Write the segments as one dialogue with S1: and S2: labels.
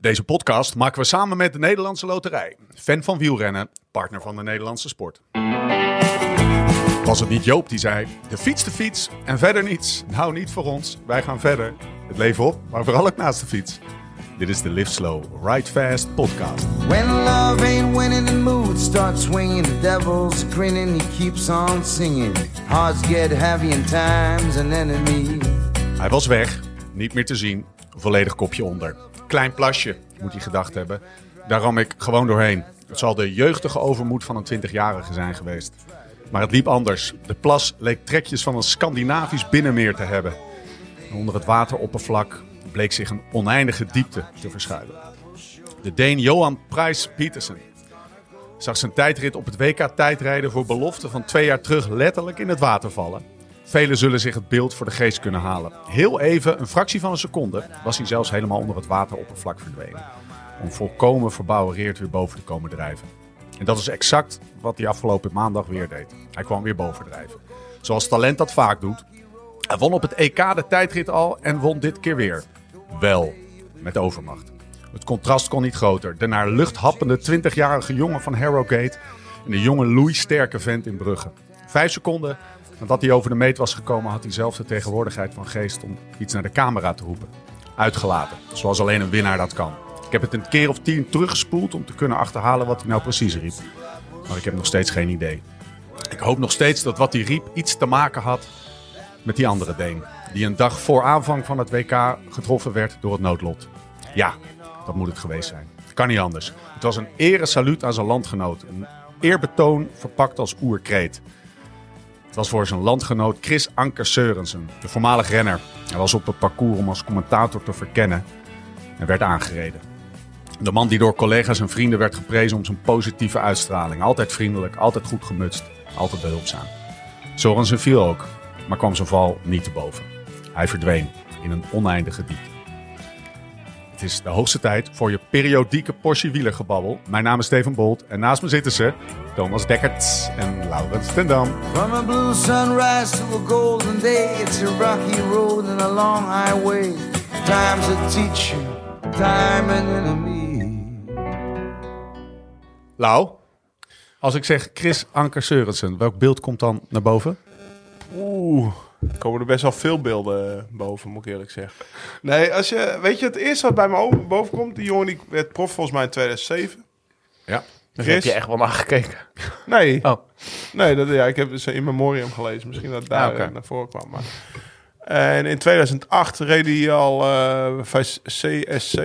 S1: Deze podcast maken we samen met de Nederlandse Loterij. Fan van wielrennen, partner van de Nederlandse sport. Was het niet Joop die zei: de fiets, de fiets en verder niets? Nou, niet voor ons. Wij gaan verder. Het leven op, maar vooral ook naast de fiets. Dit is de Live Slow, Ride Fast podcast.
S2: When love ain't winning, the mood starts swinging. The devil's grinning, he keeps on singing. Hearts get heavy, and time's an enemy.
S1: Hij was weg, niet meer te zien, volledig kopje onder. Klein plasje, moet hij gedacht hebben. Daar ram ik gewoon doorheen. Het zal de jeugdige overmoed van een 20-jarige zijn geweest. Maar het liep anders. De plas leek trekjes van een Scandinavisch binnenmeer te hebben. En onder het wateroppervlak bleek zich een oneindige diepte te verschuilen. De Deen Johan Prijs Petersen zag zijn tijdrit op het WK tijdrijden voor belofte van twee jaar terug letterlijk in het water vallen. Velen zullen zich het beeld voor de geest kunnen halen. Heel even, een fractie van een seconde, was hij zelfs helemaal onder het wateroppervlak verdwenen. Om volkomen verbouwereerd weer boven te komen drijven. En dat is exact wat hij afgelopen maandag weer deed. Hij kwam weer boven drijven. Zoals talent dat vaak doet. Hij won op het EK de tijdrit al en won dit keer weer. Wel, met overmacht. Het contrast kon niet groter. De naar lucht happende 20-jarige jongen van Harrogate en de jonge Louis Sterke vent in Brugge. Vijf seconden nadat hij over de meet was gekomen, had hij zelf de tegenwoordigheid van geest om iets naar de camera te roepen. Uitgelaten, zoals alleen een winnaar dat kan. Ik heb het een keer of tien teruggespoeld om te kunnen achterhalen wat hij nou precies riep. Maar ik heb nog steeds geen idee. Ik hoop nog steeds dat wat hij riep iets te maken had met die andere Deen. Die een dag voor aanvang van het WK getroffen werd door het noodlot. Ja, dat moet het geweest zijn. Kan niet anders. Het was een eresaluut aan zijn landgenoot. Een eerbetoon verpakt als oerkreet. Het was voor zijn landgenoot Chris Anker Seurensen, de voormalig renner. Hij was op het parcours om als commentator te verkennen en werd aangereden. De man die door collega's en vrienden werd geprezen om zijn positieve uitstraling. Altijd vriendelijk, altijd goed gemutst, altijd behulpzaam. Sorensen viel ook, maar kwam zijn val niet te boven. Hij verdween in een oneindige diepte. Het is de hoogste tijd voor je periodieke Porsche wielergebabbel. Mijn naam is Steven Bolt en naast me zitten ze Thomas Dekkert en Laurens ten Dam.
S2: From a blue sunrise to a golden day, it's a rocky road and a long highway. Time's a teacher, time an enemy.
S1: Lau, als ik zeg Chris Anker Seurensen, welk beeld komt dan naar boven?
S3: Oeh, er komen er best wel veel beelden eh, boven, moet ik eerlijk zeggen. Nee, als je, weet je, het eerste wat bij me over- boven komt, die jongen die werd prof volgens mij in 2007.
S1: Ja.
S4: Dus
S3: Chris?
S4: heb je echt wel naar gekeken.
S3: Nee,
S4: Oh.
S3: nee dat, ja, ik heb ze in memoriam gelezen. Misschien dat het daar
S1: Ah, oké.
S3: eh, naar voren kwam. Maar. En in 2008 reed hij al eh, bij CSC,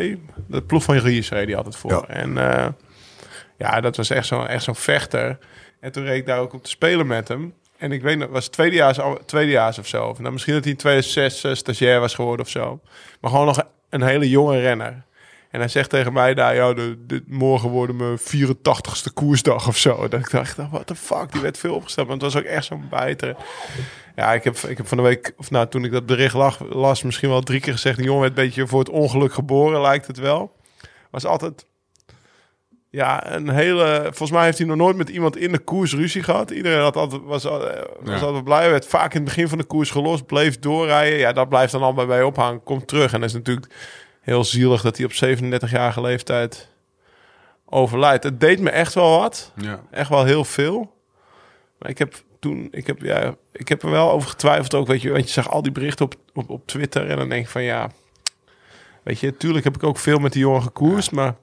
S3: de ploeg van Ries reed hij altijd voor.
S1: Ja.
S3: En eh, ja, dat was echt zo'n echt zo'n vechter. En toen reed ik daar ook op te spelen met hem. En ik weet nog, was het tweedejaars, tweedejaars of zo. Of Nou, misschien dat hij in 2006 eh, stagiair was geworden of zo. Maar gewoon nog een hele jonge renner. En hij zegt tegen mij daar, ja, de, dit morgen worden mijn 84ste koersdag of zo. Dat ik dacht, nou, what the fuck, die werd veel opgesteld. Want het was ook echt zo'n bijter. Ja, ik heb, ik heb van de week, of nou, toen ik dat bericht lag, las, misschien wel drie keer gezegd... die jongen werd een beetje voor het ongeluk geboren, lijkt het wel. Was altijd, ja, een hele... Volgens mij heeft hij nog nooit met iemand in de koers ruzie gehad. Iedereen had altijd, was, al- eh, was
S1: Ja.
S3: altijd blij. Werd vaak in het begin van de koers gelost, bleef doorrijden. Ja, dat blijft dan allemaal bij ophangen. Komt terug en dat is natuurlijk heel zielig dat hij op 37-jarige leeftijd overlijdt. Het deed me echt wel wat.
S1: Ja.
S3: Echt wel heel veel. Maar ik heb toen, ik heb, ja, ik heb er wel over getwijfeld ook, weet je. Want je zag al die berichten op, op, op Twitter en dan denk ik van ja... Weet je, tuurlijk heb ik ook veel met die jongen gekoerst, maar...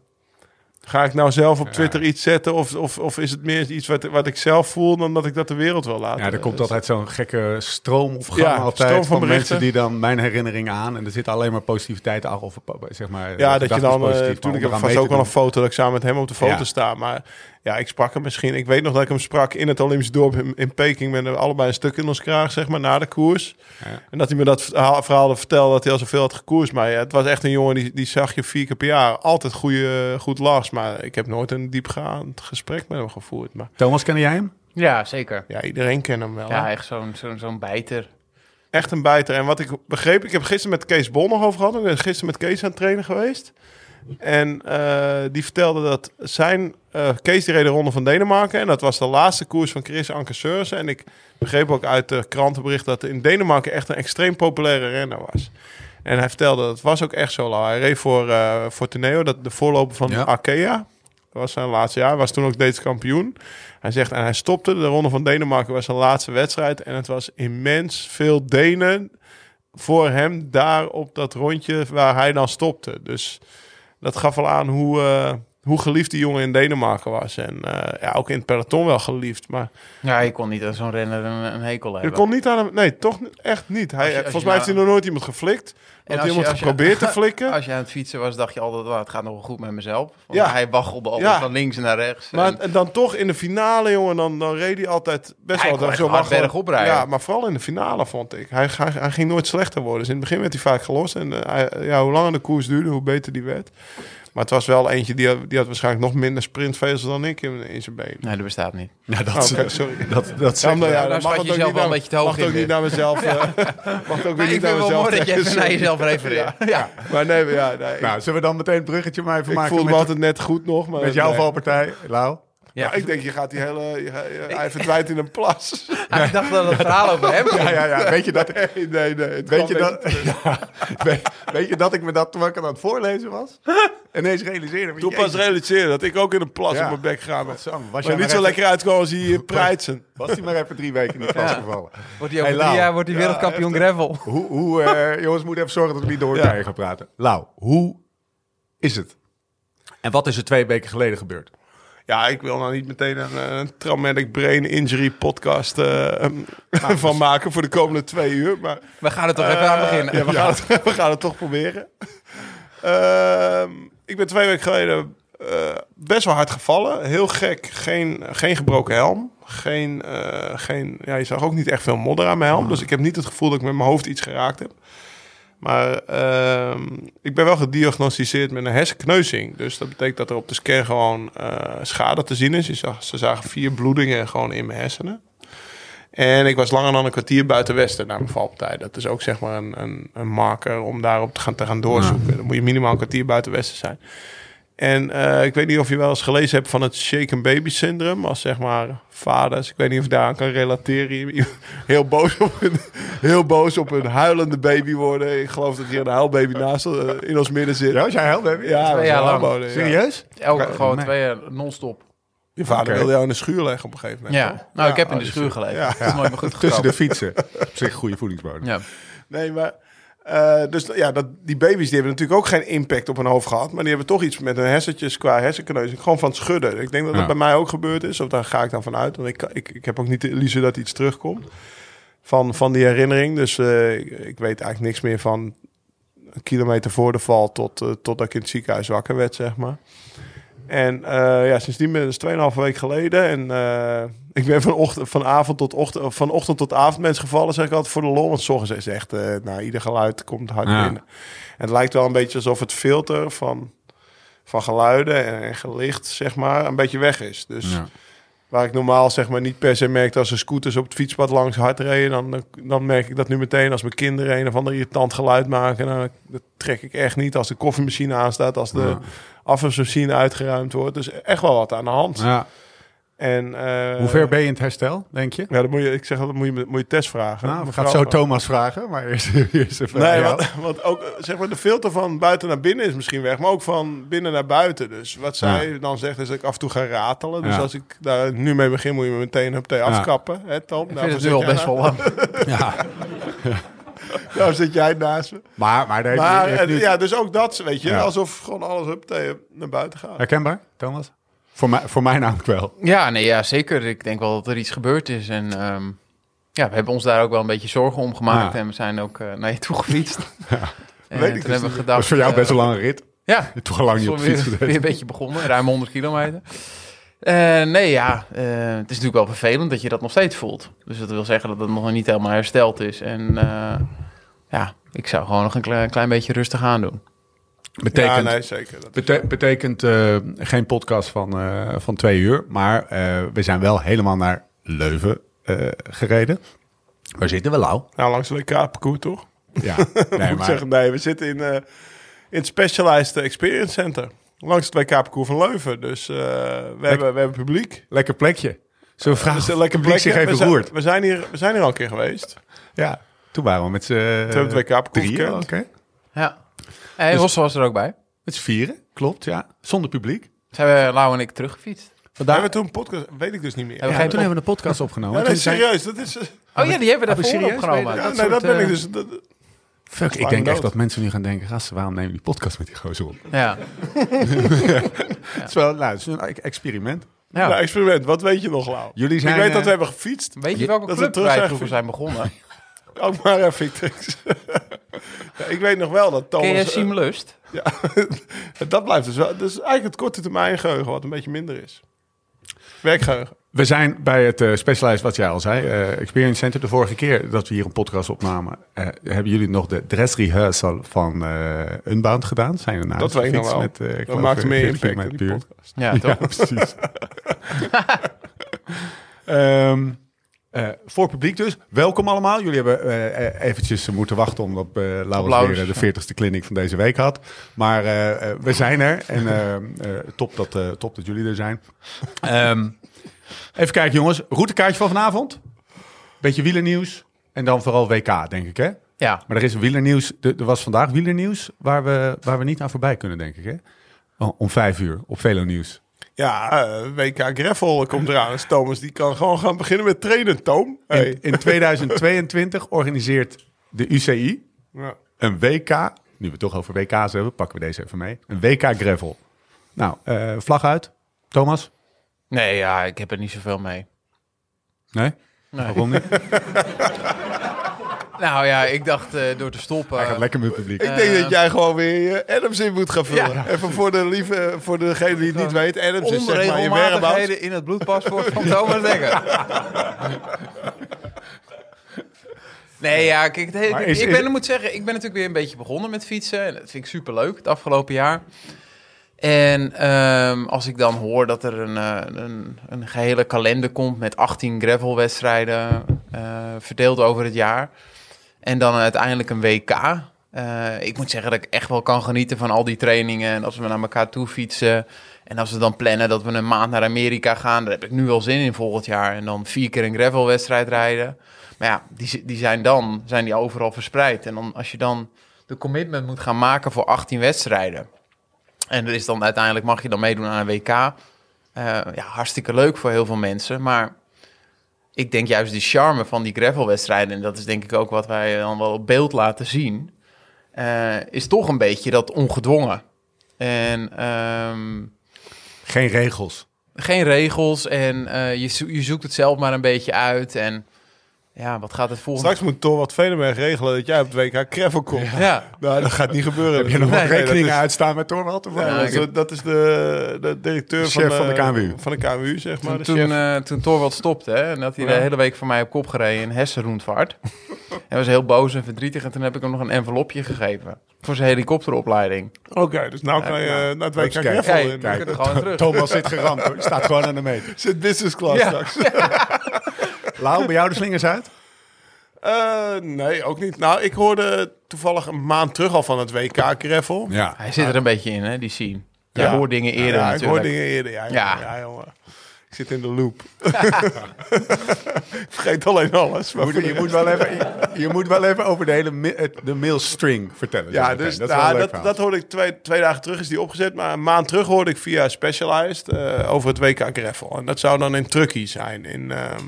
S3: Ga ik nou zelf op Twitter iets zetten of, of, of is het meer iets wat, wat ik zelf voel dan dat ik dat de wereld wil laten?
S1: Ja, er komt
S3: Dus-
S1: altijd zo'n gekke stroom of gang
S3: Ja,
S1: altijd
S3: stroom
S1: van,
S3: van berichten.
S1: mensen die dan mijn herinneringen aan en er zit alleen maar positiviteit aan of zeg maar
S3: Ja,
S1: de
S3: dat je
S1: gedachte is
S3: dan... eh,
S1: positief, maar
S3: toen
S1: om
S3: ik heb
S1: eraan
S3: vast
S1: mee
S3: ook
S1: te
S3: wel een
S1: doen.
S3: foto dat ik samen met hem op de foto
S1: Ja.
S3: sta. Maar ja, ik sprak hem misschien... Ik weet nog dat ik hem sprak in het Olympisch dorp in, in Peking. Met allebei een stuk in ons kraag, zeg maar, na de koers.
S1: Ja.
S3: En dat hij me dat verhaal, verhaal had verteld dat hij al zoveel had gekoerst. Maar ja, het was echt een jongen, die, die zag je vier keer per jaar. Altijd goede, goed last. Maar ik heb nooit een diepgaand gesprek met hem gevoerd. Maar
S1: Thomas, kende jij hem?
S4: Ja, zeker.
S3: ja, iedereen kent hem wel. hè?
S4: Ja, echt zo'n zo'n zo'n bijter.
S3: Echt een bijter. En wat ik begreep, ik heb gisteren met Kees Bol nog over gehad. Ik ben gisteren met Kees aan het trainen geweest. En eh, die vertelde dat zijn... eh, Kees die reed de Ronde van Denemarken. En dat was de laatste koers van Chris Anker Seursen. En ik begreep ook uit de krantenbericht dat in Denemarken echt een extreem populaire renner was. En hij vertelde dat het was ook echt zo lauw. Hij reed voor, eh voor Teneo, dat de voorloper van
S1: Ja.
S3: Arkea. Dat was zijn laatste jaar. Was toen ook Deens kampioen. Hij zegt, en hij stopte. De ronde van Denemarken was zijn laatste wedstrijd. En het was immens veel Denen voor hem daar op dat rondje waar hij dan stopte. Dus dat gaf wel aan hoe, eh, hoe geliefd die jongen in Denemarken was. En eh, ja, ook in het peloton wel geliefd. Maar
S4: Ja, je kon niet aan zo'n renner een, een hekel
S3: je
S4: hebben.
S3: kon niet aan hem... Nee, toch ni- echt niet. Hij,
S4: Als je- als
S3: volgens
S4: je
S3: mij heeft
S4: nou-
S3: hij nog nooit iemand geflikt. Heeft
S4: als
S3: hij
S4: je-
S3: iemand
S4: als je-
S3: geprobeerd te flikken.
S4: Als je aan het fietsen was, dacht je altijd, "Nou, het gaat nog wel goed met mezelf. Want
S3: Ja.
S4: Hij waggelde altijd
S3: Ja.
S4: van links naar rechts.
S3: Maar
S4: En-
S3: en dan toch in de finale, jongen, dan, dan reed hij altijd best
S4: Hij
S3: wel
S4: kon
S3: dan
S4: echt hard
S3: waggelen.
S4: bergop rijden.
S3: Ja, maar vooral in de finale vond ik. Hij, hij, hij ging nooit slechter worden. Dus in het begin werd hij vaak gelost. En eh, hij- ja, hoe langer de koers duurde, hoe beter die werd. Maar het was wel eentje die, had- die had waarschijnlijk nog minder sprintvezel dan ik in, in zijn been.
S4: Nee, dat bestaat niet.
S1: Ja, dat,
S3: Oh, oké, eh, sorry.
S1: dat, dat
S3: Ja,
S1: zegt
S3: maar ja,
S4: nou
S3: dat mag
S4: schat je
S3: het ook
S4: jezelf
S3: niet
S4: wel
S3: naar-
S4: een beetje te hoog
S3: mag het ook
S4: in,
S3: niet
S4: Wim.
S3: naar mezelf. eh, mag het ook weer
S4: Maar
S3: niet
S4: ik
S3: naar
S4: vind wel
S3: mezelf.
S4: mooi dat je even
S3: zeggen,
S4: naar
S3: sorry.
S4: jezelf refereert.
S3: Ja.
S4: Ja.
S3: Maar nee, maar ja, nee, ik-
S1: Nou, zullen we dan meteen een bruggetje maar even
S3: ik,
S1: maken
S3: voelde
S1: met,
S3: me altijd net goed nog. Maar
S1: met jouw
S3: nee.
S1: valpartij, Lau?
S4: Ja.
S3: Maar Ik denk, je gaat die hele... je gaat- je- hij verdwijnt in een plas.
S4: Ik dacht dat het verhaal over hem ging.
S1: Ja, ja, ja. Weet je dat,
S3: Nee, nee, nee. het kwam
S1: weet je dat, ja, weet, weet je dat ik me dat toen ik aan het voorlezen was? Ineens realiseerde me.
S3: Toen pas
S1: jezus,
S3: realiseerde dat ik ook in een plas
S1: Ja.
S3: op mijn bek ga. Maar
S1: Sam, was
S3: maar
S1: jij maar
S3: niet zo
S1: even-
S3: lekker uitkomen als hij hier preitsen.
S1: Was hij maar even drie weken niet vastgevallen.
S4: Wordt
S1: Hey,
S4: hij over
S1: Lau.
S4: drie jaar wordt hij wereldkampioen gravel.
S1: Hoe, hoe eh, jongens, we moeten even zorgen dat we niet door elkaar heen gaan praten. Lau, hoe is het? En wat is er twee weken geleden gebeurd?
S3: Ja, ik wil nou niet meteen een, eh, een traumatic brain injury podcast eh, ehm, van maken voor de komende twee uur. Maar
S4: We gaan er toch even aan
S3: Eh,
S4: beginnen.
S3: ja, we, gaan het, we gaan het toch proberen. Ehm, ik ben twee weken geleden eh, best wel hard gevallen. Heel gek. Geen, geen gebroken helm. Geen, eh, geen, ja, je zag ook niet echt veel modder aan mijn helm. Dus ik heb niet het gevoel dat ik met mijn hoofd iets geraakt heb. Maar ehm, ik ben wel gediagnosticeerd met een hersenkneuzing. Dus dat betekent dat er op de scan gewoon eh, schade te zien is. Je zag, ze zagen vier bloedingen gewoon in mijn hersenen. En ik was langer dan een kwartier buiten Westen na mijn valpartij. Dat is ook zeg maar een, een, een marker om daarop te gaan, te gaan doorzoeken. Dan moet je minimaal een kwartier buiten Westen zijn. En eh, ik weet niet of je wel eens gelezen hebt van het shaken baby syndroom. Als zeg maar vaders, ik weet niet of je daaraan kan relateren. Heel boos op een, heel boos op een huilende baby worden. Ik geloof dat hier een huilbaby naast eh, in ons midden zit.
S1: Ja, als jij helpt, heb je-
S3: Ja, dat is
S4: jaar
S3: wel
S4: lang.
S3: aanboden, ja.
S1: Serieus?
S4: Elke
S1: Ja,
S4: gewoon
S1: nee.
S4: twee jaar non-stop.
S3: Je vader
S1: Oké.
S3: wilde jou in de schuur leggen op een gegeven moment.
S4: Ja.
S3: toch?
S4: Nou, ik heb in
S3: oh,
S4: de
S3: dus-
S4: schuur gelegen.
S3: ja.
S4: Dat is nooit meer goed
S1: Tussen de
S4: gekomen.
S1: fietsen. Op zich goede voedingsbodem.
S4: Ja.
S3: Nee, maar. eh, dus ja, dat, die baby's die hebben natuurlijk ook geen impact op hun hoofd gehad. Maar die hebben toch iets met hun hersentjes qua hersenkneuzing. Gewoon van het schudden. Ik denk dat dat
S1: Ja.
S3: bij mij ook gebeurd is. Of daar ga ik dan van uit. Want ik, kan- ik, ik heb ook niet de illusie dat iets terugkomt. Van, van die herinnering. Dus eh, ik, ik weet eigenlijk niks meer van een kilometer voor de val tot, eh, totdat ik in het ziekenhuis wakker werd, zeg maar. En eh, ja, sindsdien ben ik dus 2,5 week geleden. En eh, ik ben vanochtend, vanavond tot ochtend, of vanochtend tot avond mensen gevallen, zeg ik altijd voor de lol. Want soms is echt, eh nou, ieder geluid komt hard
S1: Ja.
S3: binnen. En het lijkt wel een beetje alsof het filter van, van geluiden en, en gelicht, zeg maar, een beetje weg is. Dus
S1: Ja.
S3: waar ik normaal zeg maar niet per se merkte als er scooters op het fietspad langs hard reden, dan, dan merk ik dat nu meteen als mijn kinderen een of ander irritant geluid maken. Dan, dat trek ik echt niet als de koffiemachine aanstaat, als de
S1: Ja.
S3: afwasmachine uitgeruimd wordt. Dus echt wel wat aan de hand.
S1: Ja.
S3: En, eh,
S1: Hoe ver ben je in het herstel, denk je?
S3: Ja, dat moet je, ik zeg, dat moet je, moet je test vragen.
S1: Nou, we
S3: Eh, Mevrouw
S1: gaan zo
S3: vragen.
S1: Thomas vragen, maar eerst, eerst even
S3: Nee,
S1: aan jou.
S3: want, want ook eh, zeg maar, de filter van buiten naar binnen is misschien weg, maar ook van binnen naar buiten. Dus wat zij dan zegt is dat ik af en toe ga ratelen. Dus
S1: Ja.
S3: als ik daar nu mee begin, moet je me meteen op thee afkappen. Hè, Tom? Nou,
S4: Ik vind het nu al best wel lang.
S1: Ja.
S3: Daar zit jij naast me.
S1: Maar, maar, daar heeft
S3: Maar
S1: hij- heeft
S3: eh,
S1: hij-
S3: ja, dus ook dat, weet je,
S1: Ja.
S3: alsof gewoon alles op thee naar buiten gaat.
S1: herkenbaar, Thomas? Voor mij, voor mij namelijk
S3: Nou,
S1: wel.
S4: Ja, nee, ja, zeker. Ik denk wel dat er iets gebeurd is. En ehm, ja, we hebben ons daar ook wel een beetje zorgen om gemaakt.
S1: Ja.
S4: En we zijn ook eh, naar je toe gefietst. En
S3: Weet ik
S4: toen
S3: dus
S4: hebben we
S3: niet.
S4: gedacht...
S1: Dat was voor jou
S4: eh,
S1: best een lange rit.
S4: Ja,
S1: Je hebt toch al lang niet op dus.
S4: Zo
S1: de
S4: weer,
S1: fiets gezeten.
S4: weer een beetje begonnen, ruim 100 kilometer. Eh, nee, ja, eh, het is natuurlijk wel vervelend dat je dat nog steeds voelt. Dus dat wil zeggen dat het nog niet helemaal hersteld is. En eh, ja, ik zou gewoon nog een klein, klein beetje rustig aan doen.
S1: Betekent,
S3: Ja, nee, zeker. Dat is-
S1: bete- betekent eh, geen podcast van, eh, van twee uur, maar eh, we zijn wel helemaal naar Leuven eh, gereden. Waar zitten we, Lau?
S3: Nou, langs de WK-parcours, toch?
S1: Ja,
S3: Nee,
S1: nee,
S3: Moet ik zeggen, nee, we zitten in, eh, in het Specialized Experience Center. Langs het WK-parcours van Leuven. Dus eh, we, hebben, we hebben publiek.
S1: lekker plekje. Zullen we vragen of
S3: Dus een
S1: het
S3: lekker
S1: publiek
S3: plekje.
S1: zich even
S3: we, zijn,
S1: roert?
S3: we, zijn hier, we zijn hier al een keer geweest.
S1: Ja, toen waren we met z'n...
S3: Toen hebben we het WK-parcours
S1: drieën,
S3: gekend.
S1: oké.
S4: Ja. Hey,
S1: Dus-
S4: Hossel was er ook bij.
S1: Het is vieren, klopt, ja. Zonder publiek.
S4: Zijn we Lau en ik teruggefietst.
S3: Daar hebben we toen een podcast, weet ik dus niet meer.
S4: we
S1: Ja, en
S4: geen
S1: toen
S4: op-
S1: hebben we een podcast opgenomen.
S3: Ja,
S1: Toen
S3: nee,
S1: zei-
S3: serieus, dat is...
S4: Oh ja, die hebben we
S1: hebben we
S4: daarvoor
S1: serieus
S4: opgenomen.
S1: mee-
S3: Ja,
S4: Dat
S3: nee, dat
S4: soort,
S3: ben ik
S4: eh,
S3: dus... dat-
S1: Fuck, ik
S3: Lang
S1: denk echt
S3: dood.
S1: dat mensen nu gaan denken... gasten, waarom nemen jullie podcast met die gozer op?
S4: Ja.
S1: Het is wel nou, het is een experiment.
S4: Ja.
S3: Nou, experiment, wat weet je nog, Lau?
S1: Jullie zijn,
S3: ik weet
S1: eh,
S3: dat we hebben gefietst.
S4: Weet je welke
S3: Dat we
S4: club
S3: terug
S4: wij
S3: zijn
S4: vroeger zijn begonnen?
S3: Ook maar een Victrix. ja, ik weet nog wel dat
S4: Ken
S3: Thomas...
S4: je
S3: eh,
S4: Siem Lust?
S3: dat blijft dus wel... Dat is eigenlijk het korte termijn geheugen wat een beetje minder is. Werkgeheugen.
S1: We zijn bij het eh Specialized, wat jij al zei, eh, Experience Center. De vorige keer dat we hier een podcast opnamen... eh, hebben jullie nog de dress rehearsal van eh Unbound gedaan? Zijn er
S3: Dat weet ik nog wel.
S1: Met, eh, ik
S3: Dat
S1: geloof,
S3: maakt
S1: eh,
S3: meer
S1: Virgil
S3: impact
S1: met
S3: in die
S1: Puur.
S3: podcast.
S4: Ja, toch?
S1: Ja, precies. Ehm, eh, voor publiek dus. Welkom allemaal. Jullie hebben eh, eh, eventjes moeten wachten omdat eh Laurens
S4: Applaus.
S1: weer eh, de 40ste clinic van deze week had. Maar eh, eh, we zijn er en eh, eh, top, dat, eh, top dat jullie er zijn. Ehm, even kijken jongens. Routekaartje van vanavond. Beetje wielernieuws. En dan vooral WK, denk ik hè?
S4: Ja.
S1: Maar er is wielernieuws. Er er was vandaag wielernieuws waar we, waar we niet aan voorbij kunnen, denk ik hè? Om- Om vijf uur op Velo Nieuws.
S3: Ja, eh, WK Greffel komt eraan. Dus Thomas die kan gewoon gaan beginnen met trainen, Eh, Toom. Hey.
S1: In, in 2022 organiseert de UCI
S3: Ja.
S1: een WK. Nu we het toch over WK's hebben, pakken we deze even mee. Een WK Gravel. Nou, eh, vlag uit. Thomas?
S4: Nee, ja, ik heb er niet zoveel mee.
S1: Nee? Waarom niet?
S4: Nou ja, ik dacht eh, door te stoppen.
S1: Hij gaat lekker met het publiek.
S4: Eh.
S3: Ik denk dat jij gewoon weer je Adams in moet gaan vullen.
S4: Ja.
S3: Even voor, de lieve, voor degene die het niet weet. Adams is zeg maar je whereabouts.
S4: Onregelmatigheden in het bloedpaspoort van Thomas Dekker. Nee, ja, kijk, het hele-
S1: Maar is-
S4: ik,
S1: is-
S4: ben, ik moet zeggen, ik ben natuurlijk weer een beetje begonnen met fietsen. En dat vind ik superleuk, het afgelopen jaar. En ehm, als ik dan hoor dat er een, eh, een, een gehele kalender komt met 18 gravelwedstrijden eh, verdeeld over het jaar. En dan uiteindelijk een WK. Eh, ik moet zeggen dat ik echt wel kan genieten van al die trainingen. En als we naar elkaar toe fietsen. En als we dan plannen dat we een maand naar Amerika gaan. Daar heb ik nu wel zin in volgend jaar. En dan vier keer een gravelwedstrijd rijden. Maar ja, die, zi- die zijn dan zijn die overal verspreid. En dan, als je dan de commitment moet gaan maken voor 18 wedstrijden. En er is dan uiteindelijk mag je dan meedoen aan een WK. Eh, ja, hartstikke leuk voor heel veel mensen. Maar ik denk juist die charme van die gravelwedstrijden, en dat is denk ik ook wat wij dan wel op beeld laten zien, eh, is toch een beetje dat ongedwongen. En ehm,
S1: Geen regels.
S4: geen regels en eh, je, zo- je zoekt het zelf maar een beetje uit. En ja, wat gaat het volgende...
S3: Straks moet Thor wat Velenberg regelen dat jij op het WK Greffel komt.
S4: Ja,
S3: Nou, dat gaat niet gebeuren.
S1: Heb je nog
S4: Nee,
S1: wat
S3: nee,
S1: rekeningen
S3: dat is-
S1: uitstaan met Torwald? of wat?
S3: Ja,
S4: Nou,
S3: dat,
S4: ik
S3: is-
S4: heb-
S3: dat is de, de directeur
S1: De chef van de KMU.
S3: Van de KMU, zeg maar. Dus
S4: toen,
S3: de
S4: toen,
S3: chef.
S4: eh, toen Torwald stopte hè, en had hij
S3: Ja.
S4: de hele week voor mij op kop gereden in Hessenroendvaart. Hij was heel boos en verdrietig en toen heb ik hem nog een envelopje gegeven voor zijn helikopteropleiding.
S3: Oké, dus nou kan je eh, naar het WK
S1: Kijk,
S3: Greffel
S4: Kijk,
S3: in.
S4: we kunnen gewoon terug.
S1: eh, Thomas zit geramd. hoor. Staat gewoon aan de meter.
S3: Zit business class
S4: Ja.
S3: straks.
S1: Lau, bij jou de slingers uit?
S3: Eh, nee, ook niet. Nou, ik hoorde toevallig een maand terug al van het WK Greffel.
S1: Ja.
S4: Hij zit er een beetje in, hè, die scene. Jij
S3: Ja.
S4: hoort dingen eerder
S3: ja, ik
S4: natuurlijk.
S3: hoor dingen eerder. Ja,
S4: Ja.
S3: ja. ja, jongen. Ik zit in de loop. ik vergeet alleen alles. Maar voor
S1: Moet-
S3: de
S1: je,
S3: rest-
S1: moet wel even, je, je moet wel even over de hele mi- het- de mailstring vertellen.
S3: Ja,
S1: zo meteen.
S3: dus
S1: nou, dat is wel
S3: dat,
S1: een leuk
S3: dat,
S1: verhaal.
S3: dat hoorde ik twee, twee dagen terug is die opgezet. Maar een maand terug hoorde ik via Specialized eh, over het WK Greffel. En dat zou dan in Truckee zijn. In, ehm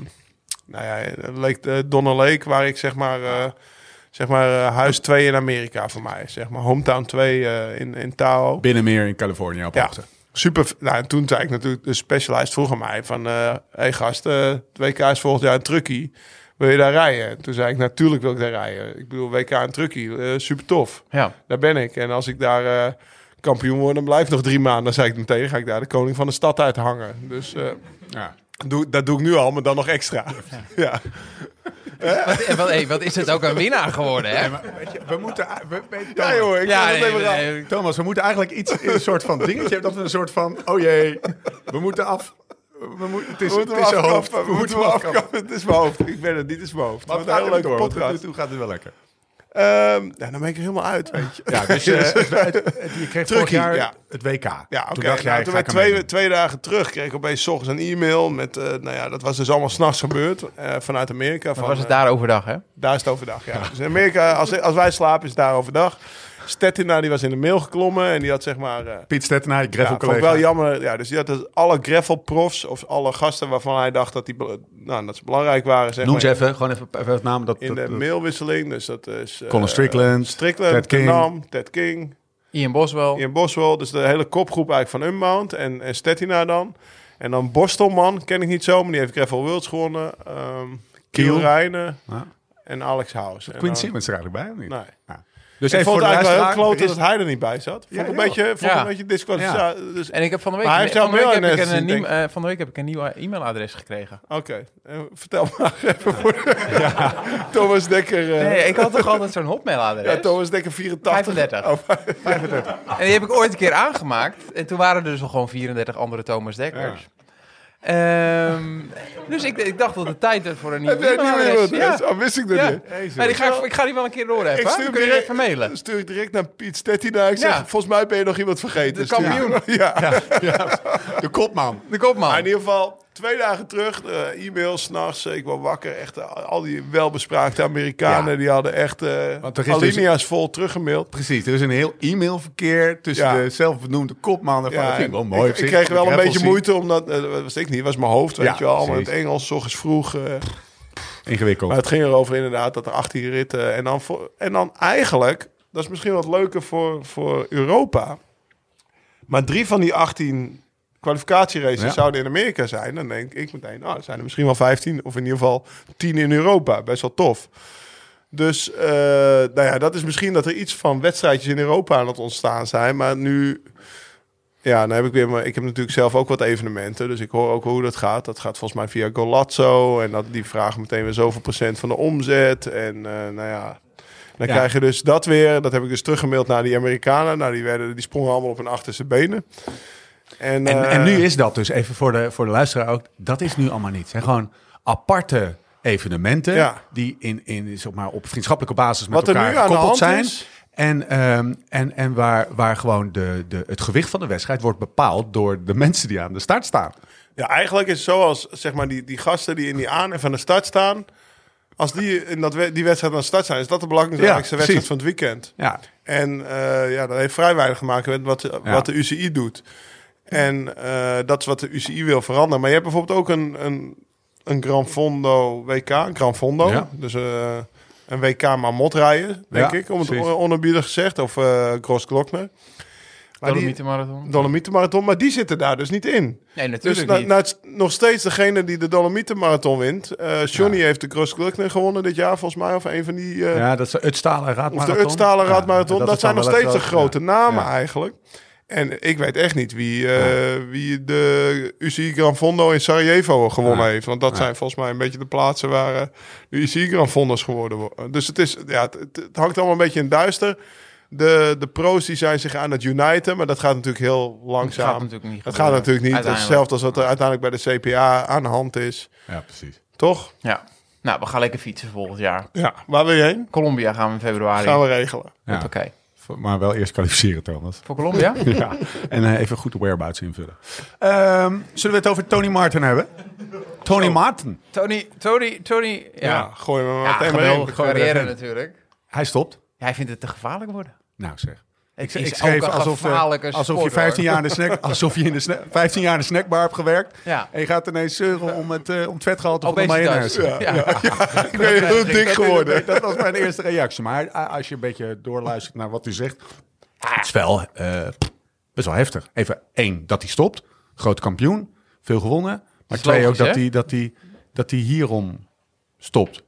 S3: nou ja, het leek de Donner Lake, waar ik zeg maar, eh, zeg maar eh, huis 2 in Amerika voor mij. Zeg maar hometown 2 eh, in, in Tahoe.
S1: Binnenmeer in Californië op
S3: Ja,
S1: achter.
S3: super. Nou, en toen zei ik natuurlijk, de specialist vroeg aan mij van... eh hey gast, eh, het WK is volgend jaar een truckie. Wil je daar rijden? Toen zei ik, natuurlijk wil ik daar rijden. Ik bedoel, WK en truckie, eh, super tof.
S4: Ja.
S3: Daar ben ik. En als ik daar eh, kampioen word, dan blijf ik nog drie maanden. Dan zei ik meteen, ga ik daar de koning van de stad uit hangen. Dus eh,
S1: Ja.
S3: doe, dat doe ik nu al, maar dan nog extra. ja.
S4: Wat, en wat, hey, wat is het ook een winnaar geworden, hè?
S1: maar weet je, we moeten... We, we- Thomas,
S3: Ja joh, ik ja,
S4: Ja,
S3: dat
S4: nee,
S3: even raar.
S4: nee,
S1: Thomas, we moeten eigenlijk iets in een soort van dingetje... dat we een soort van, oh jee, we moeten af... We moeten, het is,
S3: We moeten
S1: het is
S3: hem
S1: zijn hoofd.
S3: afkappen, we moeten hem afkappen. Het is mijn hoofd. Ik ben het niet, het is mijn hoofd.
S1: Maar
S3: Wat
S1: het
S3: een
S1: gaat
S3: hele
S1: heel leuk door,
S3: leuke
S1: want tot nu
S3: podcast.
S1: toe gaat het wel lekker.
S3: Ehm, ja, dan ben ik er helemaal uit, weet je.
S1: Ja, dus eh, het- het- je kreeg vorig
S3: Turkey,
S1: jaar
S3: ja.
S1: het WK.
S3: Ja, oké.
S1: Toen dacht jij,
S3: nou, toen
S1: ga
S3: wij
S1: ik hem
S3: twee,
S1: meedoen.
S3: twee dagen terug kreeg ik opeens 's ochtends een e-mail met, eh, nou ja, dat was dus allemaal s'nachts gebeurd eh, vanuit Amerika.
S4: Wat
S3: Van,
S4: was het
S3: eh,
S4: daar overdag, hè?
S3: daar is het overdag, ja. Dus in Amerika, als, als wij slapen, is het daar overdag. Stettina die was in de mail geklommen en die had zeg maar... eh,
S1: Piet Stettenaar,
S3: ja,
S1: gravel
S3: vond ik
S1: collega.
S3: wel jammer. Ja, dus die had dus alle gravel profs of alle gasten waarvan hij dacht dat, die, be- nou, dat ze belangrijk waren. Zeg
S1: Noem
S3: maar,
S1: ze even, gewoon even, even het naam. Dat,
S3: In de
S1: dat-
S3: mailwisseling. Dus dat is... eh,
S1: Colin Strickland,
S3: Strickland,
S1: Ted King.
S3: Nam, Ted King.
S4: Ian Boswell.
S3: In Boswell, dus de hele kopgroep eigenlijk van Unbound en, en Stettina dan. En dan Borstelman, ken ik niet zo, maar die heeft Gravel Worlds gewonnen. Ehm Kiel
S1: Kiel.
S3: Reijnen
S1: Ja.
S3: en Alex House. En
S1: Quinn
S3: dan-
S1: Simmons er eigenlijk bij, of niet?
S3: Nee.
S1: Dus
S3: ik
S1: even
S3: vond
S1: voor
S3: het
S1: de
S3: eigenlijk wel heel
S1: luisteraar, er
S3: klote dat
S1: is-
S3: hij er niet bij zat.
S1: Ja,
S3: Vond ik een
S1: heel.
S3: beetje, vond ik
S4: Ja.
S3: een beetje disqualificatie. Dus,
S4: En ik heb van de week,
S3: Maar hij heeft
S4: van
S3: jouw
S4: de week
S3: mail
S4: heb ik
S3: ineens
S4: een, eh,
S3: gezien,
S4: nieuw- eh, van de week heb ik een nieuw eh, e-mailadres gekregen.
S3: Oké, Eh, vertel maar even voor Thomas Dekker. eh,
S4: Nee, ik had toch altijd zo'n hotmailadres?
S3: ja, Thomas Dekker 84.
S4: 35.
S3: Oh,
S4: En die heb ik ooit een keer aangemaakt. En toen waren er dus al gewoon 34 andere Thomas Dekkers. Ehm, dus ik, ik dacht dat de tijd er voor een nieuw
S3: heb jij niet meer
S4: e-mailadres
S3: wat?
S4: ja.
S3: Oh, wist ik dat
S4: Ja.
S3: niet.
S4: Maar die ga ik, ik ga die wel een keer doorhebben.
S3: Ik
S4: hè?
S3: stuur
S4: Dan
S3: hem
S4: kun je
S3: direct-
S4: even mailen.
S3: Dan stuur ik direct naar Piet Stettina. Ik zeg,
S4: Ja.
S3: volgens mij ben je nog iemand vergeten.
S4: De
S3: Stuur-
S4: kampioen.
S3: Ja.
S1: De kopman.
S4: De kopman.
S3: Maar in ieder geval, twee dagen terug, eh, e-mail, s'nachts, ik word wakker. Echt, eh, al die welbespraakte Amerikanen,
S1: Ja.
S3: die hadden echt eh
S1: Want er is dus-
S3: alinea's vol teruggemaild.
S1: Precies, er is een heel e-mailverkeer tussen
S3: Ja.
S1: de zelfbenoemde kopmannen. Van, dat vind ik wel mooi. op
S3: Ik, ik
S1: zich.
S3: kreeg wel een
S1: Gravel
S3: beetje
S1: scene.
S3: moeite, omdat, eh, dat was ik niet, was mijn hoofd, weet
S1: Ja,
S3: je wel. Allemaal in het
S1: precies.
S3: Engels, s ochtends vroeg. eh.
S1: Ingewikkeld.
S3: maar het ging erover inderdaad, dat er 18 ritten. En dan, voor, en dan eigenlijk, dat is misschien wat leuker voor, voor Europa. Maar drie van die 18 kwalificatieraces
S1: Ja.
S3: zouden in Amerika zijn. Dan denk ik meteen, nou, er zijn er misschien wel 15 of in ieder geval 10 in Europa. Best wel tof. Dus eh, nou ja, dat is misschien dat er iets van wedstrijdjes in Europa aan het ontstaan zijn. Maar nu, ja, dan heb ik weer. Maar ik heb natuurlijk zelf ook wat evenementen. Dus ik hoor ook hoe dat gaat. Dat gaat volgens mij via Golazzo. En dat, die vragen meteen weer zoveel procent van de omzet. En eh, nou ja. Dan
S1: Ja.
S3: krijg je dus dat weer. Dat heb ik dus teruggemaild naar die Amerikanen. Nou, die, werden, die sprongen allemaal op hun achterste benen. En,
S1: En,
S3: eh,
S1: en nu is dat dus, even voor de, voor de luisteraar ook, dat is nu allemaal niet. Het zijn gewoon aparte evenementen
S3: Ja.
S1: die in, in, zeg maar, op vriendschappelijke basis met
S3: Wat er
S1: elkaar
S3: nu aan de
S1: gekoppeld
S3: hand
S1: zijn.
S3: is-
S1: En, ehm, en, en waar, waar gewoon de, de, het gewicht van de wedstrijd wordt bepaald door de mensen die aan de start staan.
S3: Ja, eigenlijk is het zoals zeg maar, die, die gasten die in die aan en van de start staan. Als die in dat, we- die wedstrijd aan de start zijn, is dat de belangrijkste
S1: Ja,
S3: wedstrijd
S1: precies.
S3: van het weekend.
S1: Ja,
S3: En eh, ja, dat heeft vrij weinig te maken met wat, wat de UCI doet. En eh, dat is wat de UCI wil veranderen. Maar je hebt bijvoorbeeld ook een, een, een Gran Fondo WK, een Gran Fondo.
S1: Ja.
S3: Dus eh, een WK maar motrijden, denk
S1: Ja,
S3: ik, om het
S1: precies.
S3: on- onerbiedig gezegd. Of eh Gros Glockner. Maar die-
S4: Dolomietenmarathon.
S3: Dolomietenmarathon, maar die zitten daar dus niet in.
S4: Nee,
S3: Dus
S4: natuurlijk
S3: na,
S4: niet.
S3: na het- nog steeds degene die de Dolomietenmarathon wint. Eh Johnny heeft de Gros Glockner gewonnen dit jaar, volgens mij. Of een van die... eh,
S1: ja dat is het Stalen
S3: of
S1: Raadmarathon.
S3: de Utstalen
S1: Ja,
S3: Raadmarathon. dat,
S1: is
S3: zijn nog
S1: dan
S3: steeds
S1: wel
S3: de
S1: groot-
S3: grote namen
S1: Ja.
S3: eigenlijk. En ik weet echt niet wie, eh, wie de UCI Gran Fondo in Sarajevo gewonnen heeft. Want dat zijn volgens mij een beetje de plaatsen waar eh, de UCI Gran Fondo's geworden worden. Dus het, is, ja, het, het- het hangt allemaal een beetje in het duister. De, de pro's die zijn zich aan het uniten, maar dat gaat natuurlijk heel
S4: dat
S3: langzaam.
S4: gaat natuurlijk niet.
S3: Dat gaat
S4: gebeuren.
S3: natuurlijk niet. Het is
S4: Uiteindelijk.
S3: Hetzelfde als wat er uiteindelijk bij de CPA aan de hand is.
S1: Ja. Ja, precies.
S3: Toch?
S4: Ja. Nou, we gaan lekker fietsen volgend jaar.
S3: Ja. Waar wil je heen?
S4: Colombia gaan we in februari.
S3: Gaan we regelen.
S1: Ja.
S4: Oké.
S1: Maar wel eerst kwalificeren trouwens.
S4: Voor Colombia?
S1: ja. En eh, even goed de whereabouts invullen. Ehm, zullen we het over Tony Martin hebben? Tony Martin.
S4: Tony, Tony, Tony.
S3: Ja,
S4: Ja,
S3: gooi me
S4: ja,
S3: maar meteen maar in.
S4: geweldige
S1: Gooi er
S4: carrière
S1: even in.
S4: natuurlijk.
S1: Hij stopt.
S4: Hij vindt het te gevaarlijk worden.
S1: Nou zeg.
S4: Het
S1: Ik
S4: is
S1: schreef
S4: ook een
S1: alsof, eh,
S4: gevaarlijke
S1: alsof je
S4: sport,
S1: 15
S4: hoor.
S1: jaar, in de snack, alsof je in de snack- 15 jaar in de snackbar hebt gewerkt.
S4: Ja.
S1: En je gaat ineens zeuren om het, eh om het vetgehalte van de
S4: Obesitas.
S1: mayonaise.
S4: Ja. Ja.
S3: Ik ben heel dik geworden.
S1: Dat was mijn eerste reactie. Maar eh, als je een beetje doorluistert naar wat hij zegt... Het is wel eh, best wel heftig. Even één, dat hij stopt. Groot kampioen. Veel gewonnen. Maar
S4: is
S1: twee, ook
S4: logisch,
S1: dat
S4: hè?
S1: hij, dat, hij, dat hij hierom stopt.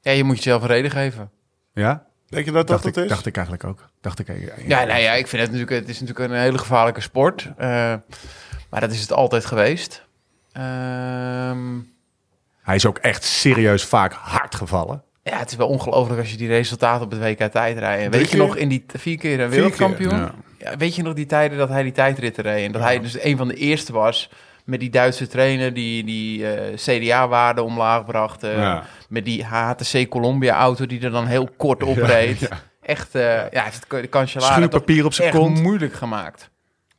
S4: je moet jezelf een reden geven.
S1: Ja?
S3: Denk je dat dat
S1: Dacht,
S3: het
S1: ik,
S3: is?
S1: dacht ik eigenlijk ook. Dacht ik, eigenlijk-
S4: Ja, nou ja, ik vind het natuurlijk, het is natuurlijk een hele gevaarlijke sport. eh, maar dat is het altijd geweest. Ehm,
S1: Hij is ook echt serieus vaak hard gevallen.
S4: ja, het is wel ongelooflijk als je die resultaten op het WK tijdrijden.
S3: Drie
S4: Weet je
S3: keer?
S4: nog in die t- vier keer
S3: Vier
S4: een wereldkampioen?
S1: keer, ja.
S4: Ja, weet je nog die tijden dat hij die tijdritten reed? En dat hij dus een van de eerste was met die Duitse trainer die die eh, CDA-waarden omlaag bracht. eh,
S1: Ja.
S4: Met die HTC Colombia-auto die er dan heel kort op reed. Echt, eh, ja, hij heeft de kanselaar
S1: Schuur papier op zijn
S4: echt
S1: kont.
S4: moeilijk gemaakt.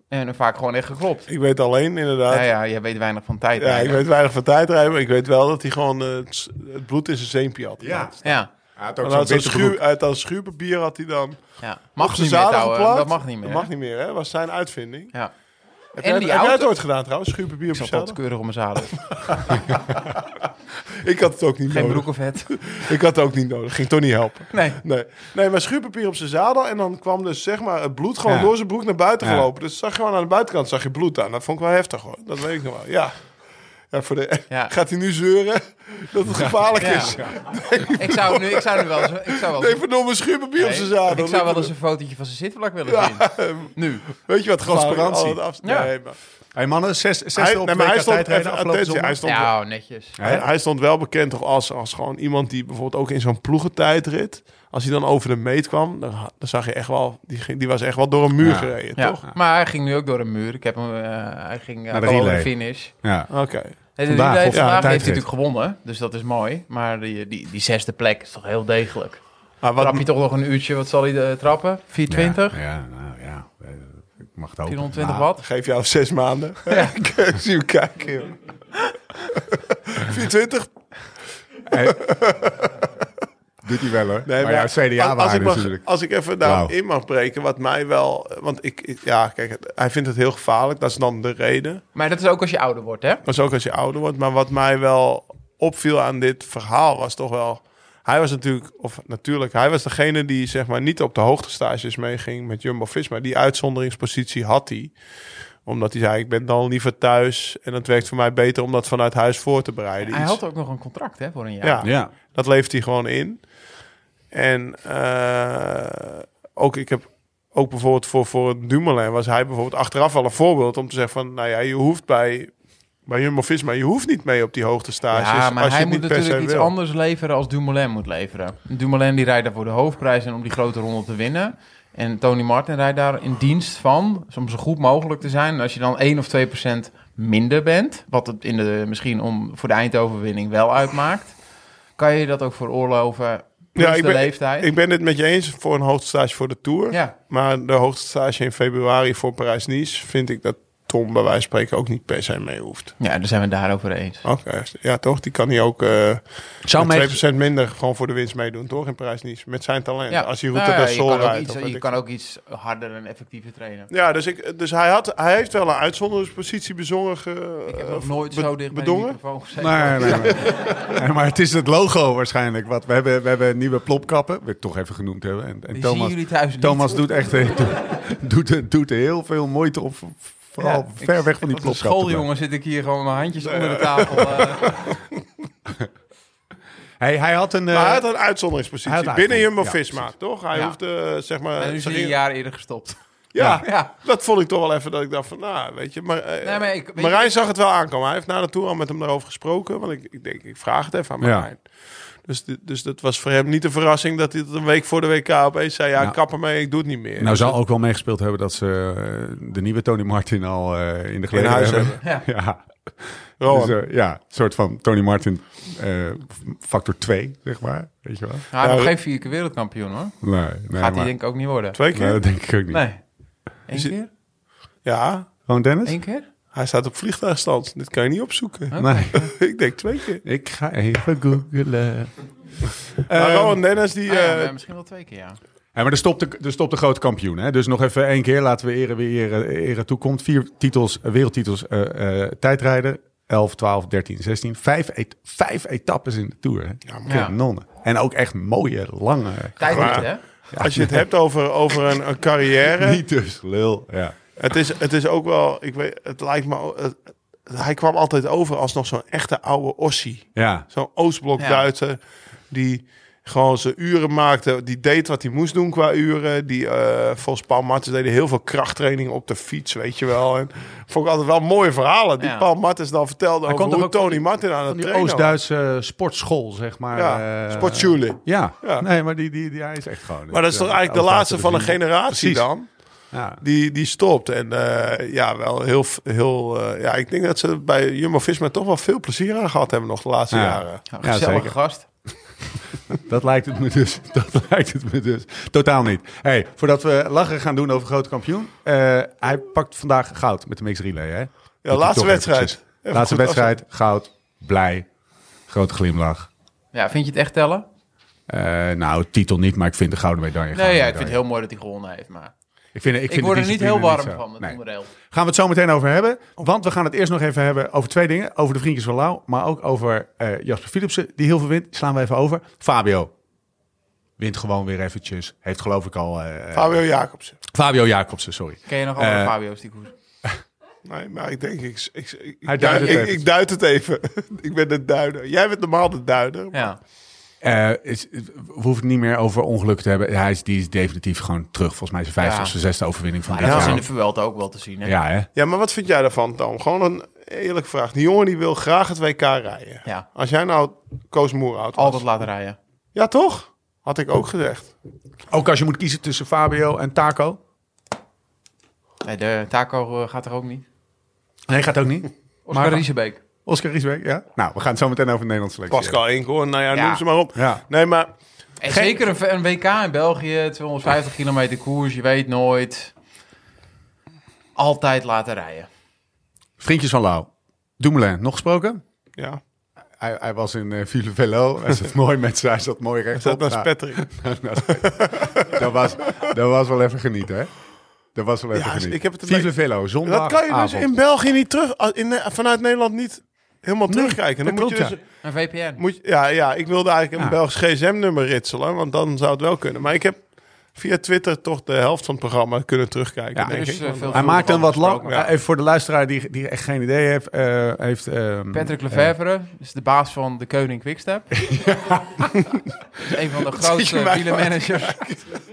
S4: En vaak gewoon echt geklopt.
S3: Ik weet alleen inderdaad.
S4: Ja,
S3: Ja,
S4: ja, jij weet weinig van tijd.
S3: ik weet weinig van tijdrijden, maar ik weet wel dat hij gewoon eh, het, s- het bloed in zijn zeempje had.
S1: Ja.
S4: Ja.
S1: Hij had ook
S3: Dan
S1: zo'n
S3: had zo'n
S1: witte
S3: schuur,
S1: broek.
S3: uit dat schuurpapier had hij dan.
S4: Ja.
S3: op
S4: Mag
S3: zijn
S4: niet meer
S3: zadel
S4: touwen,
S3: geplakt.
S4: dat mag niet meer.
S3: Dat mag niet meer, hè? was zijn uitvinding.
S4: Ja.
S3: Heb,
S4: En
S3: jij,
S4: die
S3: heb jij
S4: auto-
S3: het ooit gedaan trouwens? Schuurpapier op
S4: Ik
S3: je
S4: zat altijd
S3: zadel?
S4: keurig op mijn zadel.
S3: Ik had het ook niet
S4: Geen
S3: nodig.
S4: broek of het.
S3: Ik had het ook niet nodig. Ging toch niet helpen.
S4: Nee.
S3: Nee. nee, maar schuurpapier op zijn zadel. En dan kwam dus zeg maar het bloed gewoon
S1: Ja.
S3: door zijn broek naar buiten
S1: Ja.
S3: gelopen. Dus zag je gewoon aan de buitenkant zag je bloed aan. Dat vond ik wel heftig hoor. Dat weet ik nog wel. Ja. ja, voor de,
S4: Ja.
S3: Gaat hij nu zeuren dat het gevaarlijk
S4: Ja.
S3: is?
S4: Ik zou nu, ik zou nu wel eens... Ik zou wel
S3: Nee, verdomme schuurpapier op
S4: Nee,
S3: zijn zadel.
S4: Ik zou wel eens een fotootje van zijn zitplak willen zien. Nu.
S3: Weet je wat gevaarlijk is?
S1: Transparantie.
S3: Al dat afstand.
S4: Oh, Ja.
S3: Nee, maar-
S1: Hey mannen, zes,
S3: Hij-
S1: zesde op
S3: nee,
S1: WK
S3: maar hij stond,
S1: tijdrijden
S3: even,
S1: afgelopen
S3: attentie,
S1: zondag.
S3: hij, stond,
S4: Ja, oh, netjes.
S3: hij, hij stond wel bekend toch als, als gewoon iemand die bijvoorbeeld ook in zo'n ploegentijdrit... Als hij dan over de meet kwam, dan, dan zag je echt wel... Die, ging- die was echt wel door een muur
S1: Ja.
S3: gereden,
S4: Ja.
S3: toch?
S4: Maar hij ging nu ook door een muur. Ik heb hem, eh, hij ging
S1: Naar
S4: eh
S1: de
S4: gewoon de
S1: relay.
S4: finish.
S1: Ja.
S3: Oké.
S4: Hey, de
S1: Vandaag,
S4: relay
S1: of- ja,
S4: vandaag
S1: tijdrit.
S4: heeft hij natuurlijk gewonnen, dus dat is mooi. Maar die, die, die zesde plek is toch heel degelijk.
S3: Maar wat,
S4: Trap je toch nog een uurtje, wat zal hij eh, trappen? 420?
S1: Ja, nou. ja, nou ja. Eh, Ik mag het hopen.
S4: 420
S1: Maar-
S4: watt?
S3: Geef jou zes maanden. Ik zie hem kijken, joh. 24?
S1: Hey. Doet hij wel hoor.
S3: Nee,
S1: maar ja, CDA
S3: als, als, ik
S1: waren
S3: mag-
S1: natuurlijk.
S3: als ik even daarin
S1: Wauw.
S3: in mag breken, wat mij wel... Want ik, ik- ja, kijk, het- hij vindt het heel gevaarlijk. Dat is dan de reden.
S4: Maar dat is ook als je ouder wordt, hè?
S3: Dat is ook als je ouder wordt. Maar wat mij wel opviel aan dit verhaal was toch wel... Hij was natuurlijk, of natuurlijk, hij was degene die zeg maar niet op de hoogtestages meeging met Jumbo-Visma. Die uitzonderingspositie had hij. Omdat hij zei, ik ben dan liever thuis en het werkt voor mij beter om dat vanuit huis voor te bereiden.
S4: Hij
S3: Iets-
S4: had ook nog een contract, hè, voor een jaar.
S3: ja,
S1: Ja.
S3: dat leeft hij gewoon in. En eh, ook ik heb ook bijvoorbeeld voor, voor het Dumoulin was hij bijvoorbeeld achteraf wel een voorbeeld om te zeggen van, nou ja, je hoeft bij, bij Jumbo-Visma, je hoeft niet mee op die hoogte stages.
S4: Ja, maar
S3: als je
S4: hij
S3: het
S4: moet
S3: niet per se
S4: natuurlijk iets
S3: wil.
S4: anders leveren als Dumoulin moet leveren. Dumoulin die rijdt daar voor de hoofdprijs en om die grote ronde te winnen. En Tony Martin rijdt daar in dienst van, dus om zo goed mogelijk te zijn. En als je dan 1 of 2 procent minder bent, wat het in de, misschien om, voor de eindoverwinning wel uitmaakt, kan je dat ook veroorloven plus
S3: Ja, ik
S4: de
S3: ben-
S4: leeftijd.
S3: Ik ben het met je eens voor een hoogtestage voor de Tour.
S4: ja,
S3: Maar de hoogtestage in februari voor Parijs-Nice vind ik dat Tom bij wijze van spreken ook niet per se mee hoeft.
S4: ja, daar zijn we het daarover eens.
S3: Oké, ja toch? Die kan hij ook... eh,
S1: Zou
S3: Met
S1: mee...
S3: 2% minder gewoon voor de winst meedoen, toch? In Parijs-Nice. Met zijn talent.
S4: Ja,
S3: Als hij
S4: nou
S3: Route
S4: ja,
S3: del Sol
S4: je kan, ook
S3: rijdt.
S4: iets,
S3: of
S4: je
S3: weet ik
S4: kan ook iets harder en effectiever trainen.
S3: Ja, dus, ik, dus hij, had, hij heeft wel een uitzonderingspositie bezongen. Ge,
S4: Ik heb
S3: eh,
S4: nog nooit
S3: be-
S4: zo dicht bij de
S3: bedongen.
S4: microfoon gezeten.
S1: Nee, nee, nee. Nee, maar het is het logo waarschijnlijk. Wat, we, hebben, we hebben nieuwe plopkappen, we het toch even genoemd hebben. En, en
S4: Die
S1: Thomas,
S4: zien jullie thuis niet.
S1: Thomas doet echt eh, doet, doet, doet heel veel moeite op. Vooral
S4: Ja,
S1: ver
S4: ik-
S1: weg van die
S4: Als een
S1: plopkappen.
S4: schooljongen zit ik hier gewoon met mijn handjes onder de tafel. eh.
S1: Hey, hij had een... eh,
S3: Maar hij had een uitzonderingspositie.
S1: Hij had een
S3: binnen
S1: uitzondering,
S3: Jumbo-Visma, toch? Hij
S4: Ja.
S3: hoefde, eh, zeg maar...
S4: en nu is
S3: zeg
S4: hij een
S3: je-
S4: jaar eerder gestopt.
S3: ja,
S4: Ja.
S3: dat vond ik toch wel even dat ik dacht van, nou, weet je... Maar, eh,
S4: Nee, maar ik- weet je-
S3: Marijn zag het wel aankomen. Hij heeft na de Tour al met hem daarover gesproken. Want ik, ik denk, ik vraag het even aan
S1: Ja.
S3: Marijn. Dus, dit- dus dat was voor hem niet een verrassing dat hij het een week voor de WK opeens zei... Ja,
S1: Nou.
S3: kap ermee, ik doe het niet meer.
S1: nou,
S3: Dus
S1: zou ook wel meegespeeld hebben dat ze eh, de nieuwe Tony Martin al eh, in de
S3: In
S1: geleden
S3: huis
S1: hebben.
S4: Ja.
S1: Ja.
S3: Rowan.
S1: Dus, eh, ja, een soort van Tony Martin eh, factor 2, zeg maar. Weet je wel?
S4: Hij
S3: Nou,
S4: nog geen vier keer wereldkampioen hoor.
S1: Nee, nee,
S4: Gaat
S1: maar-
S4: hij denk ik ook niet worden.
S3: Twee
S1: Nee,
S3: keer?
S1: nou, dat denk ik ook niet.
S4: Nee. Eén
S3: Is het-
S4: keer?
S3: Ja,
S1: Gewoon Dennis?
S4: Eén keer?
S3: hij staat op vliegtuigstand. Dit kan je niet opzoeken.
S1: Nee.
S3: ik denk twee keer.
S1: Ik ga even googelen.
S3: maar Eh, Rowan Dennis, die...
S4: Ah ja,
S3: eh,
S4: nee, misschien wel twee keer, ja.
S1: Ja, maar er stopt, de, er stopt de grote kampioen. Hè? Dus nog even één keer. Laten we eren wie eren, eren toekomt. Vier titels, eh, wereldtitels eh, eh, tijdrijden. 11, 12, 13, 16. Vijf, et- vijf etappes in de Tour. Hè? Ja,
S4: man.
S1: En ook echt mooie, lange...
S4: Tijd
S3: Maar-
S4: niet, hè?
S3: als je het hebt over, over een, een carrière...
S1: Niet dus, lul. Ja.
S3: het, is, het is ook wel... Ik weet, het lijkt me... o- het- hij kwam altijd over als nog zo'n echte oude Ossie.
S1: ja.
S3: Zo'n Oostblok-Duitser die gewoon zijn uren maakte. Die deed wat hij moest doen qua uren. Die, eh, volgens Paul Martens deden heel veel krachttraining op de fiets, weet je wel. En vond ik altijd wel mooie verhalen die
S4: Ja.
S3: Paul Martens dan vertelde over
S1: komt toch
S3: hoe
S1: ook van
S3: Tony
S1: die-
S3: Martin aan het
S1: Van die
S3: trainen was.
S1: Oost-Duitse sportschool, zeg maar.
S3: Ja,
S1: eh,
S3: sportschule.
S1: Ja.
S3: Ja.
S1: nee, maar die, die, die, hij is echt gewoon...
S3: Maar dat is toch eigenlijk de laatste van een generatie
S1: Precies.
S3: dan?
S1: Ja.
S3: Die, die stopt. En eh, ja, wel heel... f- heel eh, ja, ik denk dat ze bij Jumbo-Visma toch wel veel plezier aan gehad hebben nog de laatste
S1: Ja.
S3: jaren.
S4: Ja,
S1: Ja,
S4: Nou, gezellige
S1: zeker.
S4: gast.
S1: Dat lijkt het me dus. Dat lijkt het me dus. Totaal niet. Hey, voordat we lachen gaan doen over grote kampioen. eh, hij pakt vandaag goud met de mix relay. Hè?
S3: Ja, laatste wedstrijd.
S1: Even
S3: Even
S1: laatste
S3: goed
S1: wedstrijd, goud, blij, grote glimlach.
S4: Ja, vind je het echt tellen?
S1: Eh, nou, titel niet, maar ik vind de gouden medaille.
S4: Nee,
S1: gouden
S4: ja, ik vind
S1: medaille.
S4: het heel mooi dat hij gewonnen heeft, maar
S1: ik, vind,
S4: ik,
S1: vind de
S4: word er niet heel
S1: discipline
S4: warm
S1: zo.
S4: van, het
S1: Nee.
S4: onderdeel.
S1: Gaan we het zo meteen over hebben.
S4: Oh.
S1: Want we gaan het eerst nog even hebben over twee dingen. Over de vriendjes van Lau, maar ook over eh, Jasper Philipsen, die heel veel wint. Die Slaan we even over. Fabio wint gewoon weer eventjes. Heeft geloof ik al... eh,
S3: Fabio Jacobsen.
S1: Fabio Jacobsen, sorry.
S4: Ken je nog andere
S1: Eh,
S4: Fabio's die koers?
S3: Nee, maar ik denk, ik, ik, ik,
S1: Hij
S3: ik-
S1: duidt het
S3: ik,
S1: even.
S3: ik duid het even. ik ben de duider. Jij bent normaal de duider.
S4: Ja.
S1: Eh, is- we hoeven het niet meer over ongeluk te hebben. Hij is, die is definitief gewoon terug. Volgens mij is zijn vijfde
S4: Ja.
S1: of zijn zesde overwinning van
S4: Maar
S1: dit
S4: dat was
S1: jaar.
S4: in de Vuelta ook wel te zien, hè?
S1: Ja, hè?
S3: Ja, maar wat vind jij daarvan, Tom? Gewoon een eerlijke vraag. Die jongen die wil graag het WK rijden.
S4: Ja.
S3: Als jij nou Koos Moerhout was.
S4: Altijd laten rijden.
S3: Ja, toch? Had ik ook gezegd.
S1: Ook als je moet kiezen tussen Fabio en Taco.
S4: Nee, de Taco eh, gaat er ook niet.
S1: Nee, gaat ook niet.
S4: Oscar Riesebeek.
S1: Oscar Riesbeek, ja? Nou, we gaan het zo meteen over de Nederlandse selectie
S3: Pascal Inkhorn, nou ja,
S4: Ja.
S3: noem ze maar op.
S1: Ja.
S3: Nee, maar
S4: En zeker een, een WK in België, 250 kilometer koers, je weet nooit. Altijd laten rijden.
S1: hebben. Vriendjes van Lau. Dumoulin, nog gesproken?
S3: ja,
S1: Hij, hij was in eh Ville Velo. Hij zat mooi met zijn, hij zat mooi
S3: dat
S1: rechtop.
S3: was
S1: Nou,
S3: Patrick.
S1: dat, was, dat was wel even genieten, hè? Dat was wel even
S3: Ja, dus
S1: genieten.
S3: ik heb het een
S1: Ville
S3: beetje-
S1: Velo, zondag
S3: Dat kan je dus in België niet terug, als- in, eh, vanuit Nederland niet helemaal terugkijken. Dan
S1: dat
S3: moet je
S1: klopt,
S3: dus-
S4: Een VPN.
S3: moet je- ja, ja, ik wilde eigenlijk een
S1: Ja.
S3: Belgisch gsm-nummer ritselen, want dan zou het wel kunnen. Maar ik heb via Twitter toch de helft van het programma kunnen terugkijken,
S1: Ja,
S3: denk
S4: Dus,
S3: ik.
S4: eh, veel
S1: Hij maakt dan wat
S4: gesproken.
S1: lang. Even voor de luisteraar die, die echt geen idee heeft. eh, heeft ehm,
S4: Patrick Lefevre is de baas van de Koning Quickstep. Is een van de grootste
S3: mij
S4: wielermanagers.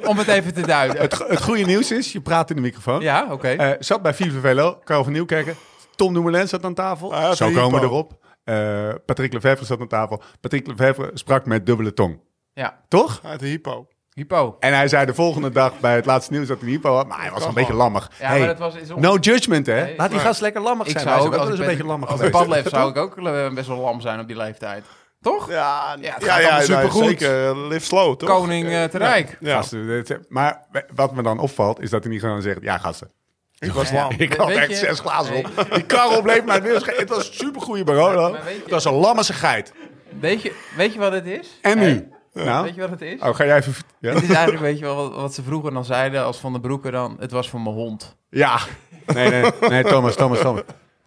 S4: Om het even te duiden.
S1: het, go- het goede nieuws is, je praat in de microfoon.
S4: Ja, oké.
S1: Eh, zat bij Vive Velo, Karel van Nieuwkerken. Tom Dumoulin zat aan tafel.
S3: Ah, ja,
S1: Zo
S3: Filippo.
S1: komen we erop. Eh, Patrick Lefevre zat aan tafel. Patrick Lefevre sprak met dubbele tong.
S4: Ja,
S1: Toch?
S3: Uit de hypo.
S4: hypo.
S1: En hij zei de volgende dag bij het laatste nieuws dat hij niet had. Maar hij was een beetje lammig.
S4: Ja,
S1: Hey,
S4: maar dat was... Is on-
S1: No judgement, hè?
S4: Nee,
S1: Laat die
S4: maar-
S1: gast lekker lammig
S4: ik
S1: zijn.
S4: zou
S1: Wij
S4: ook
S1: zijn
S4: als
S1: wel
S4: ik
S1: eens een beetje lammig
S4: als ik
S1: geweest.
S4: padlef zou ik ook eh, best wel lam zijn op die leeftijd. Toch?
S3: Ja, nou,
S4: Ja, het gaat allemaal supergoed.
S3: Zeker, live slow, toch?
S4: Koning eh te Rijk.
S3: Ja,
S1: Gasten, dit- eh, maar wat me dan opvalt, is dat hij niet gewoon zegt... Ja, gasten,
S3: ik was lang.
S1: Ik
S4: Weet-
S1: had
S4: weet
S1: echt
S4: je-
S1: zes glazen op.
S4: Nee.
S1: Die karrel bleef maar het weer. sche- Het was een supergoeie Barolo.
S4: Maar weet je-
S1: Het was een lammese geit.
S4: Weet je, weet je wat het is?
S1: En nu?
S4: Weet
S1: Nou,
S4: je wat het is?
S1: oh, ga jij even... vert- Ja?
S4: Het is eigenlijk, weet je wel, wat, wat ze vroeger dan zeiden als Van de Broeken dan... Het was voor mijn hond.
S1: Ja. Nee, nee, nee, Thomas, Thomas, Thomas.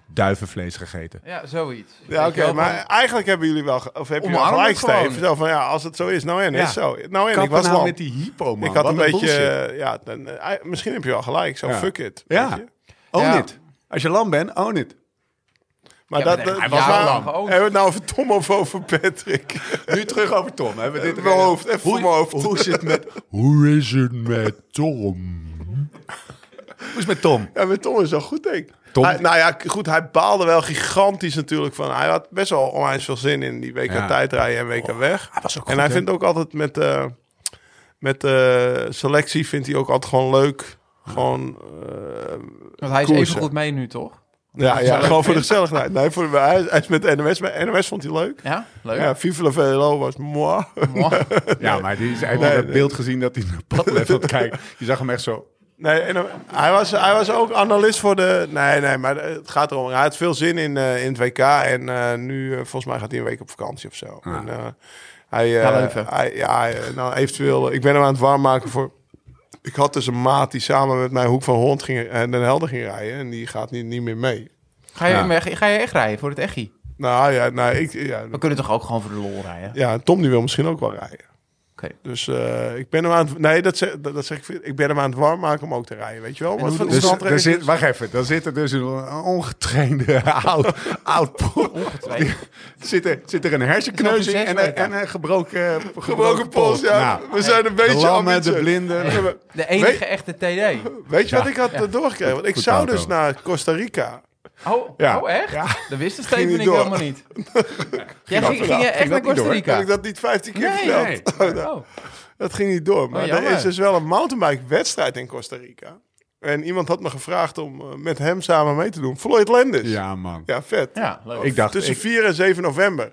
S1: Duivenvlees gegeten.
S4: Ja, zoiets. Weet
S3: Ja,
S4: je
S3: oké,
S4: wel,
S3: maar eigenlijk hebben jullie wel, ge- of heb je wel
S4: Omarm het
S3: gelijk,
S4: gewoon.
S3: Steven. Zo van, ja, als het zo is, nou en,
S1: Ja.
S3: is zo. Nou en,
S1: Kappen
S3: ik was
S1: nou
S3: lang.
S1: met die hypo, man.
S3: Ik had
S1: Wat
S3: een beetje,
S1: bullshit.
S3: eh, ja, dan, eh, eh, misschien heb je wel gelijk, zo
S1: Ja.
S3: fuck it.
S1: Ja.
S3: weet je.
S1: Own
S4: Ja.
S1: it. Als je lam bent, own it.
S3: Maar
S4: Ja,
S3: dat,
S4: maar
S3: dat,
S4: hij
S3: dat-
S4: was
S3: maar-
S4: lang.
S3: Hebben we het nou over Tom of over Patrick?
S1: Nu terug over Tom. Hebben we dit
S3: Even mijn hoofd, even voor mijn hoofd.
S1: Hoe is het met... Hoe is het met Tom? Hoe is het met Tom?
S3: Ja, met Tom is wel goed, denk ik.
S1: Tom-
S3: Hij- nou ja, k- goed, hij baalde wel gigantisch natuurlijk van... Hij had best wel onwijs veel zin in die WK
S1: Ja. Oh,
S3: tijdrijden en WK weg.
S1: hij was ook
S3: en
S1: goed,
S3: hij
S1: hè?
S3: vindt ook altijd met, eh, met eh, selectie vindt hij ook altijd gewoon leuk. Gewoon, eh,
S4: Want hij is
S3: koersen.
S4: even goed mee nu, toch?
S3: ja, ja,
S4: leuk
S3: gewoon voor de gezelligheid. Nee, voor de, hij, hij is met NMS. Maar NMS vond hij leuk.
S4: Ja, leuk.
S3: Ja, Vive la Velo was moi.
S4: Mooi.
S1: Ja, maar die is eigenlijk dat beeld gezien dat hij naar Padlef had kijken. Je zag hem echt zo...
S3: Nee, en, dan- hij, was, hij was ook analist voor de... Nee, nee, maar het gaat erom. Hij had veel zin in, eh, in het WK. En eh, nu, eh, volgens mij gaat hij een week op vakantie of zo.
S1: Ah.
S3: En, eh, hij, eh,
S4: Naar Leuven.
S3: hij, ja, hij, eh, nou, eventueel... Ik ben hem aan het warm maken voor... Ik had dus een maat die samen met mij Hoek van Holland ging, en Den Helder ging rijden. En die gaat niet, niet meer mee.
S4: Ga, je,
S1: Ja.
S4: maar ga je echt rijden voor het Echi?
S3: Nou ja, nou, ik, ja,
S4: We kunnen toch ook gewoon voor de lol rijden?
S3: ja, Tom die wil misschien ook wel rijden.
S4: Oké.
S3: Dus eh, ik ben hem aan het... Nee, dat zeg, dat, dat zeg ik... Ik ben hem aan het warm maken om ook te rijden, weet je wel? Wat
S4: hoe
S3: voor
S4: doe-
S1: Dus
S3: verstand
S1: daar
S3: is
S1: zit, wacht even, dan zit er dus een ongetrainde oud, oud poel. Die- Zit er, zit er een hersenkneuzing
S4: Het is
S1: en,
S4: nog een
S1: een- en een gebroken,
S3: Gebroken pols, ja.
S1: Nou,
S3: we zijn een
S1: de
S3: beetje
S1: lammen, de
S3: ambitieus.
S1: blinden.
S4: De enige
S3: Weet-
S4: echte TD.
S3: Weet je wat ik had eh, doorgekregen? Want ik
S1: Goed
S3: zou
S1: auto.
S3: dus naar Costa Rica.
S4: Oh,
S1: Ja.
S4: oh echt? Dat wist de Steven
S3: niet
S4: ik
S3: door.
S4: helemaal niet. Jij ging, ging je
S1: Ging
S4: echt
S1: dat niet door?
S4: naar Costa
S3: Heb
S4: Rica?
S3: ik dat niet 15 keer
S4: Nee.
S3: verteld?
S1: Nee.
S4: Oh.
S3: Dat ging niet door. Maar er
S4: jammer.
S3: is dus wel een mountainbike-wedstrijd in Costa Rica. En iemand had me gevraagd om eh, met hem samen mee te doen. Floyd Landis.
S1: Ja, man.
S3: Ja, vet.
S4: Ja, leuk.
S1: Ik dacht,
S3: Tussen
S1: ik-
S3: 4 en 7 november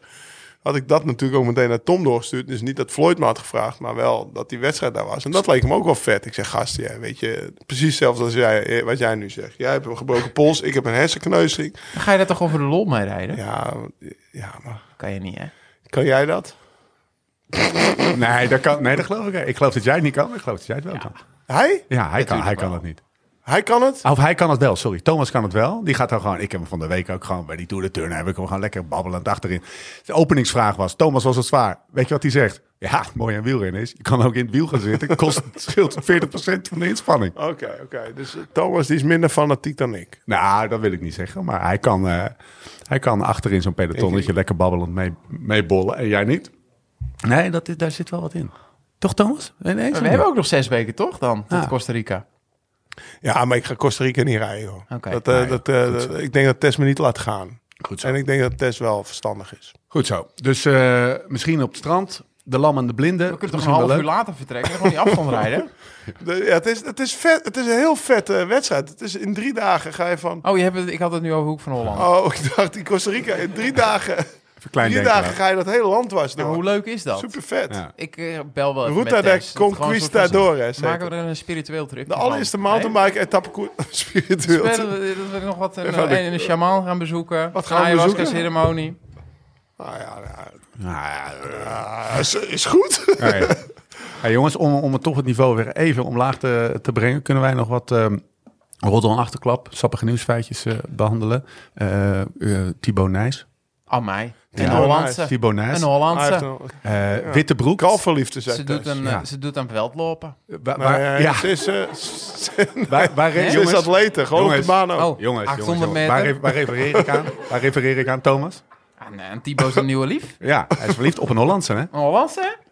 S3: had ik dat natuurlijk ook meteen naar Tom doorgestuurd. Dus niet dat Floyd me had gevraagd, maar wel dat die wedstrijd daar was. En dat leek hem ook wel vet. Ik zeg, gast, jij weet je, precies hetzelfde als jij, eh, wat jij nu zegt. Jij hebt een gebroken pols, ik heb een hersenkneuzing.
S4: Dan Ga je daar toch over de lol mee rijden?
S3: Ja, ja, maar
S4: Kan je niet, hè?
S3: kan jij dat?
S1: Nee, dat, kan, nee, dat geloof ik. niet. Ik geloof dat jij het niet kan, maar ik geloof dat jij het wel kan.
S3: Hij?
S1: Ja, hij, kan, hij kan dat niet.
S3: Hij kan het?
S1: Of hij kan het wel, sorry. Thomas kan het wel. Die gaat dan gewoon. Ik heb hem van de week ook gewoon bij die Tour de Turner. Heb ik hem gewoon lekker babbelend achterin. De openingsvraag was: Thomas was het zwaar. Weet je wat hij zegt? Ja, mooi aan wielrennen is. Je kan ook in het wiel gaan zitten. Kost, het scheelt 40% van de inspanning.
S3: Oké, oké. Dus eh, Thomas die is minder fanatiek dan ik.
S1: Nou, dat wil ik niet zeggen. Maar hij kan, eh hij kan achterin zo'n pelotonnetje lekker babbelend mee, mee bollen. En jij niet? Nee, dat, is- daar zit wel wat in. Toch, Thomas? Nee, nee,
S4: We hebben ook nog zes weken, toch? Dan, tot
S1: Ja.
S4: Costa Rica.
S3: Ja, maar ik ga Costa Rica niet rijden, joh.
S4: Oké.
S3: Dat, eh,
S1: Nee,
S3: dat, eh,
S1: goed
S3: dat- ik denk dat Tess me niet laat gaan.
S1: Goed zo.
S3: En ik denk dat Tess wel verstandig is.
S1: Goed zo. Dus eh, misschien op het strand. De lam en de blinden.
S4: We kunnen toch
S1: Misschien
S4: een
S1: wel
S4: half
S1: leuk.
S4: uur later vertrekken en gewoon die afstand rijden?
S3: De- ja, het, is, het, is vet, het is een heel vette wedstrijd. Het is, in drie dagen ga je van...
S4: Oh, je hebt het, ik had het nu over Hoek van Holland.
S3: Oh, ik dacht in Costa Rica. In drie dagen,
S1: Even klein
S3: drie
S1: denken
S3: dagen
S1: laten.
S3: ga je dat hele land dwars
S4: Maar hoe
S3: door.
S4: leuk is dat?
S3: Super vet.
S1: Ja.
S4: Ik eh, bel wel even
S3: Ruta
S4: met
S3: de
S4: Tess. Dat het gewoon een soort van-
S3: Conquistadores, heet
S4: Maken we er een spiritueel trip
S3: De allereerste mountainbike etappe koer- spiritueel.
S4: Spelen we, dat we nog wat een,
S3: Even aan
S4: een,
S3: de-
S4: een shamaan gaan bezoeken.
S3: Wat gaan
S4: een
S3: we
S4: ayahuasca
S3: bezoeken?
S4: ceremonie.
S3: Ah, ja, ja,
S1: Nou ja,
S3: ja, is, is goed.
S1: Hey. Hey, jongens, om, om het toch het niveau weer even omlaag te, te brengen, kunnen wij nog wat ehm roddel en achterklap, sappige nieuwsfeitjes eh, behandelen. Eh eh Thibaut Nijs.
S4: Aan Oh, mij. Een
S1: Ja.
S4: Hollandse.
S1: Thibaut
S4: Een
S1: Nijs.
S3: Hij heeft
S4: Hollandse.
S3: een
S1: Eh, Witte broek.
S3: kalverliefde, zei
S4: Ze
S3: Tess.
S4: doet, een,
S1: Ja.
S4: eh, ze doet aan veldlopen.
S1: Eh, waar-
S3: Nou,
S1: waar-
S3: ja,
S1: ja,
S3: Ze is, eh, ze-
S1: waar, waar,
S3: ze
S1: jongens,
S3: is atleten, gewoon
S1: jongens.
S3: op de baan ook.
S4: Oh,
S1: jongens,
S4: 800
S1: jongens, jongens.
S4: meter.
S1: Waar, re- waar refereer ik aan? Waar refereer ik aan, Thomas?
S4: En, eh, en Thibaut is een nieuwe lief.
S1: Ja, hij is verliefd op een Hollandse, hè?
S4: Een Hollandse.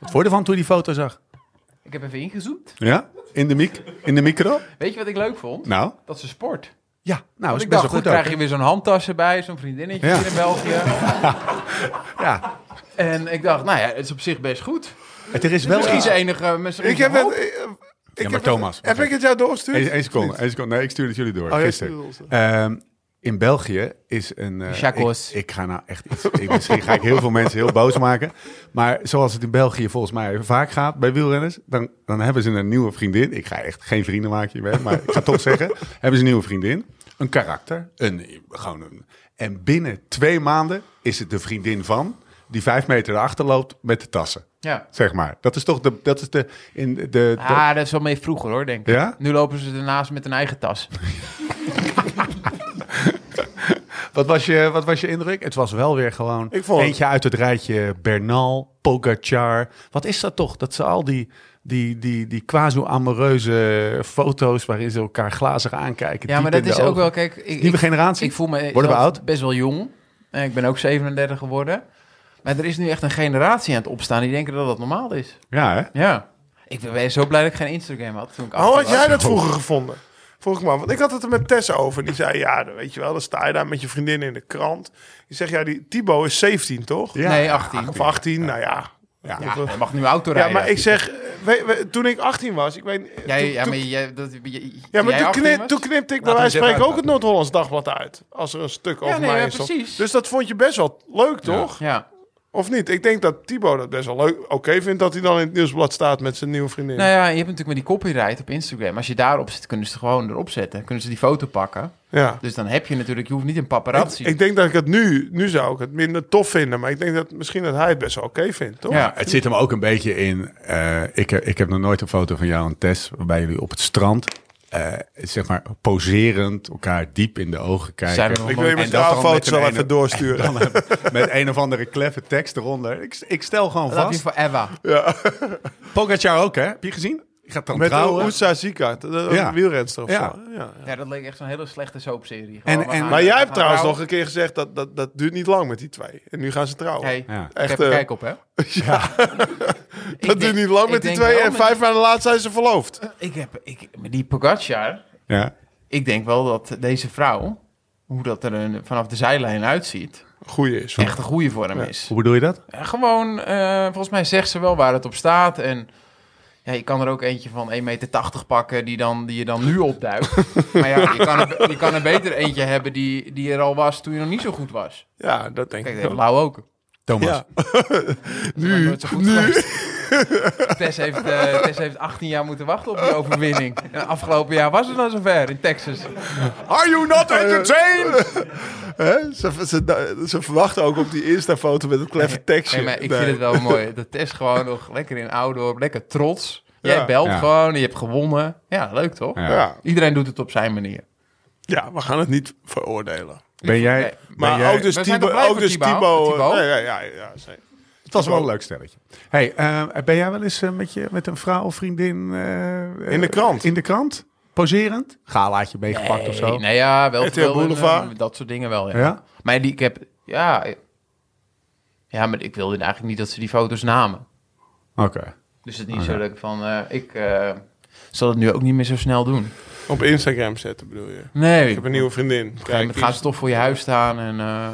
S1: Wat vond je ervan toen je die foto zag?
S4: Ik heb even ingezoomd.
S1: Ja? In de, mic in de micro?
S4: Weet je wat ik leuk vond?
S1: Nou,
S4: Dat ze sport.
S1: ja. Nou,
S4: Want
S1: is
S4: ik
S1: best wel
S4: dacht,
S1: goed
S4: dan krijg
S1: ook.
S4: je weer zo'n handtas erbij, zo'n vriendinnetje
S1: Ja.
S4: hier in België.
S1: Ja.
S4: En ik dacht, nou ja, het is op zich best goed.
S1: Het er is wel
S4: Misschien
S1: iets...
S4: zijn enige mensen.
S3: Ik heb het... eh, Ik
S1: maar
S3: heb het-
S1: Thomas,
S3: Heb ik het jou doorgestuurd?
S1: Eén één seconde, één seconde. Nee, ik stuur het jullie door.
S3: Oh, jij
S1: gisteren.
S3: stuurde ons dat.
S1: Ehm, in België is een... eh,
S4: Chacos.
S1: ik, ik ga nou echt iets... Ik, misschien ga ik heel veel mensen heel boos maken. Maar zoals het in België volgens mij vaak gaat bij wielrenners... dan, dan hebben ze een nieuwe vriendin. Ik ga echt geen vrienden maken hiermee, maar ik ga het toch zeggen. Hebben ze een nieuwe vriendin. Een karakter. Een, gewoon een, en binnen twee maanden is het de vriendin van... die vijf meter erachter loopt met de tassen.
S4: Ja.
S1: Zeg maar. Dat is toch de... Dat is de, in de, de-
S4: Ah, dat is wel mee vroeger hoor, denk ik.
S1: Ja?
S4: Nu lopen ze ernaast met een eigen tas.
S1: Wat was, je, wat was je indruk? Het was wel weer gewoon
S3: Ik vond het-
S1: eentje uit het rijtje Bernal, Pogacar. Wat is dat toch? Dat ze al die, die, die, die quasi-amoureuze foto's waarin ze elkaar glazig aankijken.
S4: Ja,
S1: diep
S4: maar
S1: in
S4: dat
S1: de
S4: is ook
S1: ogen.
S4: wel, kijk, ik,
S1: Nieuwe
S4: ik,
S1: generatie?
S4: ik voel me
S1: Worden we
S4: zelf
S1: oud?
S4: best wel jong. Eh, Ik ben ook 37 geworden. Maar er is nu echt een generatie aan het opstaan die denken dat dat normaal is.
S1: Ja, hè?
S4: Ja. Ik ben zo blij dat ik geen Instagram had toen ik
S3: Oh, had
S4: achttien was.
S3: jij dat vroeger gevonden? Vroeg ik me af, want ik had het er met Tess over. Die zei, ja, dan weet je wel, dan sta je daar met je vriendin in de krant. Die zegt, ja, die Thibaut is 17, toch?
S1: Ja.
S4: Nee, 18.
S3: Of 18, nou ja. Ja,
S4: Ja, je mag nu auto
S3: Ja,
S4: rijden.
S3: maar ik zeg, eh, weet- weet- toen ik 18 was, ik weet... eh,
S4: Jij,
S3: toen-
S4: ja,
S3: toen-
S4: maar jij, dat, je,
S3: ja, maar
S4: jij
S3: toen,
S4: 18
S3: knip,
S4: was?
S3: toen knipte ik
S1: Laten
S3: bij
S1: we
S3: wijze
S1: eens
S3: van
S1: even
S3: spreken ook
S1: uitpraten.
S3: het Noord-Hollands Dagblad uit. Als er een stuk over
S4: nee,
S3: mij
S4: ja,
S3: is.
S4: precies.
S3: Dus dat vond je best wel leuk, toch?
S4: Ja.
S3: Of niet? Ik denk dat Thibaut dat best wel leuk... Oké vindt dat hij dan in het nieuwsblad staat met zijn nieuwe vriendin.
S4: Nou ja, je hebt natuurlijk met die copyright op Instagram. Als je daarop zit, kunnen ze het gewoon erop zetten. Kunnen ze die foto pakken.
S3: ja.
S4: Dus dan heb je natuurlijk, je hoeft niet een
S3: Ik,
S4: paparazzi.
S3: ik denk dat ik het nu, nu zou ik het minder tof vinden, maar ik denk dat misschien dat hij het best wel oké vindt, toch?
S4: ja.
S1: Het zit hem ook een beetje in. eh, ik, heb- ik heb nog nooit een foto van jou en Tess waarbij jullie op het strand, eh, zeg maar, poserend elkaar diep in de ogen kijken.
S4: Zijn we nog
S3: Ik wil je
S4: En
S3: mijn
S1: dat dan met
S3: trouwfoto's wel
S1: een
S3: even
S1: ene-
S3: doorsturen.
S1: Dan, eh, met een of andere kleffe tekst eronder. Ik, ik stel gewoon
S4: Love you
S1: vast.
S4: forever.
S1: Pogacar ook, hè? Heb je gezien? Je gaat dan
S3: Met
S1: trouwen.
S3: Oesa Zika, de, de
S1: Ja.
S3: wielrenster of
S1: Ja.
S3: zo. Ja, ja.
S4: Ja, dat leek echt zo'n hele slechte soapserie.
S1: En-
S4: Gewoon, we
S1: en-
S4: gaan-
S3: Maar
S4: we
S3: jij
S4: gaan
S3: hebt trouwens nog
S4: trouwen.
S3: een keer gezegd dat, dat dat duurt niet lang met die twee. En nu gaan ze trouwen.
S4: Hey,
S1: Ja.
S4: ik heb
S3: Echt,
S4: er
S3: eh,
S4: kijk op, hè? Ik
S3: dat
S4: denk-
S3: duurt niet lang
S4: ik
S3: met die
S4: denk
S3: twee
S4: wel
S3: en
S4: met-
S3: vijf maanden later zijn ze verloofd.
S4: Ik heb, ik, maar die Pogacar,
S1: Ja.
S4: ik denk wel dat deze vrouw, hoe dat er een, vanaf de zijlijn uitziet,
S3: Goeie is.
S4: echt een goede voor hem is.
S1: Hoe bedoel je dat?
S4: Ja, Gewoon, eh, volgens mij zegt ze wel waar het op staat. En ja, je kan er ook eentje van 1,80 meter pakken die, dan, die je dan nu opduikt. maar ja, je kan, er, je kan er beter eentje hebben die, die er al was toen je nog niet zo goed was.
S3: Ja, dat denk
S4: Kijk,
S3: ik
S4: dat heeft
S3: wel.
S4: Lau ook.
S1: Thomas.
S3: Ja.
S4: Nu, Tess heeft, eh, Tess heeft 18 jaar moeten wachten op die overwinning. En afgelopen jaar was het dan zover in Texas.
S1: Are you not
S4: Eh,
S1: entertained?
S3: Hè? Ze, ze, ze verwachten ook op die Insta-foto met het kleffe tekstje.
S4: Nee, maar ik
S3: Nee.
S4: vind het wel mooi. Dat Tess gewoon nog lekker in Oudorp, lekker trots. Jij
S3: Ja.
S4: belt
S1: Ja.
S4: gewoon, je hebt gewonnen. Ja, leuk toch?
S1: Ja.
S3: Ja.
S4: Iedereen doet het op zijn manier.
S3: ja, we gaan het niet veroordelen.
S1: Ben jij...
S4: Nee.
S1: ben
S3: Maar
S1: jij-
S3: ook dus
S4: We zijn toch
S3: Tibo.
S4: blij
S3: Ook
S4: voor
S3: dus
S4: Thibaut?
S3: Tibo.
S4: Thibaut?
S3: Ja, ja, ja, ja, zeker.
S1: Het was wel een leuk stelletje. Hey, eh, ben jij wel eens eh, met, je, met een vrouw of vriendin... eh,
S3: In de krant.
S1: In de krant? Poserend? Galaatje meegepakt of zo?
S4: Nee, nou ja, wel
S3: RTL
S4: veel,
S3: Boulevard.
S4: eh, Dat soort dingen wel, ja.
S1: Ja?
S4: Maar die, ik heb... Ja, eh, ja, maar ik wilde eigenlijk niet dat ze die foto's namen.
S1: Oké.
S4: Dus het is
S1: Oh,
S4: niet zo dat ik van... eh, ik eh, zal het nu ook niet meer zo snel doen.
S3: Op Instagram zetten bedoel je.
S4: Nee.
S3: Ik heb een nieuwe vriendin. Kijk,
S4: het
S3: die
S4: gaat ze toch voor je huis staan en... eh,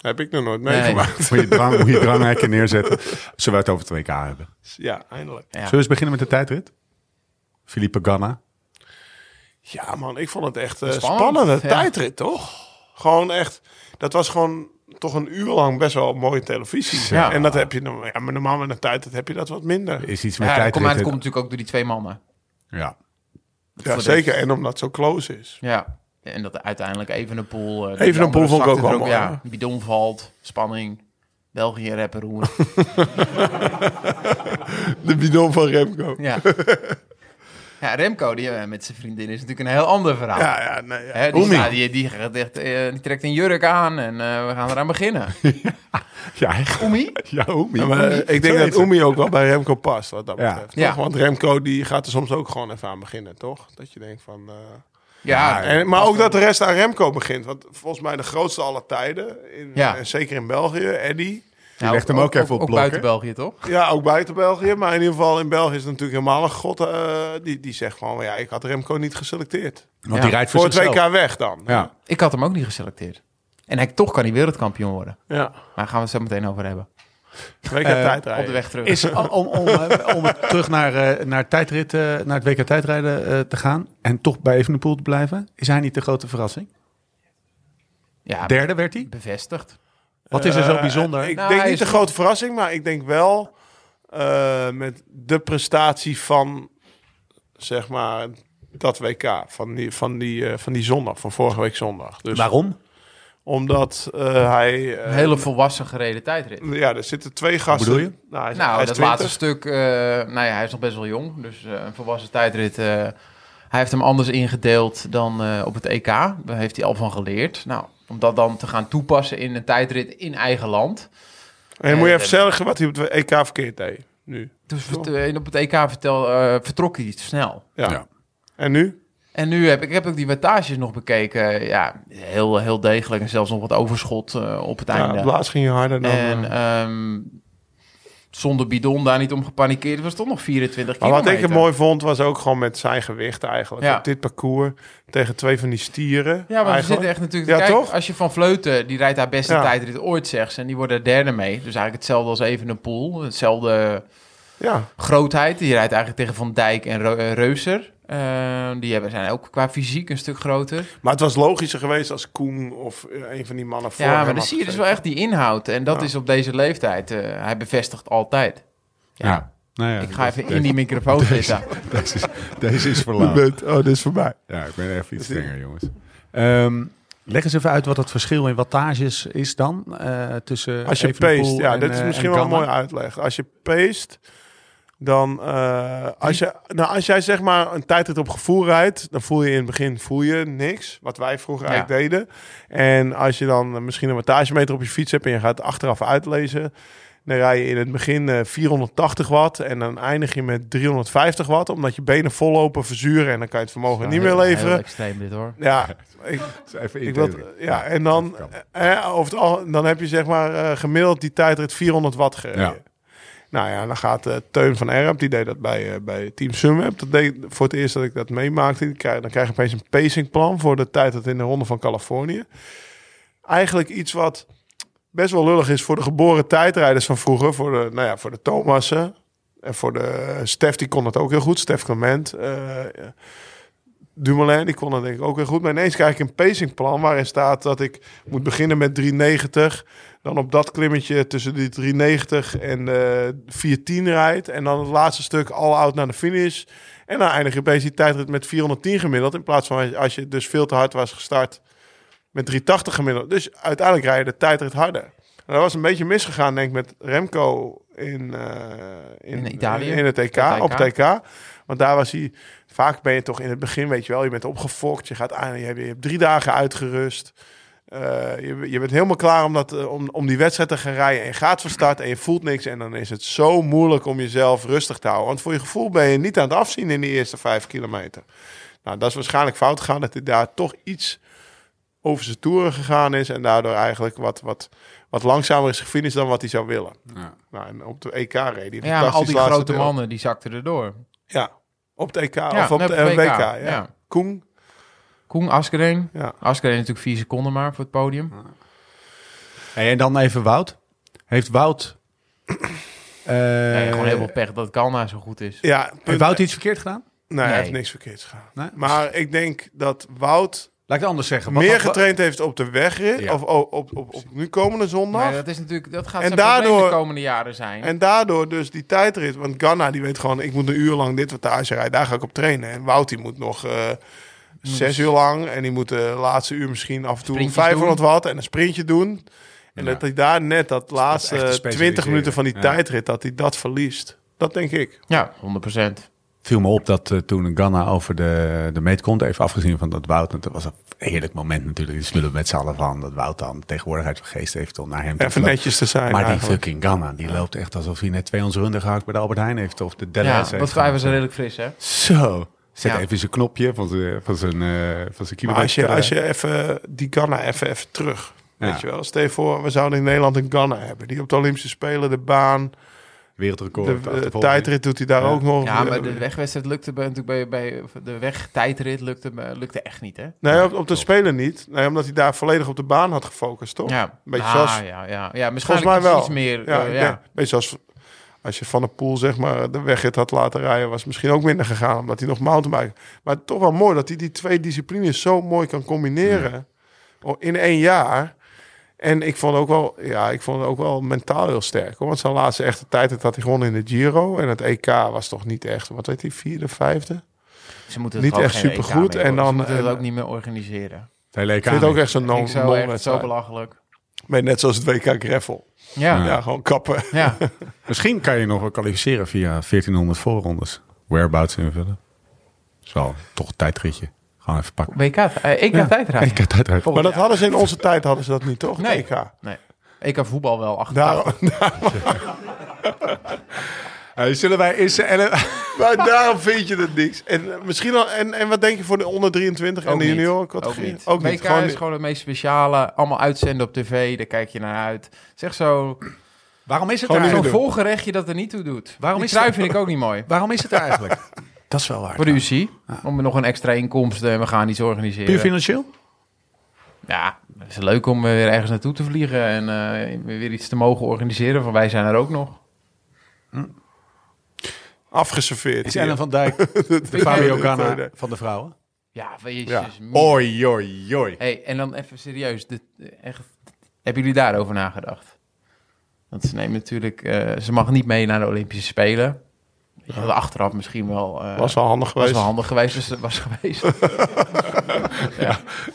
S3: heb ik nog nooit
S4: Nee.
S3: meegemaakt.
S1: Moet je drang, moet je dranghekken neerzetten. Zullen we het over 2K hebben?
S3: Ja, eindelijk.
S4: Ja.
S1: Zullen we eens beginnen met de tijdrit? Philippe Ganna.
S3: Ja, man, ik vond het echt een
S4: Spannend,
S3: spannende
S4: ja.
S3: tijdrit, toch? Gewoon echt, dat was gewoon toch een uur lang best wel mooie televisie.
S4: Ja.
S3: En dat heb je, norm- ja, maar normaal met een tijdrit heb je dat wat minder.
S1: Is iets met
S4: ja, dat
S1: tijdrit.
S4: komt, maar dat komt natuurlijk ook door die twee mannen.
S1: Ja.
S3: Ja,
S4: Voor
S3: zeker.
S4: de-
S3: En omdat het zo close is.
S4: Ja. En dat er uiteindelijk even een pool... eh, die
S3: Evenepoel
S4: andere
S3: vond ik
S4: zakt
S3: ook
S4: er
S3: wel mooi,
S4: Ja, bidon valt, spanning, België rapper roer.
S3: De bidon van Remco.
S4: ja. ja, Remco die, eh, met zijn vriendin is natuurlijk een heel ander verhaal.
S3: Ja, ja, nee, ja.
S4: Hè, die,
S1: Oemi.
S4: staat- die, die, gaat echt, eh, die trekt een jurk aan en eh, we gaan eraan beginnen.
S1: Ja, echt.
S4: Oemie?
S1: Ja, homie.
S3: Ja, maar, eh, ik denk
S1: Zo
S3: dat
S1: heet het.
S3: Oemi ook wel bij Remco past, wat dat
S1: Ja.
S3: betreft.
S4: Ja.
S3: Toch? Want Remco die gaat er soms ook gewoon even aan beginnen, toch? Dat je denkt van... eh,
S4: Ja,
S3: En, maar ook dat de rest aan Remco begint. Want volgens mij de grootste aller tijden. In,
S4: Ja.
S3: en zeker in België. Eddy.
S4: Nou,
S1: legt hem ook even op
S4: Ook
S1: blok,
S4: buiten
S1: hè?
S4: België, toch?
S3: Ja, ook buiten België. Maar in ieder geval in België is het natuurlijk helemaal een god. eh, die, die zegt gewoon, ja, ik had Remco niet geselecteerd.
S1: Want
S4: Ja.
S1: die rijdt voor,
S3: Voor het
S1: zichzelf.
S3: WK weg dan.
S1: Ja.
S4: Ik had hem ook niet geselecteerd. En hij, toch kan hij wereldkampioen worden.
S3: ja.
S4: Maar daar gaan we het zo meteen over hebben.
S1: Eh,
S3: WK
S4: Op de
S3: tijdrijden.
S4: weg terug.
S1: Is om, om, eh, om terug naar, eh, naar, tijdrit, eh, naar het WK tijdrijden eh, te gaan en toch bij Evenepoel te blijven, is hij niet de grote verrassing?
S4: ja,
S1: Derde werd hij.
S4: bevestigd.
S1: Wat is er zo bijzonder?
S3: Ah, Eh, ik
S4: Nou,
S3: denk
S4: hij
S3: niet de
S4: is-
S3: grote verrassing. Maar ik denk wel eh, met de prestatie van, zeg maar, dat WK. Van die, van die, eh, van die zondag, van vorige week zondag. Dus
S1: Waarom?
S3: Omdat eh, hij...
S4: Een
S3: eh,
S4: hele volwassen gereden tijdrit.
S3: Ja, er zitten twee gasten.
S1: bedoel je?
S3: Nou, hij is,
S4: Nou,
S3: hij is
S4: dat
S3: 20.
S4: laatste stuk, eh, nou ja, hij is nog best wel jong. Dus eh, een volwassen tijdrit. eh, hij heeft hem anders ingedeeld dan eh, op het EK. Daar heeft hij al van geleerd. Nou, om dat dan te gaan toepassen in een tijdrit in eigen land.
S3: En moet je
S4: Ja,
S3: even zeggen wat hij op het EK verkeerd deed. Nu.
S4: Dus vert- eh, op het EK vertel, eh, vertrok hij te snel.
S3: Ja.
S1: Ja.
S3: En nu?
S4: En nu heb ik, ik heb ook die wattages nog bekeken. Ja, heel, heel degelijk. En zelfs nog wat overschot eh, op het
S3: Ja, op
S4: einde.
S3: het laatst ging je harder dan... eh.
S4: En ehm, zonder bidon daar niet om gepanikeerd. Het was toch nog 24
S3: maar
S4: kilometer.
S3: wat ik het mooi vond, was ook gewoon met zijn gewicht eigenlijk.
S4: Ja.
S3: Op dit parcours tegen twee van die stieren.
S4: Ja, maar we
S3: eigenlijk.
S4: zitten echt natuurlijk...
S3: Ja,
S4: te kijken.
S3: toch?
S4: Als je van Vleuten, die rijdt haar beste
S3: Ja.
S4: tijdrit ooit, zegt ze. En die wordt er derde mee. Dus eigenlijk hetzelfde als Evenepoel. Hetzelfde
S3: Ja,
S4: grootheid. Die rijdt eigenlijk tegen Van Dijk en Reu- eh, Reuser. Eh, die hebben, zijn ook qua fysiek een stuk groter.
S3: maar het was logischer geweest als Koen of eh, een van die mannen voor
S4: ja,
S3: hem
S4: maar dan
S3: had
S4: zie je dus wel
S3: gezeten.
S4: echt die inhoud. En dat
S3: Ja.
S4: is op deze leeftijd. eh, hij bevestigt altijd.
S1: Ja. Nou ja,
S4: Ik ga
S1: dat-
S4: even in die microfoon zitten.
S1: Deze is, deze is verlaat.
S3: Je bent- Oh, dit is voorbij.
S1: Ja, ik ben even iets strenger, jongens. Ehm, leg eens even uit wat het verschil in wattages is dan eh, tussen
S3: Als je
S1: Evenepoel
S3: paste, ja,
S1: en,
S3: dit is
S1: eh,
S3: misschien
S1: en
S3: wel een
S1: Ganna.
S3: mooie uitleg. Als je paste, dan eh, als, je, nou, als jij zeg maar een tijdrit op gevoel rijdt, dan voel je in het begin voel je niks, wat wij vroeger
S4: Ja.
S3: eigenlijk deden. En als je dan eh, misschien een wattagemeter op je fiets hebt en je gaat achteraf uitlezen, dan rij je in het begin eh, 480 watt en dan eindig je met 350 watt, omdat je benen vollopen, verzuren en dan kan je het vermogen niet meer
S4: Heel
S3: leveren.
S4: extreem dit hoor.
S3: Ja, ik,
S1: Even
S3: ik wil,
S1: indeling.
S3: ja, en dan,
S1: dat kan.
S3: eh, over het al, dan heb je zeg maar eh, gemiddeld die tijdrit 400 watt gereden.
S1: Ja.
S3: Nou ja, dan gaat eh, Teun van Erp, die deed dat bij, eh, bij Team Sunweb. Dat deed ik voor het eerst dat ik dat meemaakte. Die krijg- dan krijg je opeens een pacingplan voor de tijdrit in de Ronde van Californië. Eigenlijk iets wat best wel lullig is voor de geboren tijdrijders van vroeger. Voor de, nou ja, voor de eh, Thomassen. En voor de Stef, die kon het ook heel goed. Stef Clement. eh, Dumoulin, die kon dat denk ik ook weer goed. Maar ineens krijg ik een pacingplan waarin staat dat ik moet beginnen met 390. Dan op dat klimmetje tussen die 390 en de 410 rijdt. En dan het laatste stuk all out naar de finish. En dan eindig je bezig die tijdrit met 410 gemiddeld. In plaats van als je dus veel te hard was gestart met 380 gemiddeld. Dus uiteindelijk rij je de tijdrit harder. En dat was een beetje misgegaan denk ik met Remco in, eh, in,
S4: In Italië.
S3: In, het TK,
S4: TK.
S3: op TK. Want daar was hij... Vaak ben je toch in het begin, weet je wel, je bent opgefokt. Je, gaat aan, je, hebt, je hebt drie dagen uitgerust. Eh, je, je bent helemaal klaar om, dat, eh, om, om die wedstrijd te gaan rijden. En je gaat van start en je voelt niks. En dan is het zo moeilijk om jezelf rustig te houden. Want voor je gevoel ben je niet aan het afzien in die eerste vijf kilometer. Nou, dat is waarschijnlijk fout gegaan. Dat hij daar toch iets over zijn toeren gegaan is. En daardoor eigenlijk wat, wat, wat langzamer is gefinished dan wat hij zou willen.
S1: Ja.
S3: Nou, en op de EK reed hij.
S4: Ja, maar al die grote mannen, die zakten erdoor.
S3: Ja, op de EK
S4: Ja,
S3: of op
S4: nee,
S3: de
S4: op het
S3: WK.
S4: WK,
S3: ja.
S4: ja.
S3: Koen.
S4: Koen Askeren.
S3: Ja.
S4: Askeren natuurlijk vier seconden maar voor het podium.
S1: Hey, en dan even Wout. Heeft Wout... eh,
S4: Nee, gewoon heel veel pech dat Kalna zo goed is.
S3: Ja,
S1: heeft
S3: punt.
S1: Wout iets verkeerd gedaan?
S3: Nee, hij
S4: Nee.
S3: heeft niks verkeerds gedaan.
S1: Nee?
S3: Maar ik denk dat Wout
S1: Laat ik het anders zeggen. Wat-
S3: meer
S1: wat-
S3: getraind heeft op de wegrit.
S1: Ja.
S3: Of oh, op, op, op, op nu komende zondag.
S4: Maar dat, is natuurlijk, dat gaat
S3: En
S4: zijn probleem
S3: daardoor-
S4: de komende jaren zijn.
S3: En daardoor dus die tijdrit. Want Ganna die weet gewoon, ik moet een uur lang dit wattage rijden. Daar ga ik op trainen. En Wout die moet nog eh, zes uur lang. En die moet de laatste uur misschien af en toe
S4: dus Sprintjes
S3: 500 wat. En een sprintje doen. En
S1: Ja.
S3: dat hij daar net dat
S1: echt te
S3: laatste
S1: specialiseren.
S3: 20 minuten van die
S1: Ja.
S3: tijdrit, dat hij dat verliest. Dat denk ik.
S4: Ja, 100 procent.
S1: viel me op dat eh, toen Ganna over de, de meet komt, even afgezien van dat Wout, want dat was een heerlijk moment natuurlijk, die smullen we met z'n allen van, dat Wout dan de tegenwoordigheid van geest heeft om naar hem te
S3: Even
S1: vluchten.
S3: netjes te zijn.
S1: Maar die
S3: eigenlijk.
S1: fucking Ganna, die loopt echt alsof hij net 200 runden gehakt bij de Albert Heijn heeft of de Deleuze
S4: Ja,
S1: heeft.
S4: dat vijf was
S1: gehad.
S4: redelijk fris, hè?
S1: Zo, zet
S4: Ja.
S1: even zijn knopje van zijn, van zijn, eh, van zijn
S3: Maar
S1: kilometer.
S3: als je, als je even eh, die Ghana even, even terug.
S1: Ja.
S3: Weet je wel, stel je voor, we zouden in Nederland een Ghana hebben. Die op de Olympische Spelen, de baan,
S1: Wereldrecord.
S3: de eh,
S1: achtervolging.
S3: tijdrit doet hij daar
S1: Ja.
S3: ook nog.
S4: Ja, maar de wegwedstrijd lukte bij, natuurlijk bij, bij of de wegtijdrit lukte, bij- lukte echt niet, hè?
S3: Nee, op, op de Spelen niet. Nee, omdat hij daar volledig op de baan had gefocust, toch?
S4: Ja,
S3: Beetje
S4: ah,
S3: zoals-
S4: ja, ja, ja. Misschien
S3: Volgens mij wel.
S4: iets meer.
S3: Ja,
S4: eh,
S3: ik
S4: ja.
S3: denk, Beetje zoals als je Van der Poel zeg maar, de wegrit had laten rijden... was misschien ook minder gegaan, omdat hij nog mountainbiken... Maar toch wel mooi dat hij die twee disciplines zo mooi kan combineren... oh, in één jaar. En ik vond, ook wel, ja, ik vond het ook wel mentaal heel sterk. Hoor. Want zijn laatste echte tijd dat had hij gewonnen in de Giro. En het EK was toch niet echt... wat weet hij, vierde, vijfde?
S4: Ze moeten
S3: Niet
S4: het gewoon
S3: echt
S4: geen
S3: supergoed
S4: EK meer
S3: en
S4: worden.
S3: dan-
S4: Ze moeten
S3: en-
S4: het ook niet meer organiseren.
S1: Het hele EK
S3: Ik vind het ook
S1: niet.
S3: echt zo'n non
S4: ik zou echt zo
S3: non-wedstrijd.
S4: belachelijk.
S3: Maar Net zoals het WK Greffel.
S4: Ja,
S3: Ja,
S4: ja.
S3: gewoon kappen.
S1: Misschien kan je nog wel kwalificeren via 1400 voorrondes. Whereabouts invullen. Zo, toch een tijdritje. Gewoon even pakken.
S4: WK, eh, EK tijdrijden.
S1: Ik heb tijdrit.
S3: Maar dat hadden ze in onze tijd hadden ze dat niet, toch?
S4: Nee.
S3: Nee. EK.
S4: Nee. EK voetbal wel achter.
S3: Daarom,
S1: Eh, zullen wij eens... eh,
S3: maar daarom vind je dat niks. En eh, misschien al, en, en wat denk je voor de onder 23 en
S4: Ook
S3: de
S4: niet.
S3: junior
S4: Ook
S3: categorie?
S4: niet. WK is gewoon het meest speciale. Allemaal uitzenden op tv, daar kijk je naar uit. Zeg zo,
S1: Waarom is het
S3: Gewoon
S1: er
S3: niet
S1: eigenlijk?
S4: zo'n
S3: meer doen.
S4: volgerechtje dat er niet toe doet.
S1: Waarom
S4: Die
S1: is
S4: trui
S1: dat-
S4: vind ik ook niet mooi.
S1: Waarom is het er eigenlijk? dat is wel waar.
S4: Voor de UCI, om nog een extra inkomsten en we gaan iets
S1: Puur
S4: organiseren.
S1: financieel?
S4: Ja, het is leuk om weer ergens naartoe te vliegen en eh, weer iets te mogen organiseren. Van wij zijn er ook nog.
S3: Afgeserveerd.
S1: Is
S3: hier.
S1: Ellen van Dijk de Fabio Ganna
S3: tweede.
S1: van de vrouwen?
S4: Ja, jezus.
S3: Ja.
S4: mie-
S1: Oi, oi, oi.
S4: Hey, en dan even serieus. Dit, eh, echt, hebben jullie daarover nagedacht? Want ze neemt natuurlijk... eh, ze mag niet mee naar de Olympische Spelen. Weet je wel, achteraf misschien wel... eh,
S3: was wel handig
S4: was
S3: geweest.
S4: wel handig geweest als het was geweest.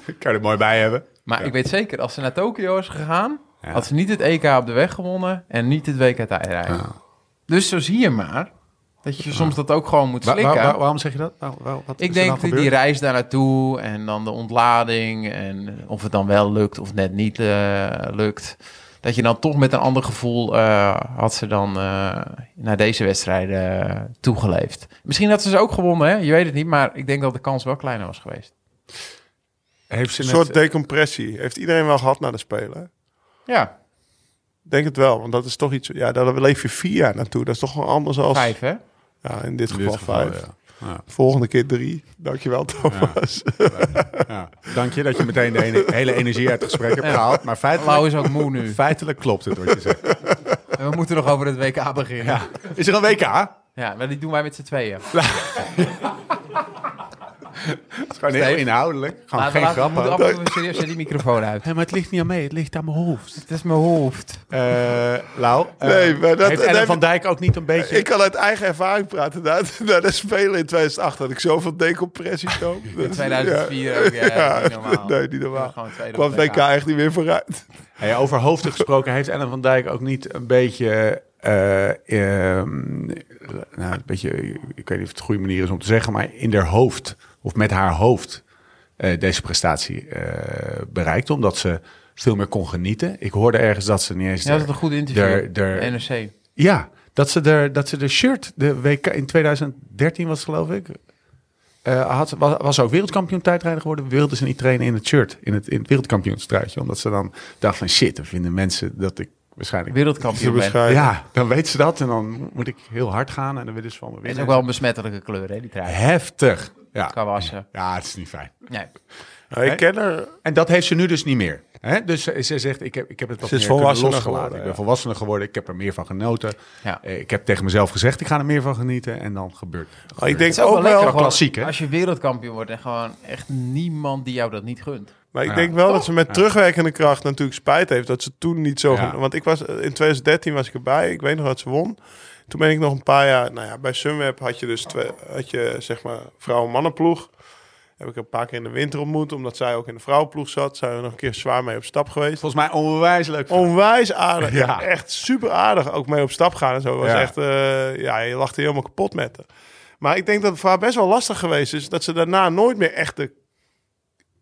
S1: Kan je er mooi bij hebben.
S4: Maar ik weet zeker, als ze naar Tokio is gegaan...
S1: Ja.
S4: had ze niet het EK op de weg gewonnen... en niet het WK tijdrijden. Dus zo zie je maar... dat je soms dat ook gewoon moet
S1: Wa- wa-
S4: slikken.
S1: wa- waarom zeg je dat? Waar- waar- wat is
S4: Ik
S1: er
S4: denk
S1: nou
S4: die, die
S1: gebeurd?
S4: reis daar naartoe en dan de ontlading en of het dan wel lukt of net niet eh, lukt. Dat je dan toch met een ander gevoel eh, had ze dan eh, naar deze wedstrijden eh, toegeleefd. Misschien had ze ze ook gewonnen, hè? je weet het niet, maar ik denk dat de kans wel kleiner was geweest.
S1: Heeft ze
S3: Een
S1: net-
S3: soort decompressie. Heeft iedereen wel gehad na de Spelen?
S4: Ja,
S3: Denk het wel, want dat is toch iets... Ja, daar leef je vier jaar naartoe. Dat is toch wel anders als...
S4: vijf hè?
S3: Ja, in dit
S1: in
S3: geval,
S1: dit geval,
S3: vijf.
S1: ja. Ja.
S3: Volgende keer drie. Dankjewel, Thomas.
S1: Ja. Dank je dat je meteen de ene- hele energie uit het gesprek hebt gehaald. Maar
S4: Lau
S1: feitelijk,
S4: is ook moe nu.
S1: feitelijk klopt het wat je zegt.
S4: We moeten nog over het WK beginnen. Ja, Nou,
S1: Ja. Is er een WK?
S4: maar die doen wij met z'n tweeën.
S1: Het
S5: Gewoon heel
S4: Steve.
S5: inhoudelijk. Gewoon
S4: Laten
S5: geen
S4: we- laten we-
S5: grappen.
S4: we moeten af en toe serieus zijn die microfoon uit.
S5: maar het ligt niet aan mij, het ligt aan mijn hoofd.
S4: Het is mijn hoofd.
S5: Lau, eh,
S3: Nee, maar dat-
S5: heeft Ellen
S3: dat-
S5: van Dijk ook niet een beetje...
S3: Ik kan uit eigen ervaring praten. Na, na de Spelen in 2008 had ik zoveel decompressie. Toon. Dat is-
S4: 2004 ook, ja, niet normaal.
S3: Nee, niet normaal.
S4: Ik ben gewoon tweede
S3: kwam
S4: op
S3: het
S4: het
S3: WK
S4: WK.
S3: echt niet meer vooruit.
S5: Hey, over hoofden gesproken, heeft Ellen van Dijk ook niet een beetje... eh, ehm, nou, een beetje, ik weet niet of het de goede manier is om te zeggen, maar in haar hoofd of met haar hoofd eh, deze prestatie eh bereikt, omdat ze veel meer kon genieten. Ik hoorde ergens dat ze niet eens
S4: Ja, dat is
S5: de-
S4: een goed interview.
S5: de- de-
S4: De NRC.
S5: Ja, dat ze de, dat ze de shirt, de WK in 2013 was het, geloof ik, eh, had, was, was ze ook wereldkampioen tijdrijder geworden. Wilde ze niet trainen in het shirt, in het, in het wereldkampioenstruitje. Omdat ze dan dacht van shit, dan vinden mensen dat ik waarschijnlijk...
S3: Ze
S4: Wereldkampioen ben.
S3: beschrijven-
S5: Ja, dan weet ze dat en dan moet ik heel hard gaan en dan willen ze van me
S4: Het is
S5: winnen.
S4: ook wel een besmettelijke kleur, hè, die trui.
S5: Heftig.
S4: Kan
S5: Ja.
S4: wassen.
S5: ja, het is niet fijn.
S4: Nee.
S3: Nou, Ik ken haar.
S5: En dat heeft ze nu dus niet meer. Hè? Dus ze, ze zegt, ik heb, ik heb het wat
S3: Ze is
S5: meer kunnen
S3: volwassener
S5: losgelaten.
S3: geworden,
S5: ik
S3: ja.
S5: ben volwassener geworden, ik heb er meer van genoten.
S4: Ja.
S5: Eh, Ik heb tegen mezelf gezegd, ik ga er meer van genieten. En dan gebeurt
S3: Maar ik denk
S4: Het is ook
S3: ook
S4: wel lekker
S3: wel,
S4: gewoon,
S5: klassiek, hè?
S4: als je wereldkampioen wordt en gewoon echt niemand die jou dat niet gunt.
S3: maar ik
S5: Ja.
S3: denk wel dat ze met terugwerkende kracht natuurlijk spijt heeft dat ze toen niet zo.
S5: Ja.
S3: Want ik was eh, in 2013 was ik erbij. Ik weet nog dat ze won. Toen ben ik nog een paar jaar. Nou ja, bij Sunweb had je dus twee, had je zeg maar vrouwen-mannenploeg. Heb ik een paar keer in de winter ontmoet, omdat zij ook in de vrouwenploeg zat. Zijn we nog een keer zwaar mee op stap geweest.
S5: Volgens mij onwijs leuk.
S3: Onwijs aardig.
S5: Ja.
S3: Echt super aardig. Ook mee op stap gaan en zo. Was
S5: Ja.
S3: echt, eh, ja, je lachte helemaal kapot met haar. Maar ik denk dat het voor haar best wel lastig geweest is. Dat ze daarna nooit meer echt de...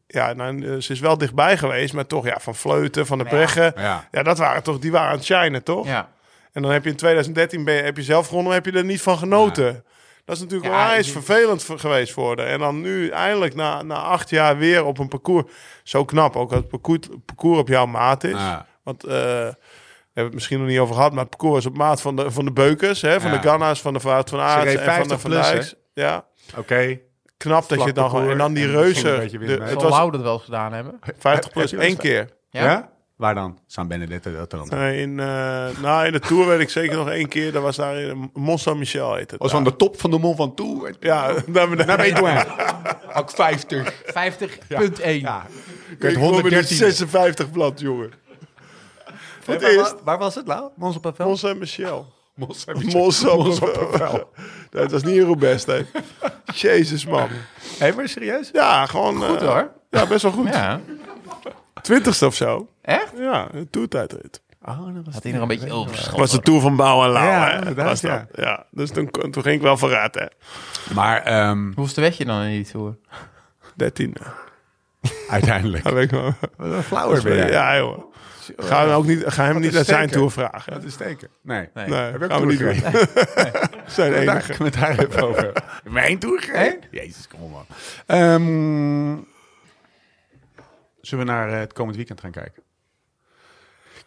S3: Ja, nou, eh, ze is wel dichtbij geweest. Maar toch, ja, van Fleuten, van de Breggen.
S5: Ja.
S3: Ja, dat waren toch... Die waren aan het shinen, toch?
S4: Ja.
S3: En dan heb je in 2013 ben je, heb je zelf gewonnen, maar heb je er niet van genoten. Dat is natuurlijk
S4: Ja,
S3: onwijs
S4: ik-
S3: vervelend voor- geweest voor haar. En dan nu eindelijk na, na acht jaar weer op een parcours. Zo knap, ook als het parcours, parcours op jouw maat is.
S5: Ja.
S3: Want eh, we hebben het misschien nog niet over gehad, maar het parcours is op maat van de, van de beukers. Hè, van
S5: Ja.
S3: de Ganna's, van de Vaart van Aert
S5: reed
S3: en van de
S5: 50
S3: Van
S5: plus, hè?
S3: Dijks. Ja,
S5: Oké.
S3: knap dat
S5: Vlak
S3: je het dan gewoon... En dan
S5: parcours
S3: die
S5: en misschien een
S3: reuzen.
S5: beetje wind
S3: de-
S5: mee.
S3: het
S4: Zal
S3: was
S4: Lau dat wel eens gedaan hebben?
S3: 50
S5: Heb
S3: plus
S5: je wel eens-
S3: één keer.
S5: Ja? Waar dan? San Benedetto dat dan.
S3: Eh, in, eh, nou, in de Tour weet ik zeker nog één keer. Dat was daar in Mont Saint-Michel heet het.
S5: was van de top van de Mont Ventoux.
S3: Ja, daar beneden.
S5: Naar Bédouin. Ook 50.
S4: 50.1.
S5: Ja. Ik
S3: Ik
S5: werd
S3: kom in het
S5: 113.
S3: 56 blad, jongen. Voor het
S5: Waar,
S3: eerst.
S5: waar- waar was het, Lau? Mons op het veld?
S3: Mons en Michel.
S5: Mons.
S3: Mons Dat was niet in Roubaix, hè. Jezus, man.
S5: Hé, maar serieus?
S3: Ja, gewoon... Goed,
S4: hoor.
S3: Ja, best wel goed.
S4: Ja.
S3: Twintigste of zo.
S4: Echt?
S3: Ja, een toertijdrit.
S5: Oh, dat was
S4: Had hij nog een beetje overgeschoten.
S3: was de Tour van Bouw en Lauw,
S5: Ja,
S3: hè.
S5: inderdaad,
S3: Was dat.
S5: ja.
S3: ja. Dus toen, kon- toen ging ik wel verraad, hè.
S5: Maar ehm,
S4: Hoeveel werd je dan in die Tour?
S3: Dertiende.
S5: uiteindelijk.
S3: Dat weet ik wel.
S5: Een flauwer ben jij.
S3: Ja, jongen. Ga hem, ook niet, ga hem niet
S5: is
S3: naar zijn
S5: zeker.
S3: Tour vragen.
S5: Dat is steken. Nee.
S4: Nee.
S3: Nee,
S5: Heb ik
S3: gaan we niet doen.
S5: toergereden?
S3: Zijn
S5: Daar
S3: enige.
S5: heb ik het daar even over. Mijn toergereden? Jezus, kom op man. Ehm, zullen we naar eh, het komend weekend gaan kijken?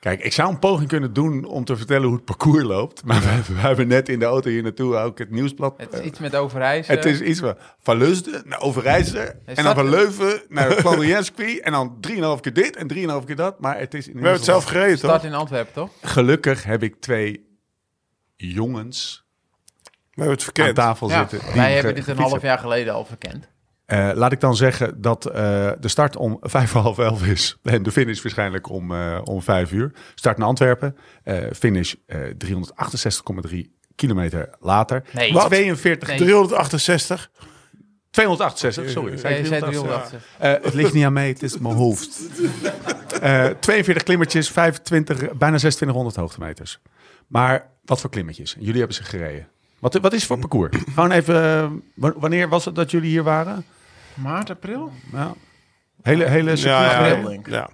S5: Kijk, ik zou een poging kunnen doen om te vertellen hoe het parcours loopt. Maar we, we hebben net in de auto hier naartoe ook het nieuwsblad. eh,
S4: Het is iets met overijs.
S3: eh,
S5: Het is iets van, van Leusden naar Overijssel en dan
S4: start-
S5: van Leuven naar Klandrijenskwie en dan 3,5 keer dit en 3,5 keer dat. Maar het is in
S3: We hebben het zelf gereden, toch?
S4: Start in Antwerpen, toch?
S5: Gelukkig heb ik twee jongens
S3: We hebben het
S5: aan
S3: verkend.
S5: tafel
S4: Ja.
S5: zitten. die
S4: Wij
S5: ge-
S4: hebben dit een
S5: gefietst
S4: half jaar geleden al verkend.
S5: Eh, laat ik dan zeggen dat eh, de start om vijf voor half elf is. En de finish waarschijnlijk om, eh, om vijf uur. Start naar Antwerpen. eh, finish eh, 368,3 kilometer later.
S4: Nee.
S3: Wat?
S5: 42,
S4: Nee.
S3: 368.
S5: 268, sorry. zei
S4: Nee,
S5: ik
S4: je zei 380.
S5: 368? Eh, het ligt niet aan mij, het is mijn hoofd. Eh, 42 klimmetjes, 25, bijna 2600 hoogtemeters. Maar wat voor klimmetjes? Jullie hebben ze gereden. Wat, wat is het voor parcours? Gewoon even, eh, wa- wanneer was het dat jullie hier waren?
S4: Maart, april?
S5: Ja. Hele, hele circuit.
S3: Ja, ja,
S4: April,
S3: ja,
S4: denk ik.
S3: ja.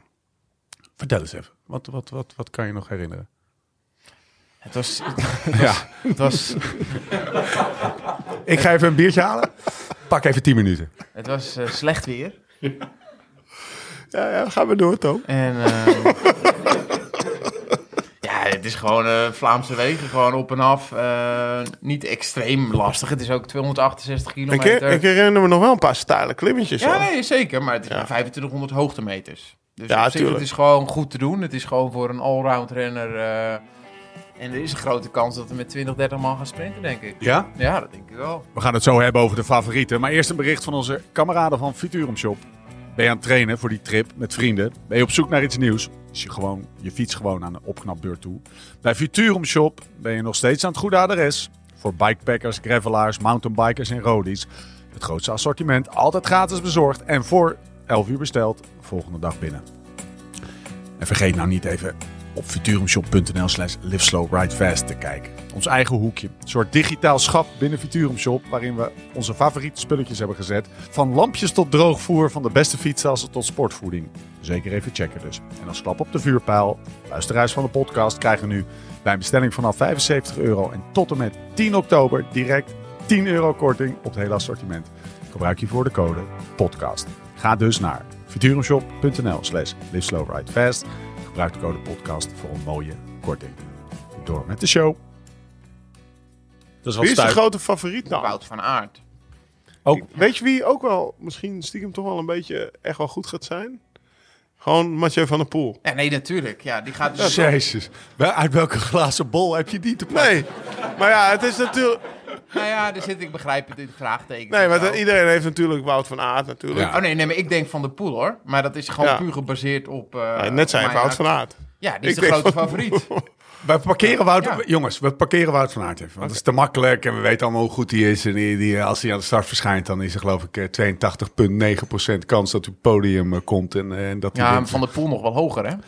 S5: Vertel eens even. Wat, wat, wat, wat kan je nog herinneren?
S4: Het was,
S5: Ja.
S4: het was,
S5: Ik ga even een biertje halen. Pak even 10 minuten.
S4: het was eh, slecht weer.
S3: Ja, ja, gaan we door, Toon.
S4: En, ehm, ja, het is gewoon eh, Vlaamse wegen, gewoon op en af. Eh, niet extreem lastig. Het is ook 268
S3: Ik,
S4: kilometer.
S3: her- ik herinner me nog wel een paar stijle klimmetjes.
S4: ja,
S3: hoor.
S4: nee, zeker. Maar het is
S3: Ja.
S4: maar 2500 hoogtemeters. Dus
S3: Ja,
S4: op zich,
S3: tuurlijk.
S4: het is gewoon goed te doen. Het is gewoon voor een allround renner eh, En er is een grote kans dat we met 20, 30 man gaan sprinten, denk ik.
S1: Ja?
S4: Ja, dat denk ik wel.
S1: We gaan het zo hebben over de favorieten. Maar eerst een bericht van onze kameraden van Futurum Shop. Ben je aan het trainen voor die trip met vrienden? Ben je op zoek naar iets nieuws? Is je, gewoon, je fiets gewoon aan de opknapbeurt toe? Bij Futurum Shop ben je nog steeds aan het goede adres. Voor bikepackers, gravelaars, mountainbikers en roadies. Het grootste assortiment, altijd gratis bezorgd. En voor 11 uur besteld, volgende dag binnen. En vergeet nou niet even op futurumshop.nl slash liveslowridefast te kijken. Ons eigen hoekje. Een soort digitaal schap binnen Futurum Shop... waarin we onze favoriete spulletjes hebben gezet. Van lampjes tot droogvoer, van de beste fietsassen tot sportvoeding. Zeker even checken dus. En als klap op de vuurpijl, luisteraars van de podcast krijgen nu... bij een bestelling vanaf 75 euro en tot en met 10 oktober... direct 10 euro korting op het hele assortiment. Gebruik hiervoor de code podcast. Ga dus naar futurumshop.nl slash liveslowridefast... Gebruik de code podcast voor een mooie korting. Door met de show. Dat is wel
S3: Wie is de
S1: stuit.
S3: grote favoriet nou?
S4: Wout van Aert.
S1: Ook
S3: Weet je wie ook wel misschien stiekem toch wel een beetje echt wel goed gaat zijn? Gewoon Mathieu van der Poel.
S4: Ja, nee, natuurlijk. Ja, die gaat dus...
S1: Jezus. Wel- Uit welke glazen bol heb je die te pakken?
S3: Nee, maar ja, het is natuurlijk...
S4: Nou ja, er zit, ik begrijp het, in het vraagteken.
S3: Nee, maar
S4: Zo.
S3: dat- iedereen heeft natuurlijk Wout van Aert natuurlijk.
S1: Ja.
S4: Oh nee, nee, maar ik denk van de pool hoor. Maar dat is gewoon
S3: Ja.
S4: puur gebaseerd op... eh,
S3: Ja, net zei ik
S4: mijn
S3: Wout van
S4: ac-
S3: Aert.
S4: Ja, die is
S3: Ik
S4: de
S3: denk
S4: grote
S3: van-
S4: favoriet.
S1: We parkeren Wout,
S4: Ja.
S1: Jongens, we parkeren Wout van Aert even. Want dat is te makkelijk en we weten allemaal hoe goed hij is. En die, die- als hij aan de start verschijnt, dan is er geloof ik eh, 82,9% kans dat hij op het podium eh, komt. En, eh, en dat hij
S4: Ja,
S1: wint.
S4: van de pool nog wel hoger hè.
S1: Zullen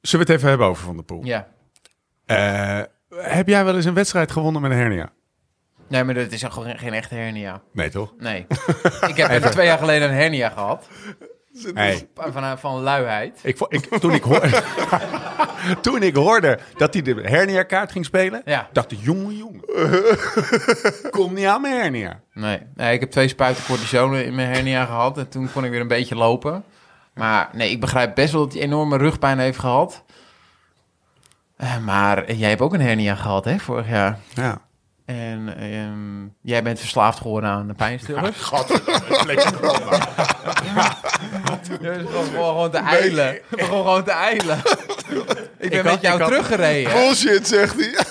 S1: we het even hebben over Van der Poel?
S4: Ja.
S1: Eh, heb jij wel eens een wedstrijd gewonnen met een hernia?
S4: Nee, maar dat is gewoon geen echte hernia.
S1: Nee, toch?
S4: Nee. ik heb echt twee jaar geleden een hernia gehad.
S1: Nee.
S4: Van, eh, van luiheid.
S1: Ik, vo- ik, toen, ik hoor- toen ik hoorde dat hij de hernia-kaart ging spelen,
S4: Ja.
S1: dacht ik, jongen, jongen. Kom niet aan mijn hernia.
S4: Nee. nee, ik heb twee spuiten cortisone in mijn hernia gehad. En toen kon ik weer een beetje lopen. Maar nee, ik begrijp best wel dat hij enorme rugpijn heeft gehad. Eh, maar jij hebt ook een hernia gehad, hè, vorig jaar.
S1: Ja.
S4: En ehm, jij bent verslaafd geworden aan de pijnstillers. Ja, dus gewoon, gewoon te eilen. Gewoon, gewoon te eilen. ik ben met
S1: had-
S4: jou
S1: ik had-
S4: teruggereden.
S3: Bullshit, zegt hij.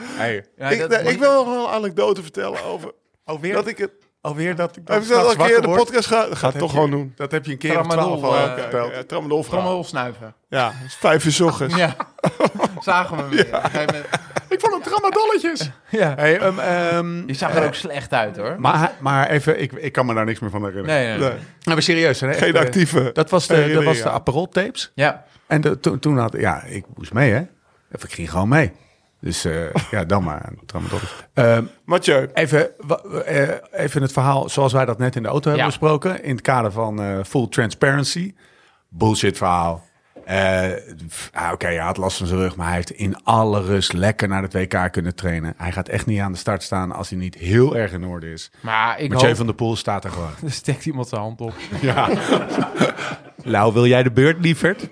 S1: Hey.
S4: Ja,
S3: Oh, ik,
S4: dat-
S3: nee, ik wil nog wel een anekdote vertellen over...
S1: Alweer
S3: Dat ik het...
S1: Alweer dat ik
S3: Heb ik dat al een keer in de podcast gehad? Dat ga ik toch gewoon doen.
S1: Dat heb je een keer
S4: of Tramadol, twaalf al eh,
S3: Oké,
S1: verteld.
S3: ja, tramadol verhaal.
S4: Trommel snuiven.
S3: Ja, het is vijf uur 's ochtends.
S4: Ja. Zagen we hem weer. Op een gegeven moment-
S1: Ik vond het tramadolletjes.
S4: Ja.
S1: Hey, ehm, ehm,
S4: Je zag er ook slecht uit, hoor.
S1: maar, maar even, ik, ik kan me daar niks meer van herinneren.
S4: Nee, nee, nee.
S3: Nee,
S1: Nou, maar serieus. Hè?
S3: geen
S1: Ik, eh,
S3: actieve.
S1: Dat was de, dat
S3: herinnering,
S1: was de
S3: ja.
S1: Aperol tapes.
S4: Ja.
S1: En de- toen- toen had ja, ik moest mee hè. Of ik ging gewoon mee. Dus eh, ja, dan maar aan het tramadolletje. Ehm,
S3: Mathieu.
S1: Even, wa- eh, even het verhaal zoals wij dat net in de auto hebben
S4: Ja.
S1: besproken. In het kader van eh, full transparency. Bullshit verhaal. Eh, f- ah, Oké, hij had last van zijn rug, maar hij heeft in alle rust lekker naar het WK kunnen trainen. Hij gaat echt niet aan de start staan als hij niet heel erg in orde is. Oh.
S4: Maar ik
S1: Mathieu
S4: hoop...
S1: van der Poel staat er gewoon.
S4: Er steekt iemand zijn hand op.
S1: Lau, wil jij de beurt, lieverd?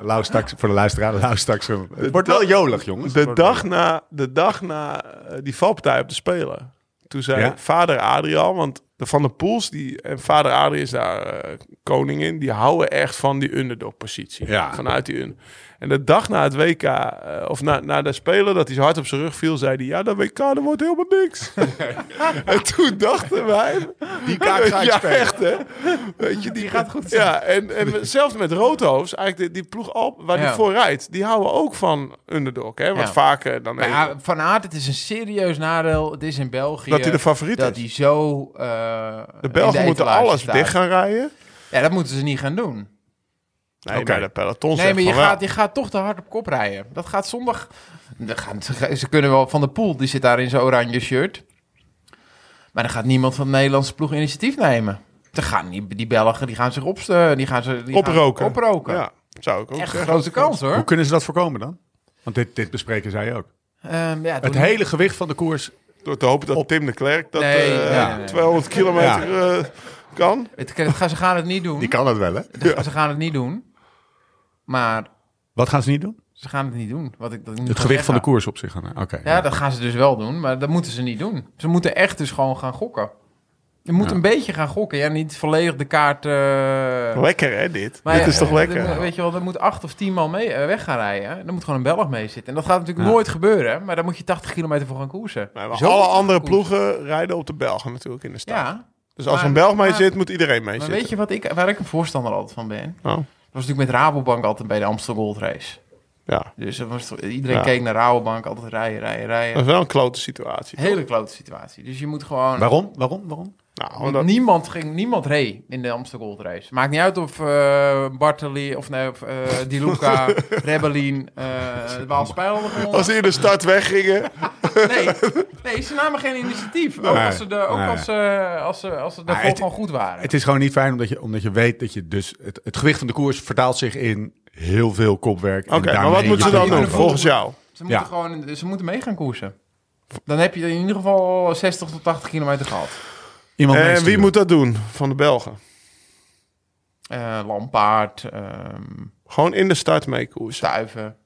S1: Lau straks, voor de luisteraar, Lau straks. een- Het wordt wel jolig, jongens. Het
S3: De
S1: wordt
S3: dag na, de dag na eh, die valpartij op de Spelen. Toen zei
S1: Ja.
S3: vader Adriaan, want de Van der Poels, die, en vader Adriaan is daar eh, koning in, die houden echt van die underdog-positie.
S1: Ja.
S3: Vanuit die un. En de dag na het WK, eh, of na, na de Spelen, dat hij zo hard op zijn rug viel, zei hij, ja, dat WK, dat wordt helemaal niks. en toen dachten wij...
S1: Die kaart ga ik
S3: ja,
S1: spelen.
S3: echt, hè. Weet je, die, gaat goed Ja, en, en zelfs met Roodhoofd, eigenlijk die, die ploeg Alp, waar
S4: Ja.
S3: die voor rijdt, die houden ook van underdog, hè. Want
S4: Ja.
S3: vaak eh, dan...
S4: Maar
S3: even-
S4: ja, Van Aert, het is een serieus nadeel. Het is in België...
S3: Dat hij de favoriet
S4: eh, Dat
S3: is.
S4: hij zo... eh,
S3: De
S4: in
S3: Belgen moeten
S4: etalage
S3: alles
S4: staat.
S3: dicht gaan rijden.
S4: Ja, dat moeten ze niet gaan doen.
S3: Nee,
S1: Oké.
S3: maar de peloton
S4: Nee,
S3: zegt
S4: maar je
S3: van
S4: gaat,
S3: wel.
S4: je gaat toch te hard op kop rijden. Dat gaat zondag. Dat gaan, ze- ze kunnen wel van de pool, die zit daar in zijn oranje shirt. Maar dan gaat niemand van de Nederlandse ploeg initiatief nemen. Dan gaan die, die Belgen die gaan zich opste, die gaan ze die gaan
S3: oproken.
S4: oproken.
S3: Ja, zou ik ook
S4: Echt een
S3: zeggen.
S4: grote kans hoor.
S1: Hoe kunnen ze dat voorkomen dan? Want dit, dit bespreken zij ook.
S4: Ehm, ja,
S1: Het
S4: doen-
S1: hele gewicht van de koers
S3: Door te hopen dat Tim de Klerk dat
S4: Nee,
S3: eh,
S4: nee, nee.
S3: 200 kilometer eh, kan.
S4: het, het gaan- ze gaan het niet doen.
S1: Die kan dat wel, hè?
S4: Ze gaan het niet doen. Maar
S1: Wat gaan ze niet doen?
S4: ze gaan het niet doen. Wat ik, dat ik nu
S1: Het
S4: ga
S1: gewicht van de
S4: zeggen.
S1: koers op zich gaan. Oké.
S4: Ja, dat gaan ze dus wel doen. Maar dat moeten ze niet doen. Ze moeten echt dus gewoon gaan gokken. Je moet
S1: Ja.
S4: een beetje gaan gokken. Ja, niet volledig de kaart... eh,
S3: Lekker hè, dit?
S4: maar
S3: dit
S4: ja,
S3: is toch
S4: eh,
S3: lekker?
S4: er moet- Weet je wel, er moet acht of tien man mee, eh, weg gaan rijden. hè. Er moet gewoon een Belg mee zitten. En dat gaat natuurlijk
S1: Ja.
S4: nooit gebeuren. Maar daar moet je 80 kilometer voor gaan koersen.
S3: Maar
S4: Zo
S3: alle
S4: moet je
S3: andere
S4: koersen.
S3: ploegen rijden op de Belgen natuurlijk in de stad.
S4: Ja,
S3: Dus als
S4: Maar-
S3: er een Belg mee
S4: maar-
S3: zit, moet iedereen mee
S4: maar
S3: zitten.
S4: weet je wat ik, waar ik een voorstander altijd van ben?
S3: Oh,
S4: Dat was natuurlijk met Rabobank altijd bij de Amstel Gold Race.
S3: ja.
S4: Dus dat was, toch- iedereen
S3: Ja.
S4: keek naar Rabobank, altijd rijden, rijden, rijden.
S3: Dat is wel een klote situatie.
S4: Hele klote situatie. Dus je moet gewoon...
S1: Waarom? Waarom? Waarom?
S3: Nou,
S4: Want
S3: omdat,
S4: niemand, ging, niemand reed in de Amsterdam Gold Race. Maakt niet uit of eh Bartoli, of nee, of, eh, Di Luca, Rebellin, eh de Waalspijl hadden gewonnen.
S3: als die in de stad weggingen,
S4: Nee, nee, ze namen geen initiatief. Ook
S1: Nee,
S4: als ze, de, ook
S1: nee. Nou,
S4: als ze, als ze, als ze daarvoor
S1: het-
S4: gewoon goed waren.
S1: Het is gewoon niet fijn omdat je, omdat je weet dat je dus... Het, het gewicht van de koers vertaalt zich in heel veel kopwerk. en
S3: Oké, maar
S1: daarmee
S3: wat
S1: je
S3: moeten ze dan
S1: ploeg
S3: doen
S4: kunnen
S1: overholt.
S3: volgens jou?
S4: ze, moeten
S1: ja.
S4: gewoon, ze moeten mee gaan koersen. Dan heb je in ieder geval 60 tot 80 kilometer gehad.
S1: Iemand
S3: En
S1: meesturen.
S3: Eh, wie moet dat doen van de Belgen?
S4: Eh Lampaard, ehm
S3: Gewoon in de stad mee koersen.
S4: Stuiven.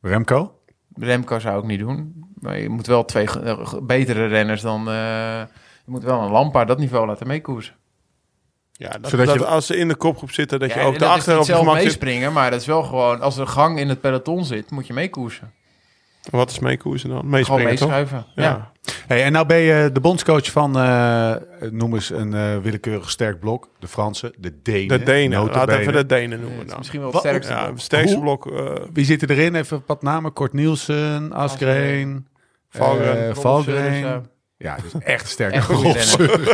S1: Remco?
S4: Remco zou ik niet doen. Maar je moet wel twee ge- eh, ge- betere renners dan... eh, je moet wel een Lampaard dat niveau laten meekoersen.
S3: Ja, dat,
S1: Zodat
S3: dat
S1: je-
S3: als ze in de kopgroep zitten, dat je
S4: Ja,
S3: ook
S4: en dat is
S3: daarachter
S4: niet
S3: op je
S4: zelf
S3: gemak zit.
S4: meespringen, maar dat is wel gewoon... Als er gang in het peloton zit, moet je meekoersen.
S3: Wat is meekoersen dan?
S4: Gewoon
S3: Meespringen, toch?
S4: meeschuiven. Ja.
S3: Ja.
S1: Hey, en nou ben je de bondscoach van, eh, noem eens een eh, willekeurig sterk blok. De Fransen, de Denen.
S3: De Denen. Laten
S1: notabene.
S3: we even de Denen
S4: Eh,
S3: noemen
S4: het is
S3: dan.
S4: misschien wel het
S1: Wat-
S4: sterkste.
S3: Nou, Ja,
S4: blok.
S3: het sterkste
S1: Hoe?
S3: blok. eh,
S1: Wie zit erin? Even wat namen. Kort Nielsen, Asgreen,
S3: Valgren.
S1: eh,
S4: Robert
S1: Valgren.
S4: Seuris, ja.
S1: Ja, dat is echt sterk.
S4: Echt goede
S1: Robert Seuris.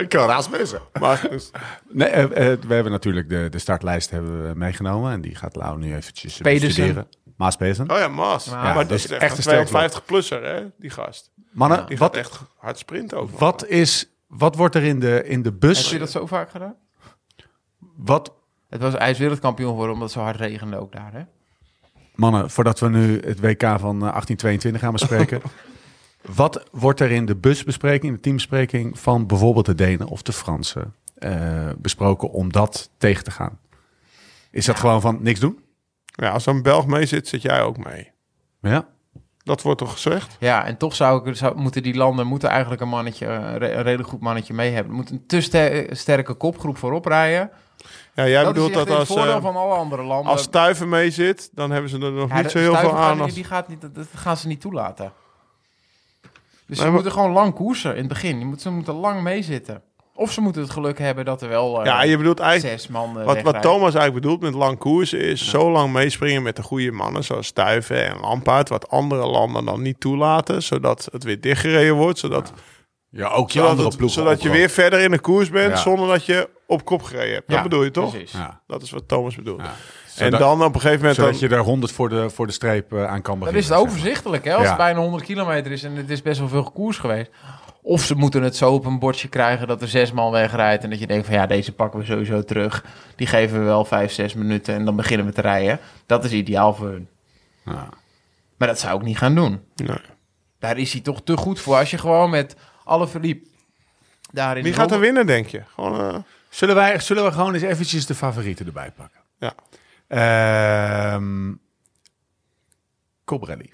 S1: Ik kan haast missen.
S3: Magnus.
S1: Nee, eh, eh, we hebben natuurlijk de, de startlijst hebben we meegenomen. En die gaat Lau nu eventjes eh,
S4: Pedersen.
S1: bestuderen. Maas Pedersen.
S3: Oh ja, Maas.
S4: Ja,
S3: maar
S1: dat
S3: dat
S1: is
S3: is
S1: echt
S3: echt
S1: een
S3: een
S1: sterk blok.
S3: 250-plusser, hè? Die gast.
S1: Mannen,
S3: Die gaat
S1: wat,
S3: echt hard sprinten ook. man.
S1: wat, is, wat wordt er in de, in de
S4: Heb
S1: bus?
S4: je dat zo vaak gedaan?
S1: Wat,
S4: Het was, hij is wereldkampioen geworden omdat het zo hard regende ook daar. Hè?
S1: mannen, voordat we nu het WK van eh, 1822 gaan bespreken. wat wordt er in de busbespreking, in de teambespreking van bijvoorbeeld de Denen of de Fransen eh, besproken om dat tegen te gaan? Is dat gewoon van niks doen?
S3: Ja, als zo'n Belg mee zit, zit jij ook mee.
S1: Ja.
S3: Dat wordt toch gezegd?
S4: Ja, en toch zou ik, zou, moeten die landen moeten eigenlijk een mannetje, eh, re- een redelijk goed mannetje mee hebben. Er moet een te ster- sterke kopgroep voorop rijden.
S3: Ja, jij
S4: dat
S3: bedoelt
S4: is echt
S3: dat als,
S4: het voordeel
S3: eh,
S4: van alle andere landen.
S3: als Stuiven mee zit, dan hebben ze er nog
S4: Ja,
S3: niet
S4: de-
S3: zo heel
S4: Stuiven
S3: veel
S4: gaat
S3: aan.
S4: niet-
S3: Als...
S4: Die gaat niet, dat, dat gaan ze niet toelaten. Dus ze
S3: maar-
S4: moeten gewoon lang koersen in het begin. Je moet, ze moeten lang meezitten. Of ze moeten het geluk hebben dat er wel eh,
S3: Ja, je bedoelt eigenlijk.
S4: zes man eh,
S3: Wat, wat
S4: wegrijden.
S3: Thomas eigenlijk bedoelt met lang koers is zo lang meespringen met de goede mannen zoals Stuiven en Lampaard. Wat andere landen dan niet toelaten, zodat het weer dichtgereden wordt. Zodat,
S1: Ja, ook je
S3: zodat,
S1: andere
S3: het-
S1: ploeg.
S3: zodat je weer verder in de koers bent
S1: Ja.
S3: zonder dat je op kop gereden hebt.
S4: Ja,
S3: dat bedoel je toch?
S4: precies.
S1: Ja.
S3: Dat is wat Thomas bedoelt.
S1: Ja.
S3: en
S1: Zodat-
S3: dan op een gegeven moment...
S1: Zodat
S3: dan-
S1: je er 100 voor de, voor de streep eh, aan kan
S4: Dan
S1: beginnen.
S4: is het overzichtelijk, hè? Als
S1: Ja.
S4: het bijna 100 kilometer is en het is best wel veel koers geweest. Of ze moeten het zo op een bordje krijgen dat er zes man wegrijdt. En dat je denkt van ja, deze pakken we sowieso terug. Die geven we wel vijf, zes minuten en dan beginnen we te rijden. Dat is ideaal voor hun.
S1: zeg maar. Ja.
S4: Maar dat zou ik niet gaan doen.
S3: Nee.
S4: Daar is hij toch te goed voor. Als je gewoon met alle verliep daarin...
S3: Wie gaat er winnen, denk je? Gewoon, eh,
S1: Zullen, wij, zullen we gewoon eens eventjes de favorieten erbij pakken?
S3: Ja.
S1: Ehm, Cobrelli.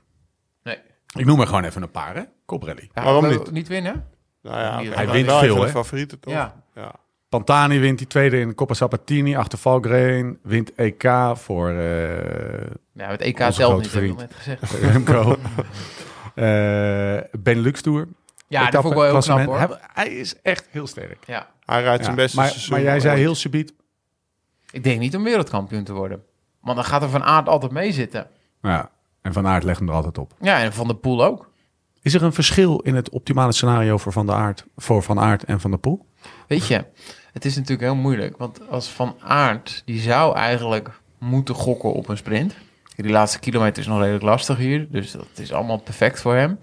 S4: Nee.
S1: Ik noem er gewoon even een paar, hè? Cobrelli.
S4: Ja,
S3: Waarom
S4: we-
S3: niet?
S4: winnen?
S3: nou ja,
S4: Hij
S3: we hebben
S1: wint
S3: wel
S1: veel,
S3: even de
S1: hè?
S3: favorieten, toch?
S4: Ja.
S3: Ja.
S1: Pantani wint die tweede in Coppa Sabatini achter Valgren. Wint EK voor eh,
S4: Ja, het EK
S1: Onze
S4: telt
S1: grote
S4: niet,
S1: vriend.
S4: heb ik al net gezegd.
S1: Remco. Eh Benelux Tour.
S4: Ja, dat vond ik wel heel knap,
S1: Klassement.
S4: hoor.
S1: Hij, hij is echt heel sterk.
S4: Ja.
S3: Hij rijdt
S1: Ja,
S3: zijn beste
S1: maar,
S3: seizoen.
S1: maar jij zei
S3: ooit.
S1: heel subiet.
S4: Ik denk niet om wereldkampioen te worden. Want dan gaat er Van Aert altijd mee zitten.
S1: Ja, en Van Aert legt hem er altijd op.
S4: Ja, en Van der Poel ook.
S1: Is er een verschil in het optimale scenario voor Van, de Aert, voor van Aert en Van der Poel?
S4: Weet je, het is natuurlijk heel moeilijk. Want als Van Aert, die zou eigenlijk moeten gokken op een sprint. Die laatste kilometer is nog redelijk lastig hier. Dus dat is allemaal perfect voor hem.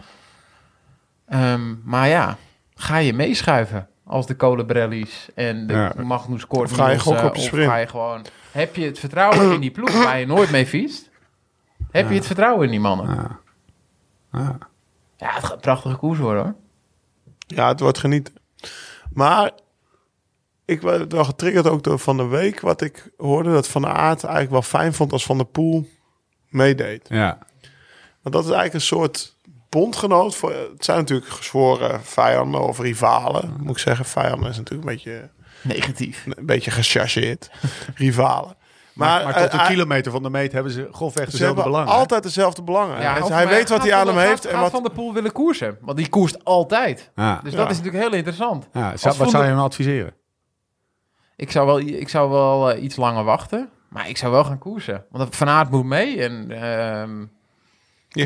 S4: Ehm, maar ja, ga je meeschuiven als de Colebrelli's en de
S1: Ja.
S4: Magnus Kort.
S3: Of ga je gokken op je sprint?
S4: Of ga je gewoon... Heb je het vertrouwen in die ploeg waar je nooit mee fietst? Heb je het vertrouwen in die mannen?
S1: Ah. Ah.
S4: Ja, het gaat een prachtige koers worden hoor.
S3: Ja, het wordt genieten. Maar ik werd wel getriggerd ook door van de week. Wat ik hoorde dat Van de Aert eigenlijk wel fijn vond als Van der Poel meedeed.
S1: Ja.
S3: Want dat is eigenlijk een soort bondgenoot. Voor, het zijn natuurlijk gezworen vijanden of rivalen. Moet ik zeggen, vijanden is natuurlijk een beetje,
S4: Negatief.
S3: een beetje gechargeerd. rivalen.
S1: Maar, maar tot
S3: eh,
S1: een
S3: hij-
S1: kilometer van de meet hebben ze grofweg
S3: Ze
S1: dezelfde
S3: hebben
S1: belangen. hè?
S3: altijd dezelfde belangen.
S4: Ja,
S3: Hij-
S4: of-
S3: hij
S4: maar
S3: weet wat
S4: gaat
S3: hij aan
S4: Van
S3: hem
S4: der-
S3: heeft.
S4: gaat-
S3: En
S4: gaat
S3: wat,
S4: Van der Poel willen koersen. Want die koerst altijd.
S1: Ja.
S4: Dus
S3: Ja.
S4: dat is natuurlijk heel interessant.
S1: Ja, zou- wat
S4: Als
S1: zou
S4: vroeger-
S1: je hem adviseren?
S4: Ik zou wel, ik zou wel eh, iets langer wachten. Maar ik zou wel gaan koersen. Want Van Aert moet mee. En, ehm,
S3: je
S4: Ja,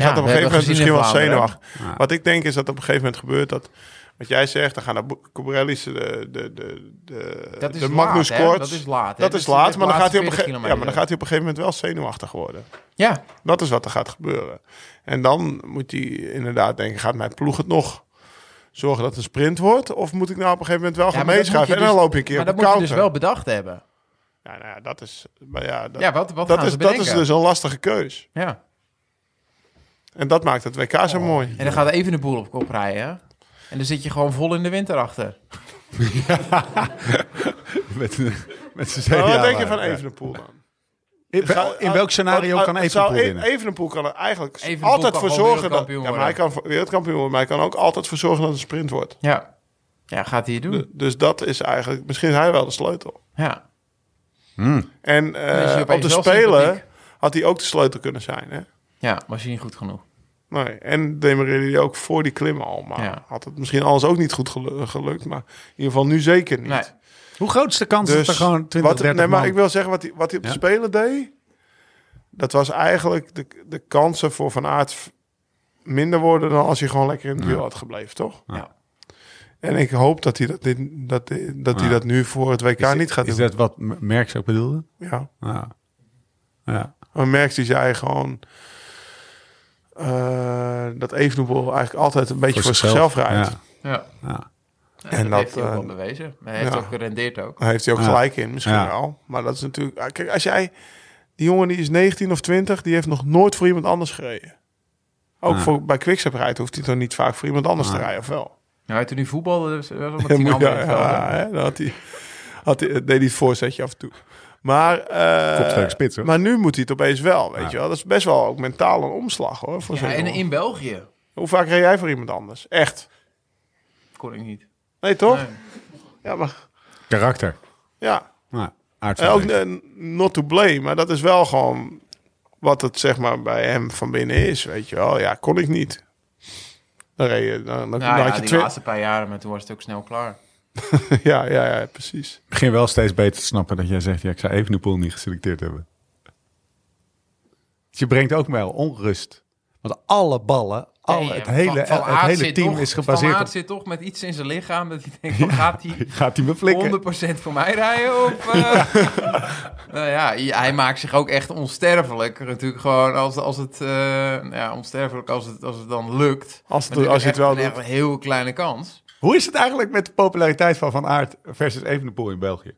S3: gaat op een
S4: we hebben
S3: gegeven moment
S4: gezien
S3: misschien
S4: in
S3: wel
S4: Vlaanderen.
S3: zenuwachtig.
S1: Ja.
S3: Wat ik denk is dat op een gegeven moment gebeurt dat... Wat jij zegt, dan gaan de Cobrelli's, de, de, de, de,
S4: dat is
S3: de
S4: laat,
S3: Magnus
S4: hè?
S3: Korts.
S4: Dat is laat. hè?
S3: Dat
S4: Dus
S3: is
S4: die
S3: laat,
S4: zegt
S3: maar dan, gaat
S4: laatste
S3: hij op een
S4: 40
S3: gege- ja,
S4: kilometer.
S3: maar dan gaat hij op een gegeven moment wel zenuwachtig worden.
S4: Ja,
S3: Dat is wat er gaat gebeuren. En dan moet hij inderdaad denken, gaat mijn ploeg het nog zorgen dat het een sprint wordt? Of moet ik nou op een gegeven moment wel
S4: Ja,
S3: gaan
S4: maar dat moet
S3: meeschuiven?
S4: je
S3: en dan
S4: dus-
S3: loop je een keer
S4: maar
S3: op
S4: dat
S3: een
S4: moet je dus
S3: counter.
S4: wel bedacht hebben.
S3: Ja, nou ja, dat is... Maar ja, dat,
S4: Ja, wat, wat
S3: dat,
S4: gaan
S3: is,
S4: ze
S3: dat
S4: bedenken?
S3: is dus een lastige keus.
S4: ja.
S3: En dat maakt het WK
S4: Oh,
S3: zo mooi.
S4: En dan gaat even de boel op kop rijden. hè? En dan zit je gewoon vol in de winter achter.
S1: met, met zijn
S3: Maar
S1: CDA
S3: wat denk je van
S1: waren.
S3: Evenepoel Ah. dan?
S1: In, wel- in welk scenario kan Evenepoel winnen?
S3: E- Evenepoel kan er eigenlijk
S4: Evenepoel
S3: altijd
S4: kan
S3: voor
S4: gewoon
S3: zorgen dat...
S4: wereldkampioen
S3: Ja, maar hij kan voor- wereldkampioen worden, maar hij kan ook altijd voor zorgen dat het een sprint wordt.
S4: Ja. Ja, gaat hij het
S3: Du-
S4: doen.
S3: Dus dat is eigenlijk... Misschien is hij wel de sleutel.
S4: Ja.
S3: En eh,
S4: is hij
S3: op
S4: opeens
S3: de
S4: wel
S3: Spelen
S4: sympathiek.
S3: had hij ook de sleutel kunnen zijn. Hè?
S4: Ja, was hij niet goed genoeg.
S3: Nee, en demarreerde hij ook voor die klim al. Maar
S4: Ja.
S3: had het misschien alles ook niet goed gelu- gelukt. Maar in ieder geval nu zeker niet.
S4: Nee.
S1: Hoe groot is de kans dat er gewoon 20,
S3: Dus wat,
S1: 30
S3: nee, maar
S1: man-
S3: ik wil zeggen, wat hij, wat hij op
S1: Ja.
S3: de Spelen deed... dat was eigenlijk de, de kansen voor Van Aert v- minder worden... dan als hij gewoon lekker in het duel had gebleven, toch?
S4: Ja.
S3: En ik hoop dat hij dat, dit, dat, dit- dat, hij
S1: Ja.
S3: dat nu voor het WK
S1: Is dit-
S3: niet gaat
S1: Is
S3: doen.
S1: dat wat M- Merckx ook bedoelde?
S3: Ja.
S1: Ja. Ja.
S3: Maar Merckx die zei gewoon eh, dat Evenepoel eigenlijk altijd een beetje voor, zichzelf rijdt.
S1: Ja.
S4: Ja.
S1: Ja.
S3: En
S4: En dat, heeft
S3: dat,
S4: hij ook wel
S3: eh,
S4: bewezen. Maar Hij heeft
S3: ja.
S4: ook gerendeerd ook.
S3: Daar heeft hij ook
S1: Ja.
S3: gelijk in, misschien
S1: Ja.
S3: wel. Maar dat is natuurlijk... ah, Kijk, als jij... Die jongen die is 19 of 20, die heeft nog nooit voor iemand anders gereden. Ook
S1: Ja.
S3: voor, bij Quickstep rijdt hoeft hij toch niet vaak voor iemand anders te rijden, of wel?
S4: Nou, toen hij voetbalde, was was er met
S3: Ja,
S4: tien
S3: moet-
S4: anderen in
S3: ja,
S4: het veld.
S3: ja, hè, dan had hij, had hij, deed hij het voorzetje af en toe. Maar, eh,
S1: Kopsterk spits, hoor.
S3: maar nu moet hij het opeens wel, weet
S1: Ja.
S3: je wel. Dat is best wel ook mentaal een omslag, hoor. Voor
S4: Ja,
S3: zo'n
S4: en
S3: jongen.
S4: in België
S3: Hoe vaak reed jij voor iemand anders? Echt?
S4: kon ik niet.
S3: Nee, toch?
S4: Nee.
S3: Ja, maar
S1: Karakter.
S3: ja.
S1: Ja. Aard van
S3: En ook
S1: Vlees.
S3: eh, not to blame, maar dat is wel gewoon wat het zeg maar bij hem van binnen is, weet je wel. Ja, kon ik niet. Dan reed je, dan, dan,
S4: Nou
S3: dan
S4: ja,
S3: had je
S4: die
S3: twee.
S4: laatste paar jaren, maar toen was het ook snel klaar.
S3: Ja, ja, ja, precies.
S1: Ik begin wel steeds beter te snappen dat jij zegt... Ja, ik zou Evenepoel niet geselecteerd hebben. Dus je brengt ook wel onrust. Want alle ballen,
S3: Oh,
S1: alle,
S4: Nee,
S1: het
S4: Van-
S1: hele,
S4: Van
S1: het
S4: Aert
S1: hele
S4: zit
S1: team
S4: toch-
S1: is
S4: Van
S1: gebaseerd
S4: Aert
S1: op...
S4: zit toch met iets in zijn lichaam dat hij denkt, van, gaat hij
S1: Gaat hij me flikken?
S4: 100% voor mij rijden? Of, eh? nou ja, ja, hij maakt zich ook echt onsterfelijk. Natuurlijk gewoon als, als het, eh, nou ja, onsterfelijk als het, als het dan lukt.
S3: Als het,
S4: Maar
S3: als je het
S4: echt
S3: wel
S4: een, echt
S3: doet.
S4: een heel kleine kans.
S1: Hoe is het eigenlijk met de populariteit van Van Aert versus Evenepoel in België?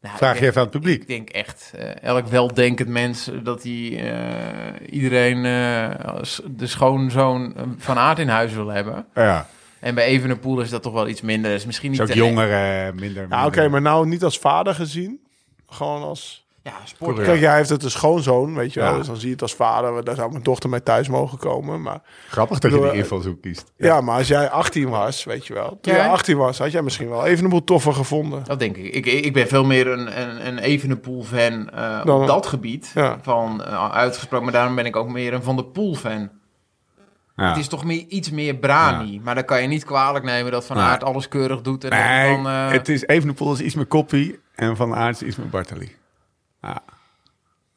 S4: Nou,
S1: Vraag
S4: ik
S1: je
S4: denk-
S1: even aan het publiek.
S4: Ik denk echt, eh, elk weldenkend mens, eh, dat hij eh, iedereen eh, als de schoonzoon eh, van aard in huis wil hebben.
S1: Ja,
S4: En bij Evenepoel is dat toch wel iets minder. Is misschien niet
S1: is ook
S4: de-
S1: jonger, eh, minder.
S3: Ja,
S1: minder.
S3: oké, maar nou niet als vader gezien. Gewoon als...
S4: Ja, sport.
S1: Coureur.
S3: Kijk, jij heeft het een schoonzoon, weet je wel.
S1: Ja.
S3: Dus dan zie je het als vader. Daar zou mijn dochter mee thuis mogen komen. Maar
S1: Grappig dat je die
S3: Bedoel, eh,
S1: invalshoek kiest.
S3: ja, maar als jij 18 was, weet je wel. Toen
S4: Ja.
S3: jij 18 was, had jij misschien wel even een boel toffer gevonden.
S4: Dat denk ik. ik. Ik ben veel meer een, een, een Evenepoel-fan eh,
S3: Dan-
S4: op dat gebied.
S3: Ja.
S4: Van eh, uitgesproken. Maar daarom ben ik ook meer een Van der Poel-fan.
S1: Ja.
S4: Het is toch meer, iets meer brani. Maar dan kan je niet kwalijk nemen dat Van
S1: Nee.
S4: Aert alles keurig doet. En
S1: Nee,
S4: dan, eh,
S1: het is Evenepoel is iets meer Koppie en Van Aert is iets meer Bartali. Ja.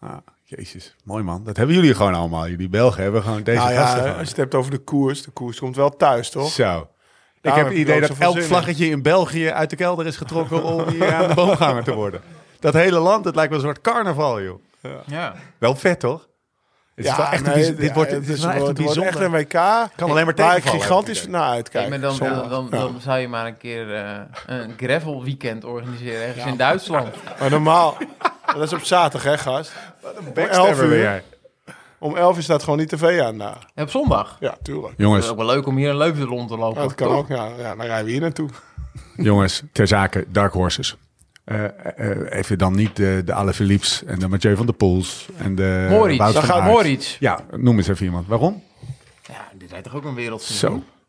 S1: Ja, Jezus, mooi man. Dat hebben jullie gewoon allemaal. Jullie Belgen hebben gewoon deze
S3: Nou ja,
S1: gasten.
S3: als
S1: gewoon.
S3: je het hebt over de koers. De koers komt wel thuis, toch?
S1: Zo. Ik
S3: Daarom
S1: heb
S3: heb
S1: het
S3: je
S1: idee
S3: ook
S1: dat
S3: zoveel
S1: elk
S3: zin in.
S1: vlaggetje in België uit de kelder is getrokken om hier aan de boomganger te worden. Dat hele land, het lijkt wel een soort carnaval, joh.
S4: ja.
S1: Wel vet, toch? Het is wel echt een
S3: nee,
S1: bijz- dit wordt,
S3: ja,
S1: dit
S3: het
S1: is wel echt een
S3: het wordt echt
S1: bijzonder.
S3: een WK.
S1: kan alleen maar
S3: Waar ik
S1: tegenvallen.
S3: gigantisch
S1: heb ik
S3: naar
S4: Hey,
S3: uitkijk.
S4: maar dan,
S3: Zondag.
S4: dan, dan, dan zou je maar een keer eh, een gravel weekend organiseren ergens in Duitsland.
S3: Maar normaal, dat is op zaterdag, hè, gast?
S1: idee.
S3: Om
S1: Backstabber
S3: 11 uur.
S1: ben jij.
S3: Om 11 uur staat gewoon die tv aan daar.
S4: En op zondag.
S3: Ja, tuurlijk.
S4: Het is
S1: Jongens,
S4: ook wel leuk om hier een Leuven rond te lopen.
S3: Ja, dat kan
S4: toch?
S3: ook. Ja, ja, dan rijden we hier naartoe.
S1: jongens, ter zake Dark Horses. Eh, eh, even dan niet de, de Alain Philips en de Mathieu van der Poels en de
S4: Moritz,
S1: Wout
S4: dan
S1: van
S4: gaat
S1: Aert.
S4: Moritz.
S3: Mhm.
S1: Ja, noem eens even iemand. Waarom?
S4: Ja, die rijdt toch ook een wereldseizoen?
S3: Zo.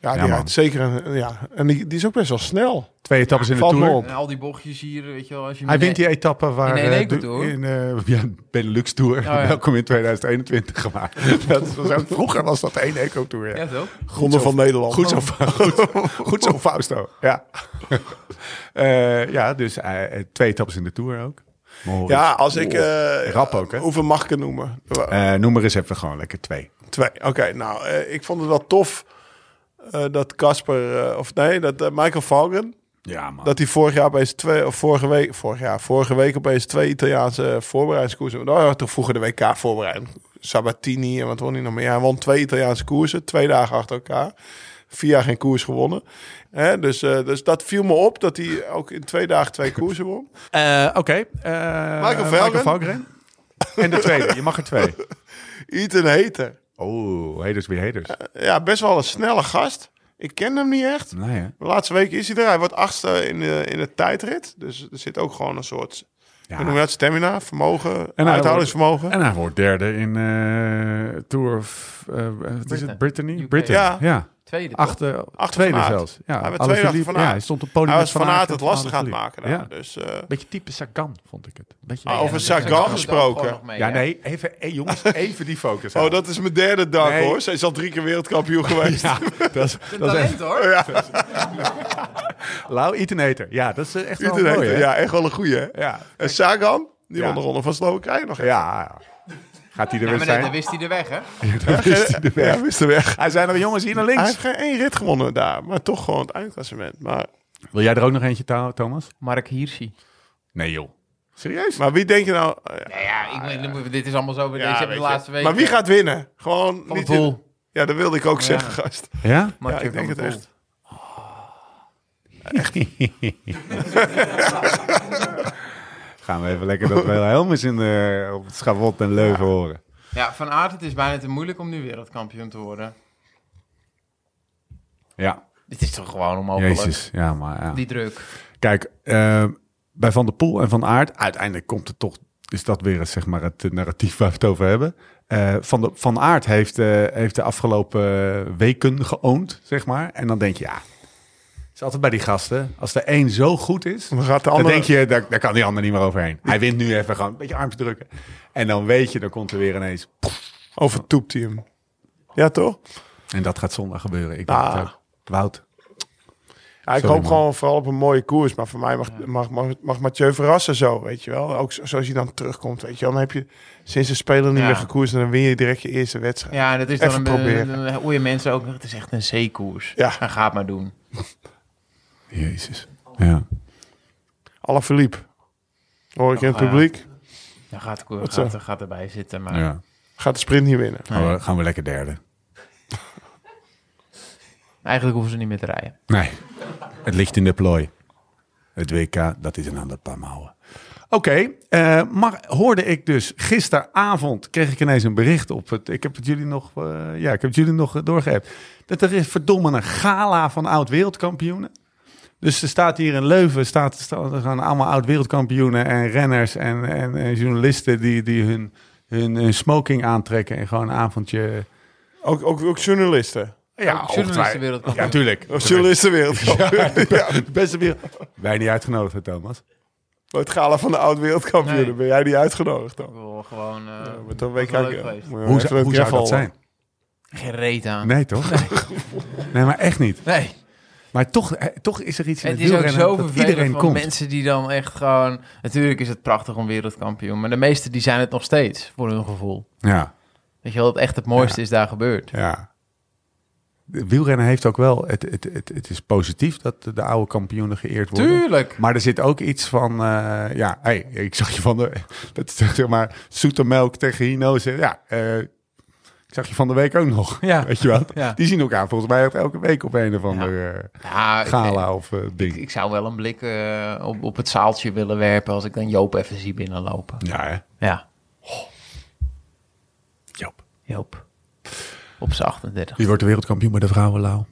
S3: Ja, die
S1: man.
S3: rijdt zeker een, ja. En die, die is ook best wel snel.
S1: Twee etappes in de
S3: Valt me
S1: Tour.
S3: op.
S4: En al die bochtjes hier, weet je wel. Als je
S1: Hij
S4: met-
S1: wint die etappe waar...
S4: In één
S1: eh,
S4: week
S1: de-
S4: bedoel.
S1: In eh, ja, Benelux
S3: Oh,
S1: Tour.
S4: ja.
S1: Welkom in 2021 gemaakt. dat was ook, vroeger was dat één Eco Tour. Ja.
S4: Ja, toch?
S3: Gronden van Nederland.
S1: Goed zo, goed, goed zo Fausto. Ja, Eh, ja dus eh, twee etappes in de Tour ook. Mohoric.
S3: Ja, als ik... eh,
S1: Rap ook, hè?
S3: Hoeveel mag ik het noemen?
S1: Eh, noem maar eens even gewoon lekker twee.
S3: Twee. Oké, nou, eh, ik vond het wel tof eh, dat Casper... eh, of nee, dat eh, Michael Valken...
S1: Ja, man.
S3: Dat hij vorig jaar opeens twee, of vorige week, vorig jaar, vorige week opeens twee Italiaanse voorbereidingskoersen. Nou, hij had toch vroeger de WK voorbereiding. Sabatini en wat won hij nog meer? Hij won twee Italiaanse koersen, twee dagen achter elkaar. Vier jaar geen koers gewonnen. Hè, dus, eh, dus dat viel me op dat hij ook in twee dagen twee koersen won.
S1: Eh, Oké. eh,
S3: Valgren.
S1: Valgren. En de tweede, je mag er twee.
S3: Ethan Heter.
S1: Oh, haters weer haters.
S3: Ja, best wel een snelle gast. Ik ken hem niet echt.
S1: Nee, hè?
S3: De laatste week is hij er. Hij wordt achtste in de, in de tijdrit. Dus er zit ook gewoon een soort hoe noem je
S1: Ja.
S3: dat, stamina, vermogen,
S1: hij
S3: uithoudingsvermogen.
S1: En hij wordt derde in eh, Tour of... eh, wat is het? Brittany?
S4: UK.
S1: Britain.
S3: Ja.
S1: Ja.
S4: Tweede. toch?
S1: Achter,
S3: Aert.
S1: tweede zelfs. Ja,
S3: Hij werd
S1: Alaphilippe-
S3: tweede achter Van Aert.
S1: Ja, hij stond op podium
S3: Hij
S1: met
S3: was van Aert
S1: en
S3: het lastig aan het
S1: Alaphilippe.
S3: maken.
S1: Ja.
S3: daar. Dus, eh,
S1: Beetje type Sagan, vond ik het. Beetje,
S3: Ah, over
S4: Ja, daar
S3: Sagan
S4: zijn we
S3: gesproken.
S4: gewoon nog mee,
S1: Ja,
S4: hè?
S1: nee, even, hey, jongens, even die focus.
S3: oh,
S1: houden.
S3: dat is mijn derde dag
S1: Nee.
S3: hoor. Zij is al drie keer wereldkampioen geweest.
S1: Ja, dat is,
S4: Een
S1: dat is echt...
S4: talent, hoor.
S1: Lau Itenator. Ja, dat is eh, echt wel
S3: Iedereen-
S1: mooi, hè?
S3: ja, echt wel een goeie. hè?
S1: Ja.
S3: En Sagan, die
S1: Ja.
S3: won de ronde van Slowakije nog. Ja,
S1: Ja. Gaat hij er
S4: Ja,
S1: weer
S4: maar dan, dan
S1: zijn?
S4: wist hij de weg, hè?
S1: Dat wist hij de weg.
S3: ja wist de weg.
S1: Hij zei nog jongens hier naar
S3: Hij
S1: links.
S3: heeft geen één rit gewonnen daar, maar toch gewoon het eindklassement. Maar,
S1: Wil jij er ook nog eentje, Thou- Thomas?
S4: Mark Hirschi.
S1: Nee, joh. Serieus?
S3: maar wie denk je nou... eh, ja,
S4: Nou ja, ik weet- dit is allemaal zo.
S3: ja,
S4: deze hebben
S3: weet
S4: de
S3: je.
S4: laatste week.
S3: Maar wie gaat winnen? Gewoon
S4: Van de
S3: niet...
S4: Poel.
S3: Ja, dat wilde ik ook zeggen, gast.
S1: Ja?
S3: Ja, ik denk het echt.
S1: Gaan we even lekker dat Wilhelmus in de, op het schavot en Leuven horen.
S4: Ja, Van Aert, het is bijna te moeilijk om nu wereldkampioen te worden.
S1: Ja,
S4: Dit is toch gewoon onmogelijk.
S1: jezus. Ja, maar ja.
S4: Die druk.
S1: Kijk, eh, bij Van der Poel en Van Aert, uiteindelijk komt het toch, is dat weer eens, zeg maar, het eh, narratief waar we het over hebben. Eh, van, de, van Aert heeft, eh, heeft de afgelopen eh, weken geoond, zeg maar. En dan denk je, ja, het is altijd bij die gasten. Als de een zo goed is,
S3: Dan gaat de andere-
S1: dan denk je, daar, daar kan die ander niet meer overheen. Hij wint nu even gewoon een beetje arms drukken. En dan weet je, dan komt er weer ineens...
S3: Overtoept hij hem. Ja, toch?
S1: En dat gaat zondag gebeuren. Ik denk
S3: Ah.
S1: het ook. Wout.
S3: Ja, ik
S1: Sorry,
S3: hoop
S1: man.
S3: gewoon vooral op een mooie koers. Maar voor mij mag, mag, mag, mag Mathieu verrassen zo, weet je wel. Ook zo- zoals hij dan terugkomt, weet je wel. Dan heb je sinds de speler niet
S4: Ja.
S3: meer gekoerst... en dan win je direct je eerste wedstrijd.
S4: Ja, en dat is dan
S3: Even
S4: een, een,
S3: proberen.
S4: een- hoe je mensen ook. Het is echt een C-koers.
S3: Ja.
S4: En ga het maar doen.
S1: Jezus. Ja.
S3: Alle verliep. Hoor ik in het
S4: Ja.
S3: publiek.
S4: Dan gaat,
S3: zo?
S4: gaat, gaat erbij zitten. Maar
S1: ja.
S3: Gaat de sprint niet winnen.
S1: Gaan, we, gaan we lekker derde.
S4: eigenlijk hoeven ze niet meer te rijden.
S1: Nee, het ligt in de plooi. Het WK, dat is een ander paar mouwen. Oké, eh, maar hoorde ik dus gisteravond, kreeg ik ineens een bericht op het, ik heb het jullie nog, eh, ja, ik heb het jullie nog eh, doorgehebt, dat er is verdomme een gala van oud-wereldkampioenen. Dus er staat hier in Leuven, staat, staan- er gaan allemaal oud-wereldkampioenen en renners en, en, en journalisten die, die hun, hun, hun smoking aantrekken en gewoon een
S3: Eh,
S1: avondje...
S3: Ook, ook, ook journalisten.
S1: Ja,
S4: journalisten
S1: ongetwijfeld.
S4: wereldkampioen.
S1: Nou, Ja, tuurlijk.
S3: Of journalisten wereld.
S1: De beste wereld. Wij niet uitgenodigd, Thomas.
S3: Bij het gala van de oud-wereldkampioen.
S4: Nee.
S3: Ben jij die uitgenodigd dan?
S4: Ik wil gewoon. eh
S3: Ja, Met een WK.
S4: wel leuk geweest.
S3: Moet je
S1: Hoe,
S3: even
S1: zou-
S3: een Ah.
S1: hoe zou
S3: gravel-
S1: dat zijn?
S4: Geen reet aan.
S1: Nee, toch? Nee, maar echt niet.
S4: nee.
S1: Maar toch, eh, toch is er iets in
S4: Het
S1: het,
S4: is ook
S1: wielrennen
S4: zo
S1: dat
S4: vervelend
S1: iedereen
S4: van
S1: komt.
S4: mensen die dan echt gewoon... Natuurlijk is het prachtig om wereldkampioen, maar de meesten die zijn het nog steeds, voor hun gevoel.
S1: Ja,
S4: Weet je wel, dat echt het mooiste is daar gebeurd.
S1: ja. De wielrennen heeft ook wel... Het, het, het, het is positief dat de oude kampioenen geëerd worden.
S4: Tuurlijk!
S1: Maar er zit ook iets van, eh, ja, hey, ik zag je van de, dat is zeg maar, zoete melk tegen Hino. zeg- Ja, eh, ik zag je van de week ook nog.
S4: Ja.
S1: Weet je wel?
S4: Ja.
S1: Die zien elkaar volgens mij echt elke week op een of andere eh,
S4: Ja, ik-
S1: gala of eh, ding.
S4: Ik, ik zou wel een blik eh, op, op het zaaltje willen werpen als ik dan Joop even zie binnenlopen.
S1: ja, hè?
S4: Ja,
S1: Joop.
S4: Joop. Op zijn 38.
S1: Wie wordt de wereldkampioen bij de vrouwen, Lau?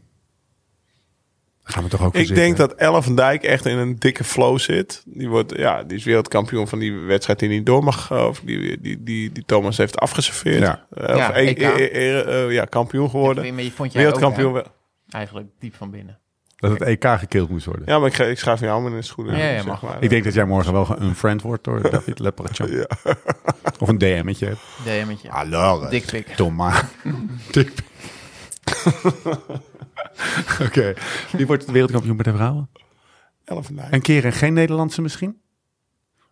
S1: gaan we toch ook voor
S3: Ik
S1: zitten.
S3: denk dat Ellen van Dijk echt in een dikke flow zit. Die, wordt, ja, die is wereldkampioen van die wedstrijd die niet door mag. eh, Of die, die, die, die Thomas heeft afgeserveerd.
S1: Ja.
S3: Eh, of
S4: Ja,
S3: e-
S4: EK.
S3: e- e- eh, ja, kampioen geworden.
S4: Maar je vond jij
S3: Wereldkampioen.
S4: ook,
S3: wel.
S4: hè, eigenlijk diep van binnen.
S1: dat het EK gekild moest worden.
S3: Ja, maar ik, ge- ik schrijf jou maar in de schoenen.
S4: Ja, ja,
S3: zeg
S4: mag.
S3: maar.
S1: Ik denk dat jij morgen wel een friend wordt door David Leperchan. Of een DM'tje. hebt.
S4: DM'tje.
S1: Ah, Hallo. eh,
S4: Dikpik.
S1: Thomas. Dikpik. Oké. Wie wordt wereldkampioen bij de vrouwen?
S3: Ellen van Dijk.
S1: Een keer en geen Nederlandse misschien?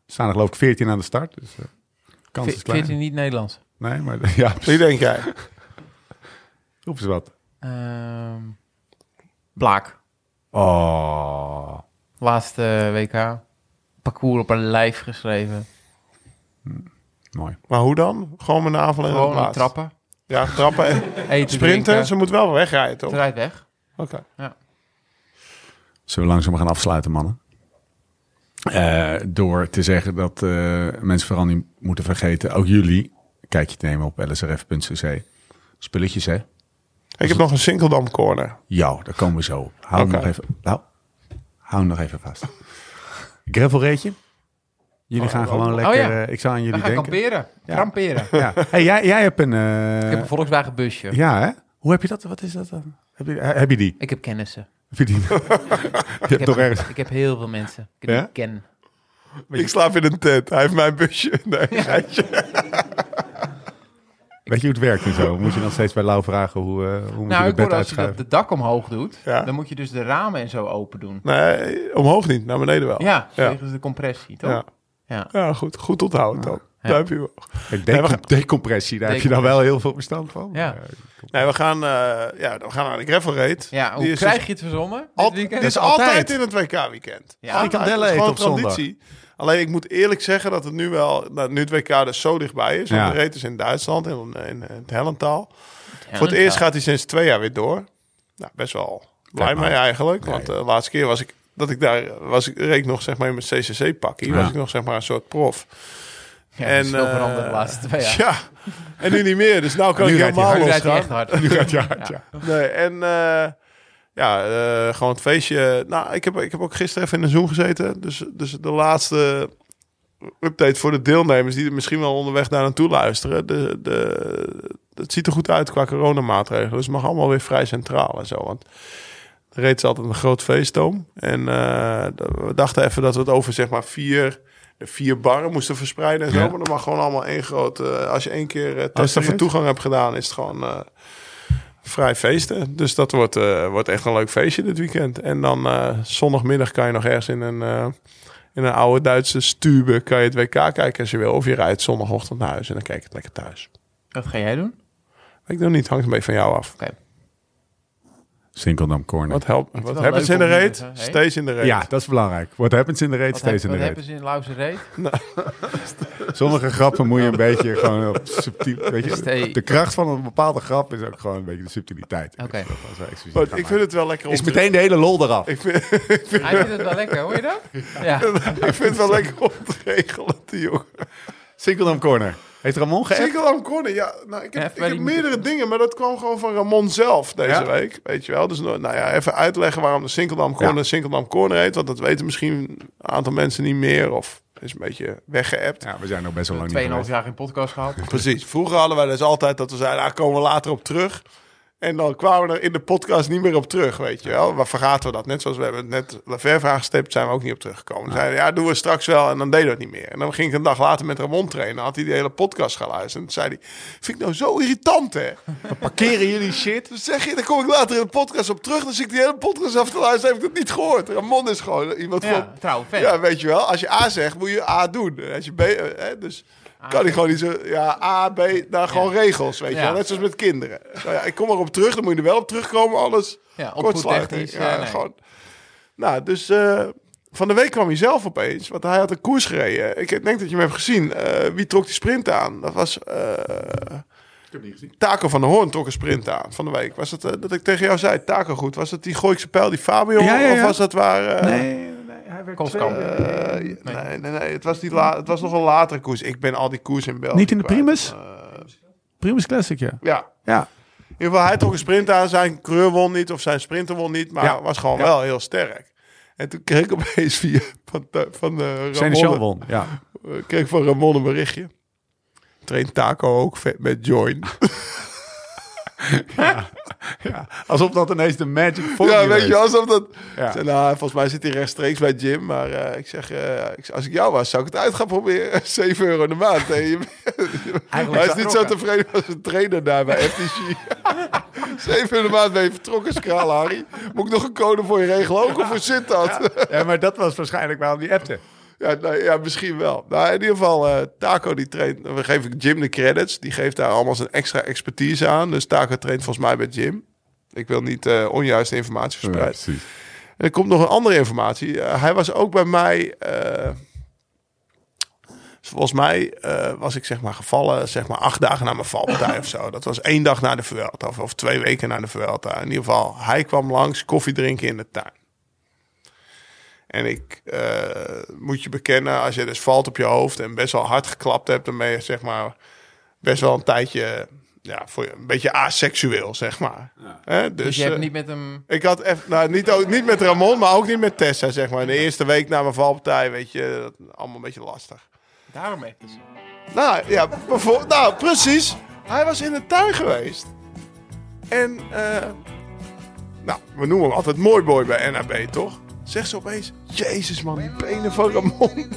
S1: Er staan er geloof ik 14 aan de start. Dus eh kans is
S4: Ve-
S1: klein.
S4: 14 niet Nederlands.
S1: Nee, maar ja,
S3: Wie
S1: precies.
S3: denk jij?
S1: Roep eens wat.
S4: Ehm, Blaak.
S1: Oh.
S4: Laatste WK. Parcours op een lijf geschreven.
S1: Mooi.
S3: Maar hoe dan? Gewoon mijn navel en de
S4: Gewoon
S3: plaats.
S4: trappen.
S3: Ja, trappen. en
S4: Eten,
S3: Sprinten, ze
S4: drinken.
S3: moet wel wegrijden, toch?
S4: Het
S3: Oké.
S4: rijdt weg.
S1: Zullen we langzaam gaan afsluiten, mannen? Eh, door te zeggen dat eh, mensen vooral niet moeten vergeten, ook jullie, kijk je te nemen op lsrf.cc. Spulletjes, hè?
S3: Ik heb nog een Sinkeldam corner.
S1: Ja, daar komen we zo op. Hou hem
S3: Oké.
S1: nog even, nou, hou hem nog even vast. Gravelreetje? Jullie gaan gewoon lekker,
S4: Oh ja.
S1: eh, ik zou aan
S4: We
S1: jullie
S4: gaan
S1: denken.
S4: kamperen. Kamperen.
S1: Ja. Hey, jij, jij hebt een, eh,
S4: Ik heb een Volkswagen busje.
S1: ja hè? Hoe heb je dat, wat is dat dan? Heb je, eh, heb je die?
S4: Ik heb kennissen.
S1: Heb je die? je
S4: Ik
S1: hebt
S4: heb,
S1: toch ergens...
S4: ik heb heel veel mensen. Ik
S1: Ja?
S4: die ken.
S3: Ik slaap in een tent. Hij heeft mijn busje. Nee, geitje.
S1: Weet je hoe het werkt en zo? Moet je dan steeds bij Lau vragen hoe, eh, hoe moet
S4: Nou,
S1: je
S4: ik
S1: de bed
S4: hoorde als je dat
S1: uitschuiven?
S4: de dak omhoog doet,
S3: Ja.
S4: dan moet je dus de ramen en zo open doen.
S3: Nee, omhoog niet. Naar beneden wel.
S4: Ja,
S3: Ja,
S4: tegen de compressie, toch?
S3: ja.
S4: Ja.
S3: ja goed. Goed onthouden dan.
S4: Ja.
S3: Duimpje omhoog.
S1: Kijk,
S3: Nee, we
S1: decom- decompressie, daar heb je dan wel heel veel verstand van.
S4: Ja.
S1: Eh,
S3: Nee, we gaan, eh, ja, we gaan naar de gravel raid.
S4: Ja, hoe
S3: Die is
S4: krijg
S3: dus
S4: je het verzonnen?
S3: al-
S4: dit weekend?
S3: dit is
S1: altijd.
S3: altijd, in het WK-weekend.
S4: Ja.
S1: Frikandellen
S3: is gewoon
S1: eten op zondag.
S3: traditie. Alleen ik moet eerlijk zeggen dat het nu wel, dat nu het WK dus zo dichtbij is. want
S1: Ja.
S3: De raid is in Duitsland, in, in het Hellentaal.
S4: Ja,
S3: Voor het eerst
S4: ja.
S3: gaat hij sinds twee jaar weer door. Nou, best wel blij
S1: Kijk maar.
S3: mee eigenlijk. Want de laatste keer was ik dat ik daar was ik reed ik nog zeg maar in mijn CCC pakkie
S1: Ja.
S3: was ik nog zeg maar een soort prof.
S4: Ja, dat is
S3: en,
S4: veel
S3: eh,
S4: veranderd de laatste twee
S3: Ja.
S4: jaar.
S3: En nu niet meer, dus nou kan
S1: Nu
S3: ik
S1: rijdt hij
S3: helemaal
S4: Nu rijdt hij
S3: losgaan.
S4: echt hard.
S1: Nu gaat je hard, ja.
S3: Nee, en eh, ja, eh, gewoon het feestje. Nou, ik heb, ik heb ook gisteren even in de Zoom gezeten. Dus, dus de laatste update voor de deelnemers die er misschien wel onderweg daar naartoe luisteren. De, de, het ziet er goed uit qua coronamaatregelen. Dus het mag allemaal weer vrij centraal en zo. Want er reed is altijd een groot feesttoom. En eh, we dachten even dat we het over zeg maar vier... De vier barren moesten verspreiden en zo.
S1: Ja.
S3: Maar dan mag gewoon allemaal één groot... eh, als je één keer eh testen
S1: serieus?
S3: voor toegang hebt gedaan, is het gewoon... eh, vrij feesten. Dus dat wordt, eh, wordt echt een leuk feestje dit weekend. En dan eh, zondagmiddag kan je nog ergens in een, eh, in een oude Duitse stube kan je het WK kijken als je wil. Of je rijdt zondagochtend naar huis en dan kijk je het lekker thuis.
S4: Wat ga jij doen?
S3: Ik doe niet, hangt een beetje van jou af.
S4: Oké.
S1: Sinkeldam Corner.
S3: Wat, helpt? wat
S4: wel
S3: hebben ze in
S4: leuk
S3: de
S4: om hier
S3: reet?
S4: te zeggen, hè?
S3: Steeds in de reet.
S1: Ja, dat is belangrijk. What happens in the raid,
S4: Wat,
S1: stays
S4: heb-
S1: in
S4: wat
S1: the raid.
S4: hebben ze in Lauwse Reet?
S1: Sommige grappen moet je een beetje gewoon op subtiel... Weet je,
S4: Stay.
S1: de kracht van een bepaalde grap is ook gewoon een beetje de subtiliteit.
S4: Oké.
S1: Als we expliciet
S3: Maar
S1: gaan
S3: ik vind
S1: maken.
S3: het wel lekker om
S1: Is
S3: te-
S1: meteen de hele lol eraf.
S3: ik vind, ik vind-
S4: Hij vindt het wel lekker, hoor je dat? Ja.
S3: ik vind het wel lekker om te regelen, die jongen.
S1: Sinkeldam Corner. Heeft Ramon geëft?
S3: Zeker Lam Corner, ja. Nou, ik heb,
S4: Ja,
S3: ik heb
S4: die-
S3: meerdere dingen, maar dat kwam gewoon van Ramon zelf deze
S1: Ja.
S3: week. Weet je wel. Dus nou nou ja, even uitleggen waarom de Sinkeldam Corner
S1: Ja.
S3: Sinkeldam Corner heet. Want dat weten misschien een aantal mensen niet meer. Of is een beetje weggeëpt.
S1: Ja, we zijn nog best wel lang niet
S4: Tweeënhalf
S1: geweest.
S4: jaar geen podcast gehad.
S3: Precies. Vroeger hadden wij dus altijd dat we zeiden, daar komen we later op terug. En dan kwamen we er in de podcast niet meer op terug, weet je wel. Maar vergaten we dat. Net zoals we hebben net Laverve aangestipt, zijn we ook niet op teruggekomen. Dan zeiden we, ja, doen we straks wel. En dan deden we het niet meer. En dan ging ik een dag later met Ramon trainen. Dan had hij die hele podcast geluisterd. En toen zei hij, vind ik nou zo irritant, hè.
S1: Parkeren jullie shit?
S3: Dan zeg je, daar kom ik later in de podcast op terug. Dan zit ik die hele podcast af te luisteren. Heb ik dat niet gehoord. Ramon is gewoon iemand
S4: Ja,
S3: van...
S4: trouw fan.
S3: Ja, weet je wel. Als je A zegt, moet je A doen. En Als je B... eh, Hè, dus kan hij gewoon niet zo... Ja, A, B... Nou, gewoon regels, weet je
S4: Ja.
S3: wel. Net zoals met kinderen. Nou ja, ik kom erop terug. Dan moet je er wel op terugkomen. Alles
S4: Ja,
S3: kortsluiten.
S4: opvoedtechnisch,
S3: Ja,
S4: eh, nee.
S3: gewoon. Nou, dus... eh, van de week kwam hij zelf opeens, want hij had een koers gereden. Ik denk dat je hem hebt gezien. Eh, wie trok die sprint aan? Dat was eh, Taco van de Hoorn trok een sprint aan van de week. Was het eh, dat ik tegen jou zei, Taco goed, was dat die Gooikse pijl, die Fabio?
S1: Ja, ja, ja.
S3: Of was dat waar... eh,
S4: Kostkamp.
S3: eh, nee. nee, nee, Het was, die la, het was nog een latere
S5: Oh,
S3: koers. Ik ben al die koers in België
S1: Niet in de
S5: Eh,
S3: kwijt.
S1: Primus? Primus Classic, ja.
S3: Ja.
S1: Ja.
S3: ieder geval, hij trok een sprint aan. Zijn coureur won niet of zijn sprinter won niet. Maar
S5: Ja.
S3: was gewoon wel heel sterk. En toen kreeg ik opeens via van, de- van de
S5: Senechal
S3: Ramon,
S5: won, ja.
S3: eh, kreeg ik van Ramon een berichtje. Traint Taco ook vet met Join.
S5: Alsof dat ineens de magic formule
S3: Ja, weet je, alsof dat...
S5: Ja.
S3: Ik zei, nou, volgens mij zit hij rechtstreeks bij Jim. Maar eh, ik zeg, eh, ik- als ik jou was, zou ik het uit gaan proberen. 7 euro in de maand. hè. Je- Hij is niet zo tevreden als een trainer daar bij FTC. 7 in de maand ben je vertrokken, skraal Harry. Moet ik nog een code voor je regelen ook? Of hoe zit dat?
S5: Ja, maar dat was waarschijnlijk waarom die appte.
S3: Ja, nou, ja misschien wel. Nou, in ieder geval, eh, Taco die traint... Dan geef ik Jim de credits. Die geeft daar allemaal zijn extra expertise aan. Dus Taco traint volgens mij bij Jim. Ik wil niet eh, onjuiste informatie verspreiden. En er komt nog een andere informatie. Eh, hij was ook bij mij. eh, volgens mij eh, was ik zeg maar gevallen, zeg maar acht dagen na mijn valpartij of zo. Dat was één dag na de Vuelta of, of twee weken na de Vuelta. In ieder geval, hij kwam langs koffie drinken in de tuin. En ik eh, moet je bekennen, als je dus valt op je hoofd en best wel hard geklapt hebt, dan ben je zeg maar best wel een tijdje, ja, voor je, een beetje aseksueel, zeg maar. Hè?
S4: Dus je hebt
S3: eh,
S4: niet met hem...
S3: ik had even, nou, niet, ook, niet met Ramon, maar ook niet met Tessa, zeg maar. In de eerste week na mijn valpartij, weet je, dat, allemaal een beetje lastig.
S4: Daarom heeft hij ze.
S3: Nou, ja, bijvoor- nou, precies. Hij was in de tuin geweest. En, eh, nou, we noemen hem altijd mooi boy bij NAB, toch? Zegt ze opeens, jezus man, die benen van Ramon.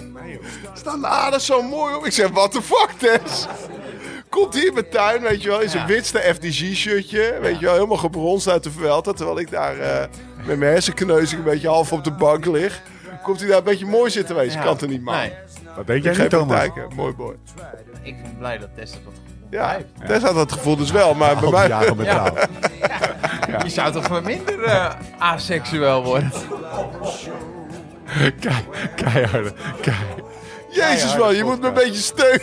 S3: Staan de aders zo mooi op. Ik zeg, what the fuck, Tess? Komt hier in mijn tuin, weet je wel, in zijn
S4: Ja.
S3: witste FDG-shirtje. Weet je wel, helemaal gebronst uit de Vuelta. Terwijl ik daar eh, met mijn hersenkneuzing een beetje half op de bank lig. Komt hij daar een beetje mooi zitten wezen?
S4: Ja.
S3: Kan het niet, man.
S4: Nee,
S5: Dat deed
S3: Ik
S5: jij
S3: ga
S5: niet,
S3: even
S5: Thomas.
S3: kijken. Mooi boy.
S4: ik ben blij dat Tessa dat
S3: Ja,
S4: heeft.
S3: Tess had dat gevoel dus wel, maar bij
S5: Al die
S3: mij...
S5: jaren met
S4: Ja.
S5: jou.
S4: Je zou toch wel minder eh, aseksueel worden?
S5: Kei- Keiharde. Kei.
S3: Jezus man, je moet me een beetje steunen.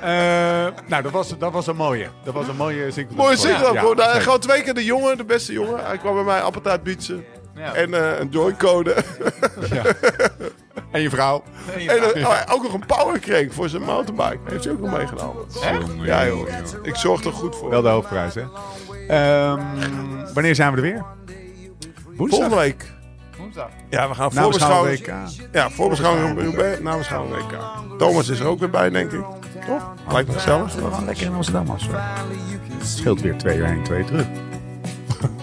S5: Eh, nou, dat was, dat was een mooie. Dat was een mooie zingel.
S3: Mooi zin dat, bro. Nou,
S5: nee.
S3: Gewoon twee keer de jongen, de beste jongen. Hij kwam bij mij appeltaart bietsen.
S4: Ja.
S3: En eh, een joycode.
S5: En je vrouw.
S3: en eh, oh, ook nog een powercrank voor zijn mountainbike. Heeft hij ook nog meegenomen. Ja joh, ik zorg er goed voor.
S5: Wel de hoofdprijs, hè? Ehm, wanneer zijn we er weer? Woensdag.
S3: Volgende week.
S4: Woensdag.
S3: Ja, we gaan
S5: Namens
S3: voorbeschouwen.
S5: gaan WK.
S3: Ja, voorbeschouwen Roubaix, nabeschouwen WK. Thomas is er ook weer bij, denk ik. Toch? Lijkt me gezellig.
S5: We gaan lekker in Amsterdam afspreken. Het scheelt weer 2 uur heen, 2 terug.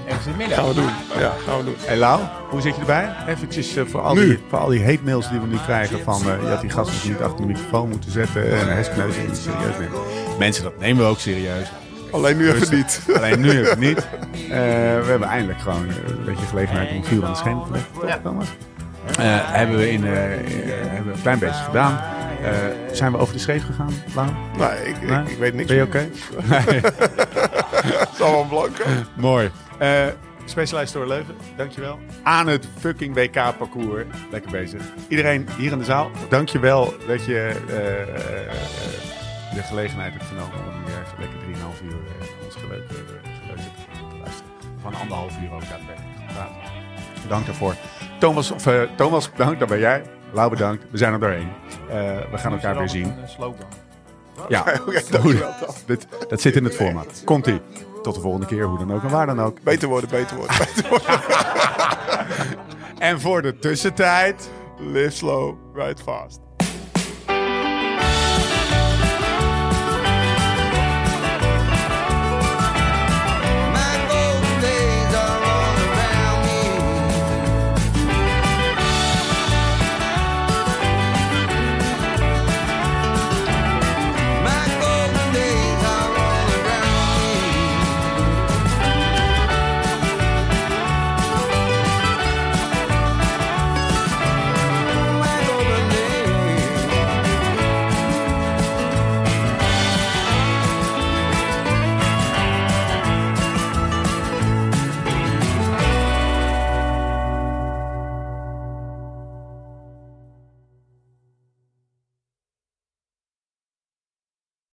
S4: Ergens in het
S3: Gaan we
S4: midden.
S3: doen. Ja, gaan we doen.
S5: Hey Lau, hoe zit je erbij? Eventjes eh, voor, al
S3: Nu.
S5: die, voor al die hate mails die we nu krijgen van... eh, je had die gasten dus niet achter de microfoon moeten zetten... en herskneus niet serieus nemen. Mensen, dat nemen we ook serieus.
S3: Alleen nu even niet.
S5: Alleen nu even niet. Eh, we hebben eindelijk gewoon eh, een beetje gelegenheid om vuur aan de schijn te leggen. toch,
S4: Ja.
S5: Thomas? Eh, hebben, we in, eh, eh, hebben we een klein beetje gedaan. Eh, zijn we over de scheef gegaan, Lau?
S3: Nee, ik, ik, ik weet niks.
S5: Ben je oké? Nee.
S3: Het is allemaal blanco.
S5: Mooi. Eh Specialized Store Leuven, dankjewel. Aan het fucking WK-parcours. Lekker bezig. Iedereen hier in de zaal, dankjewel dat je eh, eh, eh, de gelegenheid hebt genomen om hier even lekker 3,5 uur eh, ons geleuter geleuter te luisteren. Van anderhalf uur ook daadwerkelijk gepraat. Bedankt daarvoor. Thomas, of, eh, Thomas, bedankt, daar ben jij. Lau, bedankt. We zijn er doorheen. Eh, we gaan elkaar weer zien.
S4: Een slogan.
S5: Ja,
S3: dankjewel,
S5: Goed. Dit, dat zit in het format. Komt-ie. Tot de volgende keer, hoe dan ook en waar dan ook.
S3: Beter worden, beter worden. Beter worden.
S5: En voor de tussentijd.
S3: Live slow, ride fast.